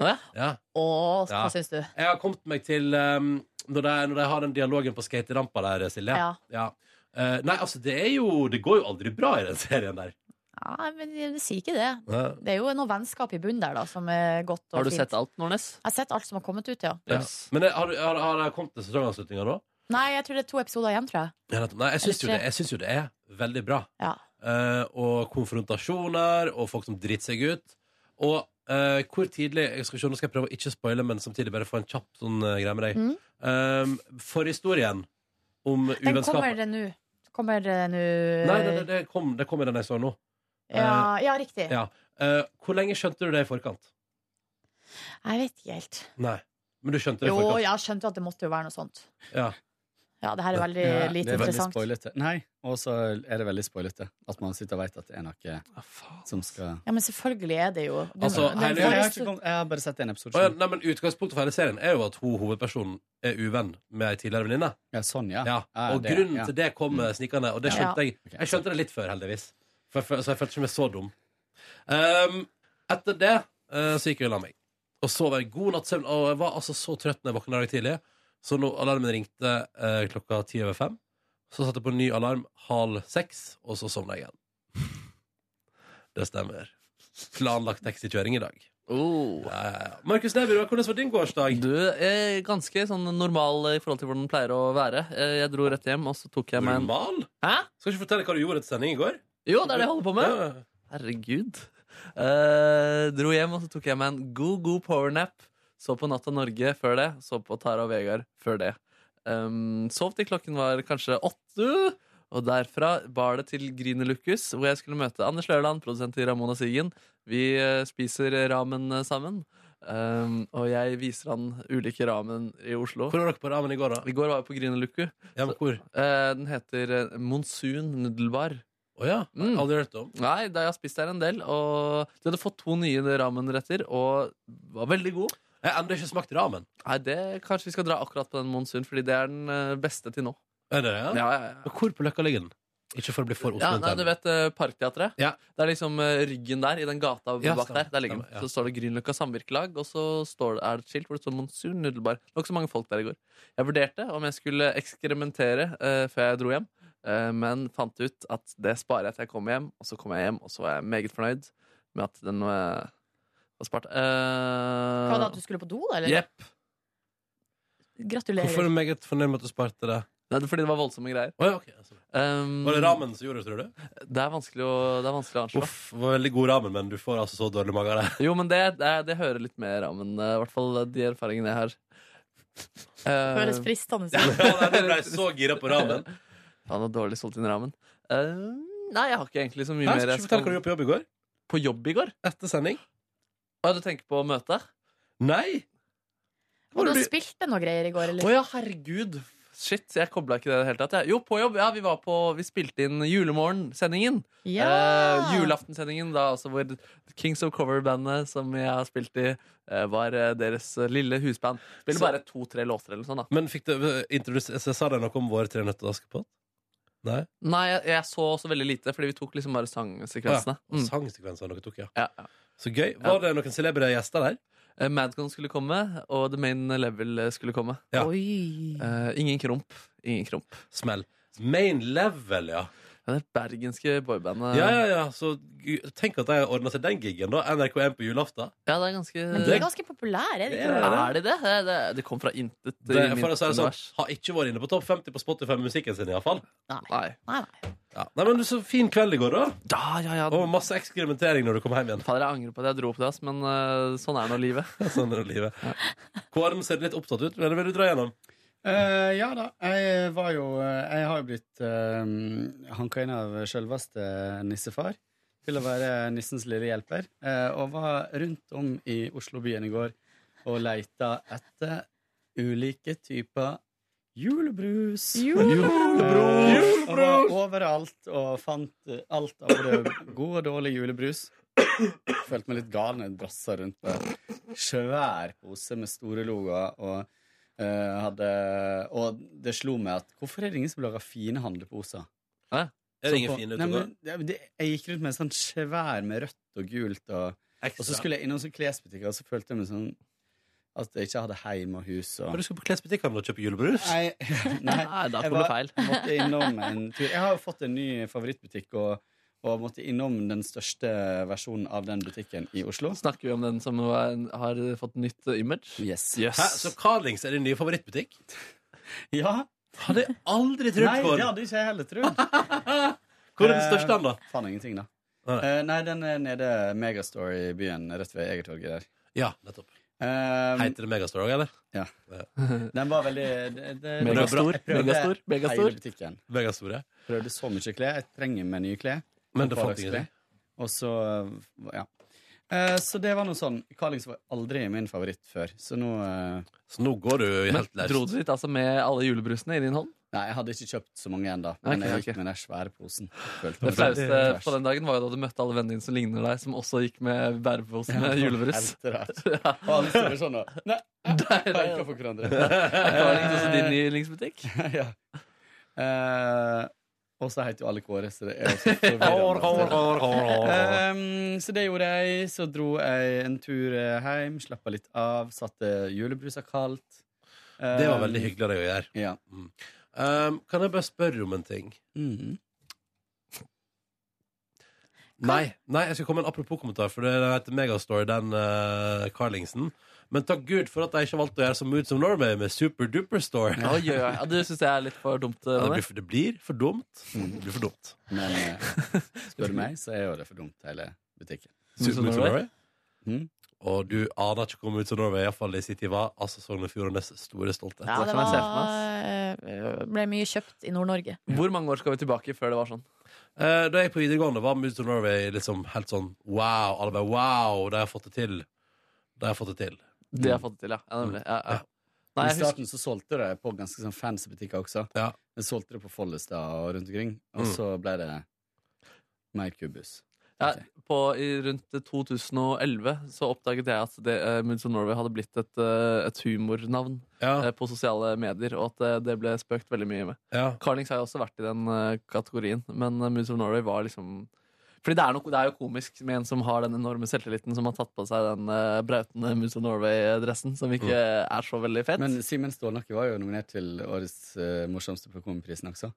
Speaker 3: Å, ja.
Speaker 1: Ja.
Speaker 7: Å, hva
Speaker 1: Ja.
Speaker 7: syns du?
Speaker 1: Jeg har kommet meg til um, når, de, når de har den dialogen på skaterampa der, Silje.
Speaker 7: Ja.
Speaker 1: Eh, nei, altså, det er jo Det går jo aldri bra i den serien der.
Speaker 7: Ja, men jeg sier ikke det.
Speaker 1: Ja.
Speaker 7: Det er jo noe vennskap i bunnen der, da, som er godt og
Speaker 3: Har du
Speaker 7: fint.
Speaker 3: sett alt, Nordnes?
Speaker 7: Jeg har sett alt som har kommet ut, ja.
Speaker 1: Ja. Men det- har, du- har, har det kommet til sesongavslutninga nå?
Speaker 7: Nei, jeg tror det er to episoder igjen, tror jeg.
Speaker 1: Ja, nettopp. Nei, jeg syns, jo
Speaker 7: Eller tre.
Speaker 1: det, jeg syns jo det er veldig bra.
Speaker 7: Ja.
Speaker 1: Eh, og konfrontasjoner, og folk som driter seg ut. Og eh, hvor tidlig jeg skal se, Nå skal jeg prøve å ikke spoile, men samtidig bare få en kjapp sånn eh, greie med deg.
Speaker 7: Mm.
Speaker 1: Um, Forhistorien om
Speaker 7: Den
Speaker 1: uvennskap
Speaker 7: kommer det nå. Kommer det nå
Speaker 1: Nei,
Speaker 2: Eh.
Speaker 1: det, det, det, kom, det kommer den jeg så nå.
Speaker 7: Ja, ja, riktig.
Speaker 1: Ja. Eh, hvor lenge skjønte du det i forkant?
Speaker 7: Jeg vet ikke helt.
Speaker 1: Nei. Men du skjønte det i
Speaker 7: Jo,
Speaker 1: forkant?
Speaker 7: jeg skjønte jo at det måtte jo være noe sånt.
Speaker 1: Ja.
Speaker 7: Ja, det her er veldig
Speaker 10: Ja,
Speaker 7: lite
Speaker 10: det er veldig
Speaker 7: interessant.
Speaker 10: spoilete. Nei, og så er det veldig spoilete. At man sitter og vet at det er noe som skal
Speaker 7: Ja, men selvfølgelig er det jo Du-
Speaker 1: Altså,
Speaker 7: den
Speaker 1: hele-
Speaker 10: Nei, jeg, har ikke
Speaker 7: forhistor-
Speaker 10: kommet, jeg har bare sett en episode.
Speaker 1: Å ja,
Speaker 10: skjønner du.
Speaker 1: nei, men Utgangspunktet for hele serien er jo at hun, hovedpersonen er uvenn med ei tidligere venninne.
Speaker 10: Ja, sånn, ja.
Speaker 1: Ja.
Speaker 10: Ja,
Speaker 1: Og
Speaker 10: det-
Speaker 1: grunnen
Speaker 10: ja.
Speaker 1: til det kom eh, snikende, og det
Speaker 7: Ja.
Speaker 1: skjønte jeg. Jeg skjønte det litt før, heldigvis. For, for, så jeg følte ikke meg så dum. Ehm, etter det eh, så gikk jeg og la meg. Og sov en god natts søvn. Og jeg var altså så trøtt når jeg våkna i dag tidlig, så når alarmen ringte eh, klokka ti over fem, så satte jeg på en ny alarm halv seks, og så sovna jeg igjen. Det stemmer. Planlagt taxikjøring i dag.
Speaker 3: Oh.
Speaker 1: Ja, ja, ja. Markus Neby, hvordan var din gårsdag?
Speaker 3: Du er ganske sånn normal i forhold til hvordan den pleier å være. Eh, Jeg dro rett hjem, og så tok jeg meg en
Speaker 1: Normal?
Speaker 3: Hæ?
Speaker 1: Skal ikke fortelle hva du gjorde etter sending i går?
Speaker 3: Jo, det er det jeg holder på med.
Speaker 1: Ja.
Speaker 3: Herregud. Eh, dro hjem, og så tok jeg meg en god, god powernap. Så på Natta Norge før det. Så på Tara og Vegard før det. Um, sov til klokken var kanskje åtte. Og derfra bar det til Grünerløkkes, hvor jeg skulle møte Anders Løland, produsent til Ramona Siggen. Vi eh, spiser ramen eh, sammen. Um, og jeg viser han ulike ramen i Oslo.
Speaker 1: Hvor var dere på ramen i går, da?
Speaker 3: I går var jeg på Grünerløkku.
Speaker 1: Ja, men hvor?
Speaker 3: Eh, den heter eh, Monsun Nudelbar.
Speaker 1: Å ja?
Speaker 3: Mm.
Speaker 1: Aldri hørt om.
Speaker 3: Nei, da jeg har spist der en del. Og de hadde fått to nye ramenretter, og var veldig gode.
Speaker 1: Jeg har ennå ikke smakt ramen.
Speaker 3: Nei, det Kanskje vi skal dra akkurat på den monsun, fordi det er den eh, beste til nå.
Speaker 1: Er det det?
Speaker 3: Ja, ja, ja.
Speaker 1: Og Hvor på Løkka ligger den? Ikke for å bli for
Speaker 3: Ja, nei, du
Speaker 1: Oslo-intern.
Speaker 3: vet eh, Parkteatret?
Speaker 1: Ja.
Speaker 3: Det er liksom eh, ryggen der, i den gata
Speaker 1: Ja,
Speaker 3: bak
Speaker 1: stemmer,
Speaker 3: der. Der ligger den.
Speaker 1: stemmer, ja.
Speaker 3: Så står det Grünerløkka Samvirkelag, og så står det, er det et skilt hvor det står Monsieur Nudelbar. Det var ikke så mange folk der i går. Jeg vurderte om jeg skulle ekskrementere eh, før jeg dro hjem, eh, men fant ut at det sparer jeg til jeg kommer hjem, og så kom jeg hjem, og så var jeg meget fornøyd med at den eh, var spart. Eh,
Speaker 2: Hva da, at du skulle på do, eller?
Speaker 3: Jepp.
Speaker 1: Hvorfor er
Speaker 2: Gratulerer.
Speaker 1: du meget fornøyd med at du sparte det?
Speaker 3: Nei, det er fordi det var voldsomme greier.
Speaker 1: Å, ja, ok, altså.
Speaker 3: Um,
Speaker 1: Var det ramen som gjorde det, tror du?
Speaker 3: Det er vanskelig å, det er vanskelig å anslå.
Speaker 1: Uff, det var veldig god ramen, men du får altså så dårlig mage av det.
Speaker 3: Jo, men det, det, det hører litt med rammen, eh, i hvert fall de erfaringene jeg har. Eh,
Speaker 2: Høres fristende ut.
Speaker 1: Ja, nei, du ble så gira på ramen.
Speaker 3: Han har dårlig solgt inn rammen. Eh, nei, jeg har ikke egentlig så mye
Speaker 1: Nei,
Speaker 3: mer.
Speaker 1: skal ikke
Speaker 3: Jeg
Speaker 1: fortelle hva du gjorde på jobb i går?
Speaker 3: på jobb i går?
Speaker 1: Etter sending?
Speaker 3: Hva er det du tenker på møtet?
Speaker 1: Nei! Hva
Speaker 2: Og
Speaker 1: var
Speaker 2: du
Speaker 1: det du-
Speaker 2: spilte noe greier i går,
Speaker 3: Å
Speaker 2: eller?
Speaker 3: ja, herregud! Shit, jeg kobla ikke det i det hele tatt. jeg. Jo, på jobb. Ja, vi var på Vi spilte inn Julemorgen-sendingen. Eh, julaftensendingen, da altså hvor Kings of Cover-bandet som jeg har spilt i, eh, var eh, deres eh, lille husband. Spiller
Speaker 1: Så-
Speaker 3: bare to-tre låter eller noe sånt, da.
Speaker 1: Men fikk det, introdus- så sa de noe om vår Tre nøtter til Askepott? Nei?
Speaker 3: Nei, jeg, jeg så også veldig lite, fordi vi tok liksom bare sangsekvensene.
Speaker 1: Og
Speaker 3: Mm.
Speaker 1: Sangsekvenser dere tok, ja.
Speaker 3: Ja, ja.
Speaker 1: Så gøy. Var det noen celebre gjester der?
Speaker 3: Eh, Madcon skulle komme, og The Main Level eh, skulle komme.
Speaker 1: Ja.
Speaker 2: Oi.
Speaker 3: Eh, ingen krump. Ingen krump.
Speaker 1: Smell. Main level, ja.
Speaker 3: Ja, Det er bergenske boybandet.
Speaker 1: Ja, ja, ja. Så gu- tenk at de har ordna seg den gigen, da. NRK1 på julaften.
Speaker 3: Ja, Eh, det er ganske
Speaker 2: Men de er ganske populære, er de ikke det?
Speaker 3: Er de det? Det, det? det kom fra intet. i
Speaker 1: Det,
Speaker 3: mitt
Speaker 1: for å si det sånn,
Speaker 3: univers.
Speaker 1: har ikke vært inne på topp 50 på Spotify med musikken sin, iallfall.
Speaker 3: Nei.
Speaker 2: Nei, nei.
Speaker 1: Ja. Nei, men så fin kveld i går, da.
Speaker 3: Ja, ja, ja.
Speaker 1: Og masse ekskrementering når du kom hjem igjen.
Speaker 3: Fader, jeg angrer på at jeg dro på det, ass, men eh, sånn er nå livet.
Speaker 1: Sånn er livet. Kåren ser litt opptatt ut, men det vil du dra gjennom.
Speaker 10: Eh, ja da. Jeg var jo eh, Jeg har jo blitt uh, hanka inn av selveste eh, nissefar til å være nissens lille hjelper. eh, og var rundt om i Oslobyen i går og leita etter ulike typer julebrus. Eh, og var overalt og fant eh, alt av både god og dårlig julebrus. Følte meg litt gal når jeg brassa rundt på en svær pose med store logoer. Og, eh, hadde, og det slo meg at hvorfor er det ingen som lager fine handleposer?
Speaker 1: Er det ingen
Speaker 10: Sånn på-
Speaker 1: fine
Speaker 10: Nei,
Speaker 1: ute og går?
Speaker 10: men det- det- Jeg gikk rundt med en sånn svær med rødt og gult. Og, og så skulle jeg innom sånn klesbutikker, og så følte jeg meg sånn at jeg ikke hadde heim og hus.
Speaker 1: Men
Speaker 10: Og,
Speaker 1: Du skal på klesbutikken og kjøpe julebrus?
Speaker 10: nei, nei,
Speaker 3: Nei, da
Speaker 10: jeg
Speaker 3: kom
Speaker 10: var-
Speaker 3: det feil.
Speaker 10: måtte innom en tur. Jeg har jo fått en ny favorittbutikk, og, og måtte innom den største versjonen av den butikken i Oslo.
Speaker 3: Snakker vi om den som var- har fått nytt eh, image?
Speaker 10: Yes.
Speaker 1: Hæ? Så Carlings er din nye favorittbutikk?
Speaker 10: Ja.
Speaker 1: Hadde jeg aldri
Speaker 10: Nei,
Speaker 1: trodd på
Speaker 10: det
Speaker 1: den.
Speaker 10: hadde ikke jeg heller trodd. Eh,
Speaker 1: Hvor er den største den, da?
Speaker 10: Faen ingenting, da.
Speaker 1: Nei.
Speaker 10: Eh, nei, den er nede Megastore i byen, rett ved Egertorget der.
Speaker 1: Ja, nettopp.
Speaker 10: Eh,
Speaker 1: Heter det Megastore òg, eller?
Speaker 10: den var veldig det, det,
Speaker 3: Megastor,
Speaker 10: Jeg prøvde
Speaker 3: megastor, megastor.
Speaker 10: Hele butikken.
Speaker 1: Megastore.
Speaker 10: Prøvde så mye klær. Jeg trenger meg nye klær.
Speaker 1: Men det
Speaker 10: På
Speaker 1: fant ingenting.
Speaker 10: Dagsplay. Og så ja. Eh, så det var noe sånn. Carlings var aldri min favoritt før, så nå eh,
Speaker 1: Så nå går du
Speaker 3: Men
Speaker 1: helt
Speaker 3: dro
Speaker 1: løs.
Speaker 3: du dit altså med alle julebrusene i din hånd?
Speaker 10: Nei, jeg hadde ikke kjøpt så mange ennå, men
Speaker 3: Ok,
Speaker 10: jeg
Speaker 3: ok.
Speaker 10: gikk med den svære posen. Følte
Speaker 3: Det
Speaker 10: meg
Speaker 3: flaueste
Speaker 10: sånn.
Speaker 3: på den dagen var jo da du møtte alle vennene dine som ligner deg, som også gikk med bærepose med julebrus.
Speaker 10: Helt rart. Og alle stiller sånn og Nei,
Speaker 3: Der,
Speaker 10: peker
Speaker 3: der.
Speaker 10: på hverandre.
Speaker 3: Er Carlings også din yndlingsbutikk?
Speaker 10: ja. Eh, og så heter jo alle Kåre, så det er jo så
Speaker 1: Hår, hår,
Speaker 10: forvirrende.
Speaker 1: hår, hår, hår.
Speaker 10: Ehm, så det gjorde jeg. Så dro jeg en tur eh, hjem, slappa litt av, satte julebrusa kaldt.
Speaker 1: Det var
Speaker 10: Ehm,
Speaker 1: veldig hyggelig av deg å gjøre.
Speaker 10: Ja.
Speaker 1: Um, kan jeg bare spørre om en ting?
Speaker 10: Mhm.
Speaker 1: Nei, nei, jeg skal komme med en apropos-kommentar, for det heter Megastore, den eh, Carlingsen. Men takk Gud for at jeg ikke valgte å gjøre som Moods of Norway med Super Duper Store.
Speaker 3: Ja, oi, oi, oi. Ja, du syns jeg er litt for dumt? eh,
Speaker 1: Ja, det,
Speaker 3: Ronny.
Speaker 1: blir for, det blir for dumt. Det blir for dumt.
Speaker 10: Men eh, spør du meg, så er jo det for dumt, hele butikken.
Speaker 3: Moods of
Speaker 1: Moods of
Speaker 3: Norway?
Speaker 1: Norway?
Speaker 10: Mm.
Speaker 1: Og du aner ikke hvor Moods of Norway iallfall i sin tid var. Altså Sogn og Fjordanes store stolthet.
Speaker 2: Ja,
Speaker 3: Det
Speaker 2: det
Speaker 3: kan jeg se
Speaker 2: var, eh, ble mye kjøpt i Nord-Norge.
Speaker 3: Eh, Hvor mange år skal vi tilbake før det var sånn?
Speaker 1: Eh, da jeg gikk på videregående, var Moods of Norway liksom helt sånn wow. Alle bare wow, de har fått det til. De har fått det til.
Speaker 3: Det har jeg fått til, ja. ja, nemlig. ja, ja. Nei,
Speaker 10: I
Speaker 3: jeg husker,
Speaker 10: starten så solgte de på ganske sånn fancy butikker også.
Speaker 1: Ja.
Speaker 10: De solgte det på Follestad og rundt omkring, og
Speaker 1: Mm.
Speaker 10: så ble det mer kubus.
Speaker 3: Ja, på, i, rundt 2011 så oppdaget jeg at det, eh, Moods of Norway hadde blitt et, eh, et humornavn eh, på sosiale medier, og at eh, det ble spøkt veldig mye med.
Speaker 1: Ja.
Speaker 3: Carlings har jo også vært i den eh, kategorien, men eh, Moods of Norway var liksom fordi det er, noe, det er jo komisk med en som har den enorme selvtilliten, som har tatt på seg den eh, brautende Moods of Norway-dressen, som ikke er så veldig fett.
Speaker 10: Mm. Men Simen Stålnakke var jo nominert til årets eh, morsomste Prokomiprisen også.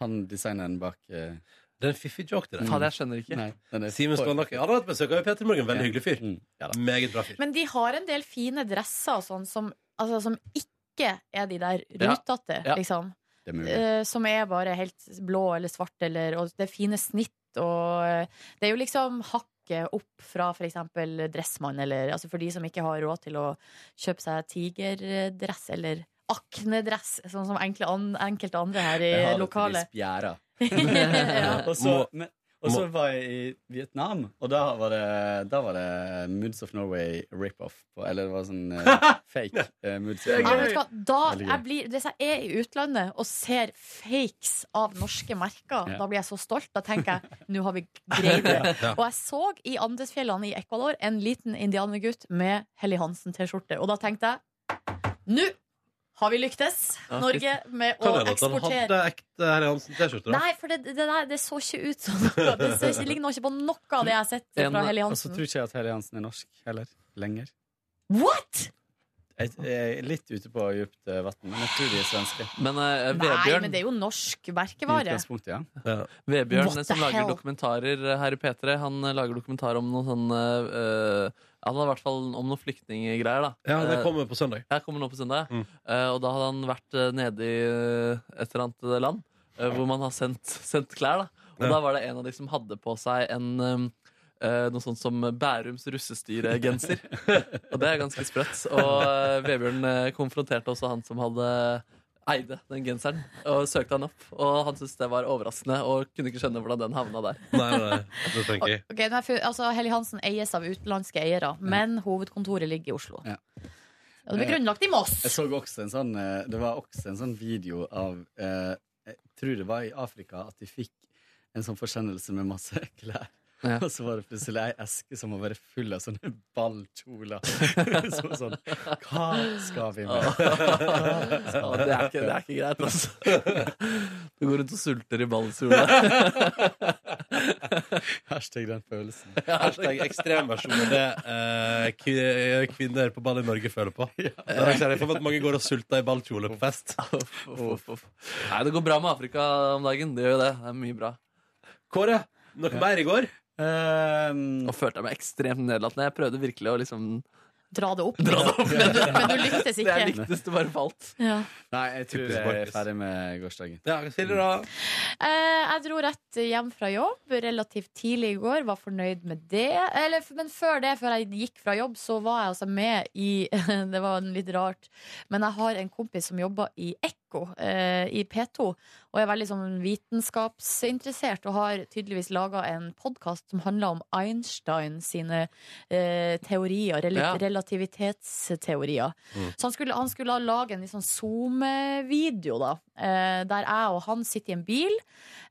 Speaker 10: Han designeren bak eh,
Speaker 1: Det er en fiffig joke, det der.
Speaker 3: Faen, jeg skjønner ikke.
Speaker 10: Nei, den er
Speaker 1: Simen
Speaker 10: for-
Speaker 1: Stålnakke. Ja, Han har hatt besøk av Peter Morgen. Veldig hyggelig fyr.
Speaker 10: Mm, ja da.
Speaker 1: Meget bra fyr.
Speaker 2: Men de har en del fine dresser og sånn som, altså, som ikke er de der
Speaker 3: Ja.
Speaker 2: rutete,
Speaker 3: Ja.
Speaker 2: liksom.
Speaker 10: Det er mulig.
Speaker 2: Eh, som er bare helt blå eller svart, eller, og det er fine snitt, og eh, det er jo liksom hakket opp fra for eksempel dressmann, eller altså for de som ikke har råd til å kjøpe seg tigerdress, eller aknedress, sånn som enkle an, enkelte andre her i
Speaker 10: Jeg har det til de
Speaker 2: lokalet.
Speaker 10: spjæra.
Speaker 2: ja.
Speaker 10: Og så-
Speaker 1: Må-
Speaker 10: men- Og så var jeg i Vietnam, og da var det, da var det Moods of Norway rip-off. på- Eller det var sånn eh, fake eh, Moods of
Speaker 2: Ja,
Speaker 10: Norway.
Speaker 2: vet du hva? Da
Speaker 10: Veldig gøy.
Speaker 2: jeg blir, hvis jeg er i utlandet og ser fakes av norske merker,
Speaker 10: Ja.
Speaker 2: da blir jeg så stolt. Da tenker jeg nå har vi greid det.
Speaker 1: Ja.
Speaker 2: Og jeg så i Andesfjellene i Ecuador en liten indianergutt med Helly Hansen-T-skjorte. Og da tenkte jeg nå har vi lyktes,
Speaker 3: Ja,
Speaker 2: Norge, med
Speaker 1: Kan
Speaker 2: å
Speaker 1: hende at han
Speaker 2: eksportere.
Speaker 1: hadde ekte Herre Hansen-T-skjorte. da.
Speaker 2: Nei, for det, det der det så ikke ut sånn. Det, så, det ligner ikke på noe av det jeg har sett
Speaker 3: En-
Speaker 2: fra Helly
Speaker 10: Og
Speaker 4: altså,
Speaker 10: så tror
Speaker 2: Hansen.
Speaker 10: ikke jeg at Helly Hansen er norsk heller. Lenger.
Speaker 2: What?!
Speaker 10: Jeg, jeg er litt ute på dypt eh, vann, men jeg tror de er svenske.
Speaker 3: Men eh,
Speaker 2: Nei,
Speaker 3: Vebjørn
Speaker 2: men det er jo norsk
Speaker 10: I
Speaker 2: merkevare.
Speaker 10: utgangspunktet, ja.
Speaker 3: Vebjørn eh,
Speaker 2: What the
Speaker 3: som lager
Speaker 2: hell?
Speaker 3: dokumentarer her i P3, han eh, lager dokumentar om noen sånn eh, Han hadde i hvert fall om noen flyktninggreier, da.
Speaker 1: Ja, det
Speaker 3: Eh,
Speaker 1: kommer på søndag.
Speaker 3: Jeg kommer nå på søndag.
Speaker 1: Mm.
Speaker 3: Eh, og da hadde han vært eh, nede i eh, et eller annet land eh, hvor man har sendt, sendt klær. da Og
Speaker 1: Ja.
Speaker 3: da var det en av de som hadde på seg en um, eh, noe sånt som Bærums russestyregenser. og det er ganske sprøtt. Og eh, Vebjørn eh, konfronterte også han som hadde eide den genseren, og søkte han opp. Og han syntes det var overraskende, og kunne ikke skjønne hvordan den havna der.
Speaker 1: Nei, nei, nei. Det tenker jeg.
Speaker 2: Ok, nei, for, altså, Helly Hansen eies av utenlandske eiere, men hovedkontoret ligger i Oslo.
Speaker 10: Ja.
Speaker 2: Og det ble grunnlagt i Moss!
Speaker 10: Jeg så også en sånn eh, Det var også en sånn video av eh, Jeg tror det var i Afrika at de fikk en sånn forsendelse med masse klær.
Speaker 3: Ja.
Speaker 10: Og så var det plutselig ei eske som var bare full av sånne ballkjoler. så var det sånn Hva skal vi med?
Speaker 3: Ja, det, er ikke, det er ikke greit, altså. Du går rundt og sulter i ballsola.
Speaker 10: Hashtag den følelsen.
Speaker 1: Hashtag ekstremversjon av det eh, kvi- kvinner på ball i Norge føler på. Det er ikke jeg for at mange går og sulter i ballkjole på fest.
Speaker 3: Uff, uff, uff. Nei, det går bra med Afrika om dagen. Det gjør jo det. Det er mye bra.
Speaker 1: Kåre, noe mer i går?
Speaker 10: Ehm,
Speaker 3: Nå følte jeg meg ekstremt nedlatende. Jeg prøvde virkelig å liksom
Speaker 2: Dra det opp.
Speaker 3: dra det opp.
Speaker 2: Men, du, men du lyktes
Speaker 3: Det
Speaker 2: ikke.
Speaker 3: jeg likte, det bare falt.
Speaker 2: Ja.
Speaker 10: nei, jeg tror
Speaker 1: Typisk
Speaker 10: jeg er
Speaker 1: Markus.
Speaker 10: ferdig med gårsdagen.
Speaker 1: Ja, Silje, da?
Speaker 2: Eh, jeg dro rett hjem fra jobb relativt tidlig i går, var fornøyd med det. Eller, f- men før det, før jeg gikk fra jobb, så var jeg altså med i Det var litt rart, men jeg har en kompis som jobber i Ekko eh, i P2, og er veldig sånn vitenskapsinteressert, og har tydeligvis laga en podkast som handler om Einstein sine eh, teorier, rel
Speaker 3: Ja. Mm.
Speaker 2: relativitetsteorier. Så han skulle, han skulle da lage en litt sånn Zoom-video, da. Eh, der jeg og han sitter i en bil,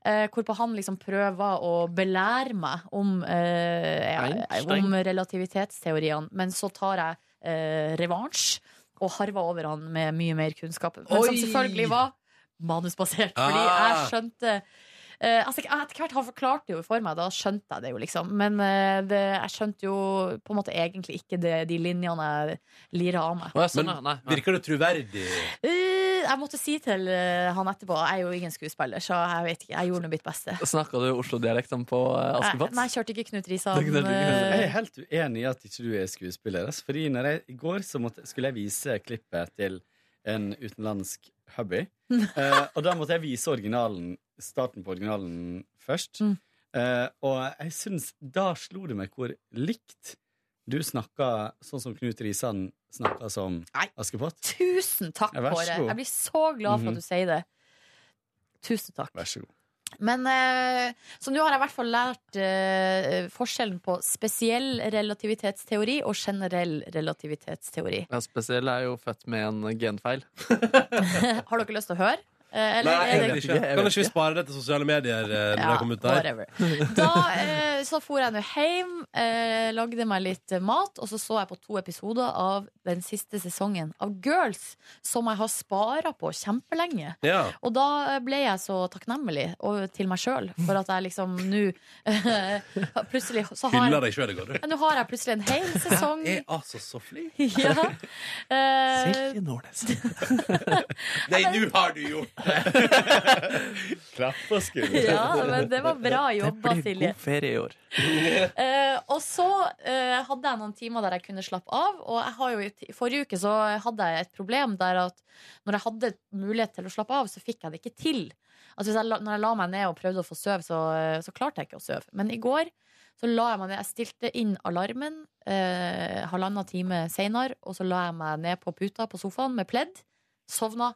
Speaker 2: eh, hvorpå han liksom prøver å belære meg om, eh, ja,
Speaker 3: Einstein.
Speaker 2: om relativitetsteoriene. Men så tar jeg eh, revansj og harver over han med mye mer kunnskap. Men som
Speaker 1: Oi!
Speaker 2: selvfølgelig var manusbasert, fordi jeg
Speaker 1: Ah.
Speaker 2: skjønte eh, altså, jeg- Etter hvert han forklarte jo for meg, da skjønte jeg det jo, liksom. Men eh, det, jeg skjønte jo på en måte egentlig ikke det, de linjene jeg lirer av meg.
Speaker 3: Å, jeg, sånn,
Speaker 1: Men
Speaker 3: ja. nei, nei.
Speaker 1: Virker du troverdig?
Speaker 2: Eh, jeg måtte si til eh, han etterpå Jeg er jo ingen skuespiller, så jeg vet ikke. Jeg gjorde nå mitt beste.
Speaker 3: Snakka du Oslo-dialekt om på eh,
Speaker 2: Jeg,
Speaker 3: Askepott?
Speaker 2: nei, jeg kjørte ikke Knut
Speaker 3: Det er
Speaker 2: Risan.
Speaker 3: ikke det, det er ikke
Speaker 10: Jeg
Speaker 2: eh,
Speaker 10: er helt uenig i at ikke du er skuespiller. Altså. Fordi når jeg, I går så måtte, skulle jeg vise klippet til en utenlandsk hubby. Eh, og da måtte jeg vise originalen, starten på originalen først.
Speaker 2: Mm.
Speaker 10: Eh, og jeg syns da slo det meg hvor likt du snakka sånn som Knut Risan snakka som
Speaker 2: Nei.
Speaker 10: Askepott.
Speaker 2: Tusen takk,
Speaker 10: Ja, vær så
Speaker 2: Kåre.
Speaker 10: god. Mhm.
Speaker 2: Jeg blir så glad for at du sier det. Tusen takk.
Speaker 10: Vær så god.
Speaker 2: Men eh, Så nå har jeg i hvert fall lært eh, forskjellen på spesiell relativitetsteori og generell relativitetsteori.
Speaker 3: Ja, spesiell er jo født med en genfeil.
Speaker 2: Har dere lyst til å høre? Eh, Eller
Speaker 1: Nei, jeg
Speaker 2: er det
Speaker 1: vet ikke. Kan ikke vi spare det til sosiale medier? eh, Når
Speaker 2: Ja,
Speaker 1: det kommer ut der?
Speaker 2: whatever. Da eh, så for jeg nå hjem, eh, lagde meg litt eh, mat, og så så jeg på to episoder av den siste sesongen av Girls, som jeg har spara på kjempelenge.
Speaker 1: Ja.
Speaker 2: Og da eh, ble jeg så takknemlig og, til meg sjøl for at jeg liksom nå eh, Plutselig så har
Speaker 1: Hyller
Speaker 2: jeg,
Speaker 1: deg sjøl i går, du.
Speaker 2: Ja, nå har jeg plutselig en hel sesong.
Speaker 1: Jeg er altså så flink.
Speaker 2: Ja. Eh,
Speaker 1: Nei, nå har du gjort
Speaker 10: Klapp på skulderen.
Speaker 2: ja, men det var bra jobba, Silje.
Speaker 3: ferie i år.
Speaker 2: Eh, og så eh, hadde jeg noen timer der jeg kunne slappe av. Og jeg har jo, i t- i forrige uke så hadde jeg et problem der at når jeg hadde mulighet til å slappe av, så fikk jeg det ikke til. Altså hvis jeg, la- Når jeg la meg ned og prøvde å få sove, så, eh, så klarte jeg ikke å sove. Men i går så la jeg meg ned. Jeg stilte inn alarmen eh, halvannen time seinere, og så la jeg meg ned på puta på sofaen med pledd. Sovna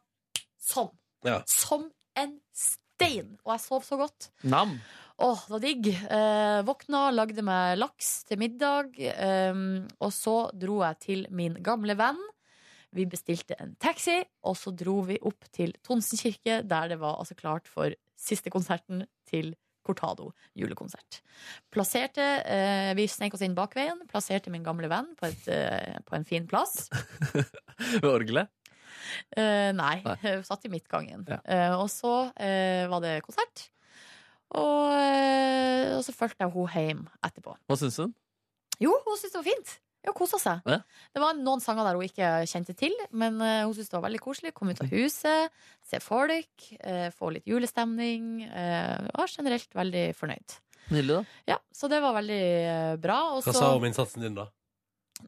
Speaker 2: sånn.
Speaker 1: Ja.
Speaker 2: Som en stein. Og jeg sov så godt.
Speaker 3: Nam.
Speaker 2: Åh, det var digg. Eh, våkna, lagde meg laks til middag. eh, og så dro jeg til min gamle venn. Vi bestilte en taxi, og så dro vi opp til Tonsen kirke, der det var altså klart for siste konserten til Cortado julekonsert. Plasserte, eh, Vi snek oss inn bakveien, plasserte min gamle venn på, et, eh, på en fin plass.
Speaker 3: Ved orgelet.
Speaker 2: Eh, nei,
Speaker 3: Nei.
Speaker 2: jeg satt i midtgangen.
Speaker 3: Ja.
Speaker 2: Eh, og så eh, var det konsert. Og, eh, og så fulgte jeg henne hjem etterpå.
Speaker 3: Hva syns hun?
Speaker 2: Jo, hun syntes det var fint. Ja, Hun kosa seg.
Speaker 3: Ja.
Speaker 2: Det var noen sanger der hun ikke kjente til, men eh, hun syntes det var veldig koselig. Kom ut av huset, se folk, eh, få litt julestemning. eh, var generelt veldig fornøyd.
Speaker 3: Nydelig, da.
Speaker 2: Ja, Så det var veldig eh, bra. Og
Speaker 1: Hva
Speaker 2: så-
Speaker 1: sa hun om innsatsen din, da?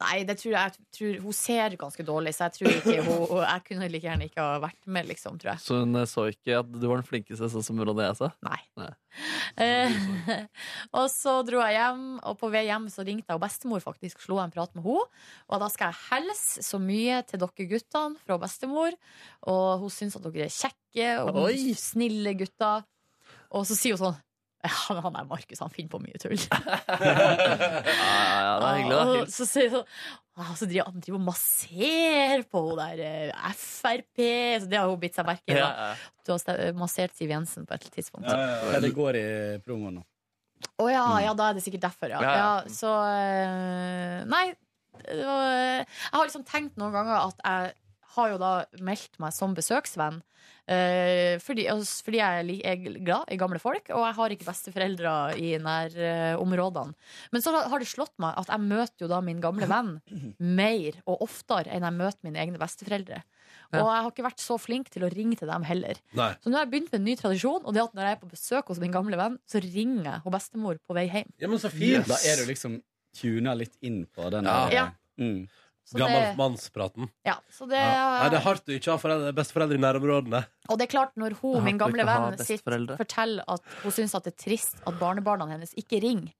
Speaker 2: Nei, det tror jeg, jeg tror, hun ser ganske dårlig, så jeg tror ikke hun Jeg kunne like gjerne ikke ha vært med, liksom, tror jeg.
Speaker 3: Så hun eh, så ikke at du var den flinkeste, sånn som Ronny og jeg sa?
Speaker 2: Nei.
Speaker 3: Nei.
Speaker 2: Eh, og så dro jeg hjem, og på vei hjem så ringte jeg og bestemor faktisk, slo jeg en prat med henne. Og da skal jeg helse så mye til dere guttene fra bestemor. Og hun syns at dere er kjekke og
Speaker 3: Oi.
Speaker 2: snille gutter. Og så sier hun sånn ja, men han der Markus han finner på mye tull.
Speaker 3: Ja, ja, ja, det er hyggelig, da.
Speaker 2: Og så sier hun «Ah, så driver han driver og masserer på hun der eh, Frp. Så det har hun bitt seg merke i.
Speaker 3: Ja,
Speaker 2: da.
Speaker 3: ja.
Speaker 2: Du har ste- massert Siv Jensen på et tidspunkt.
Speaker 10: Ja, det går i promoen nå.
Speaker 2: Å ja, ja, da er det sikkert derfor, ja.
Speaker 3: Mm. Ja,
Speaker 2: ja,
Speaker 3: ja.
Speaker 2: så eh, Nei. det var, eh, Jeg har liksom tenkt noen ganger at jeg har jo da meldt meg som besøksvenn. eh, fordi, altså, fordi jeg er li- er glad i gamle folk, og jeg har ikke besteforeldre i nærområdene. Men så har det slått meg at jeg møter jo da min gamle venn mer og oftere enn jeg møter mine egne besteforeldre. Og jeg har ikke vært så flink til å ringe til dem heller.
Speaker 1: Nei.
Speaker 2: Så nå har jeg begynt med en ny tradisjon, og det er at når jeg er på besøk hos min gamle venn, så ringer jeg og bestemor på vei hjem.
Speaker 1: Ja, men så fint!
Speaker 10: Da er du liksom tuna litt inn på den
Speaker 1: Ja.
Speaker 10: der-
Speaker 2: Ja.
Speaker 10: Mm.
Speaker 2: Så det,
Speaker 1: Gammelmannspraten.
Speaker 2: ja, så det,
Speaker 1: Ja. Nei, det er hardt å ikke ha foreldre, besteforeldre i nærområdene.
Speaker 2: og det er klart, når hun,
Speaker 3: Det er
Speaker 2: min
Speaker 3: hardt å
Speaker 2: gamle
Speaker 3: ikke ha
Speaker 2: venn, sitter,
Speaker 3: besteforeldre.
Speaker 2: forteller at hun syns at det er trist at barnebarna hennes ikke ringer,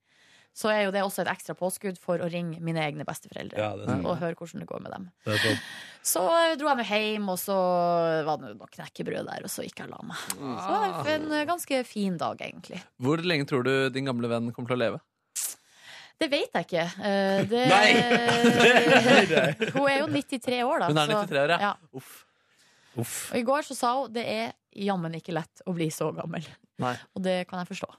Speaker 2: så er jo det også et ekstra påskudd for å ringe mine egne besteforeldre.
Speaker 1: Ja, Mm. det er sant.
Speaker 2: Og høre hvordan det går med dem.
Speaker 1: Det er sant.
Speaker 2: Så eh, dro jeg med hjem, og så var det noe knekkebrød der, og så gikk jeg og la meg. Så det var en eh, ganske fin dag, egentlig.
Speaker 3: Hvor lenge tror du din gamle venn kommer til å leve?
Speaker 2: Det vet jeg ikke. Eh, Det,
Speaker 1: Nei!
Speaker 2: hun er jo 93 år, da.
Speaker 3: Hun er
Speaker 2: så-
Speaker 3: 93 år, ja.
Speaker 2: Ja.
Speaker 3: Uff.
Speaker 1: Uff.
Speaker 2: Og i går så sa hun det er jammen ikke lett å bli så gammel.
Speaker 3: Nei.
Speaker 2: Og det kan jeg forstå.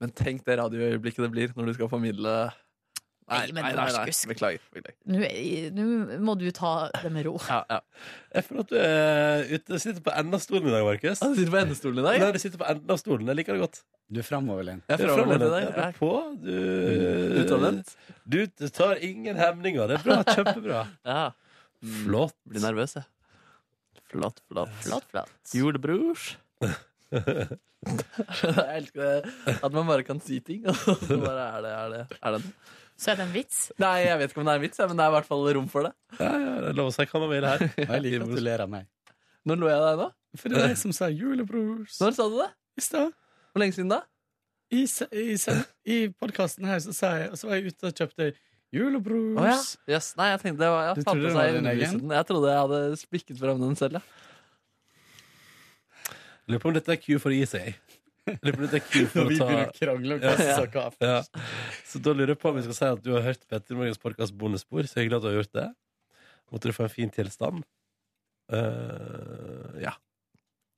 Speaker 3: Men tenk det radioøyeblikket det blir når du skal formidle
Speaker 2: Nei, men Markus.
Speaker 3: Beklager. beklager.
Speaker 2: Nå er- nå må du ta det med ro.
Speaker 3: Ja, ja.
Speaker 1: Jeg føler at du er ute, sitter på enden av stolen i dag, Markus.
Speaker 3: Ah, du sitter på endestolen i dag?
Speaker 1: Nei, du sitter på enden av stolen. Jeg liker det godt.
Speaker 10: Du er Mm. framoverlent.
Speaker 3: Jeg
Speaker 1: Du er
Speaker 3: er framoverlent i
Speaker 1: framoverlent.
Speaker 3: dag.
Speaker 1: Ja,
Speaker 3: Jeg
Speaker 1: Du er på.
Speaker 3: er
Speaker 1: Du,
Speaker 3: Utadvendt.
Speaker 1: du, du tar ingen hemninger. Det er bra. Kjempebra.
Speaker 3: Ja.
Speaker 10: Mm.
Speaker 1: Flott.
Speaker 3: Blir nervøs, jeg. Flott, flott, flott.
Speaker 2: Flott, flott.
Speaker 3: Julebrors. jeg elsker det. At man bare kan si ting, og så bare er det, er det, er det.
Speaker 2: Så er det en vits.
Speaker 3: Nei, jeg vet ikke om det er en vits, jeg, men det er i hvert fall rom for det.
Speaker 1: Ja, ja, det er lov å si hva man vil her.
Speaker 10: Og jeg liker at du ler av meg.
Speaker 3: Når lo jeg av deg nå?
Speaker 10: For det var jeg som sa 'julebrors'
Speaker 3: Når sa du det?
Speaker 10: i stad.
Speaker 3: Hvor lenge siden da?
Speaker 10: I, se- i, se- i podkasten her så sa jeg Og så var jeg ute og kjøpte 'julebrors'.
Speaker 3: Å ja. Yes. Nei, jeg tenkte det var ja,
Speaker 10: Du
Speaker 3: faen
Speaker 10: trodde
Speaker 3: på
Speaker 10: det
Speaker 3: seg
Speaker 10: var din
Speaker 3: undervise
Speaker 10: egen?
Speaker 3: den. Jeg trodde jeg hadde Eh, spikket fram den selv, ja.
Speaker 1: Lurer på om dette er Q for å gi seg. Lurer på om dette er Q
Speaker 10: Når
Speaker 1: for
Speaker 10: vi
Speaker 1: å ta
Speaker 10: begynner å krangle om hva som sa hva.
Speaker 1: ja. Så da lurer jeg på om vi skal si at du har hørt Petter Morgens podcast bonusspor. Så hyggelig at du har gjort det. Måtte du få en fin tilstand. Eh, ja.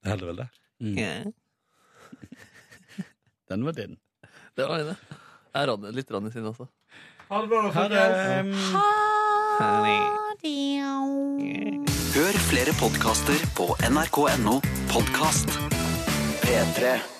Speaker 1: Det holder vel, det.
Speaker 10: Den var din.
Speaker 3: Det var det. Det er Ronny, litt Ronny sin også.
Speaker 1: Ha det bra, da,
Speaker 10: Ha det.
Speaker 1: folkens.
Speaker 11: Hør flere podkaster på nrk.no podkast. P3.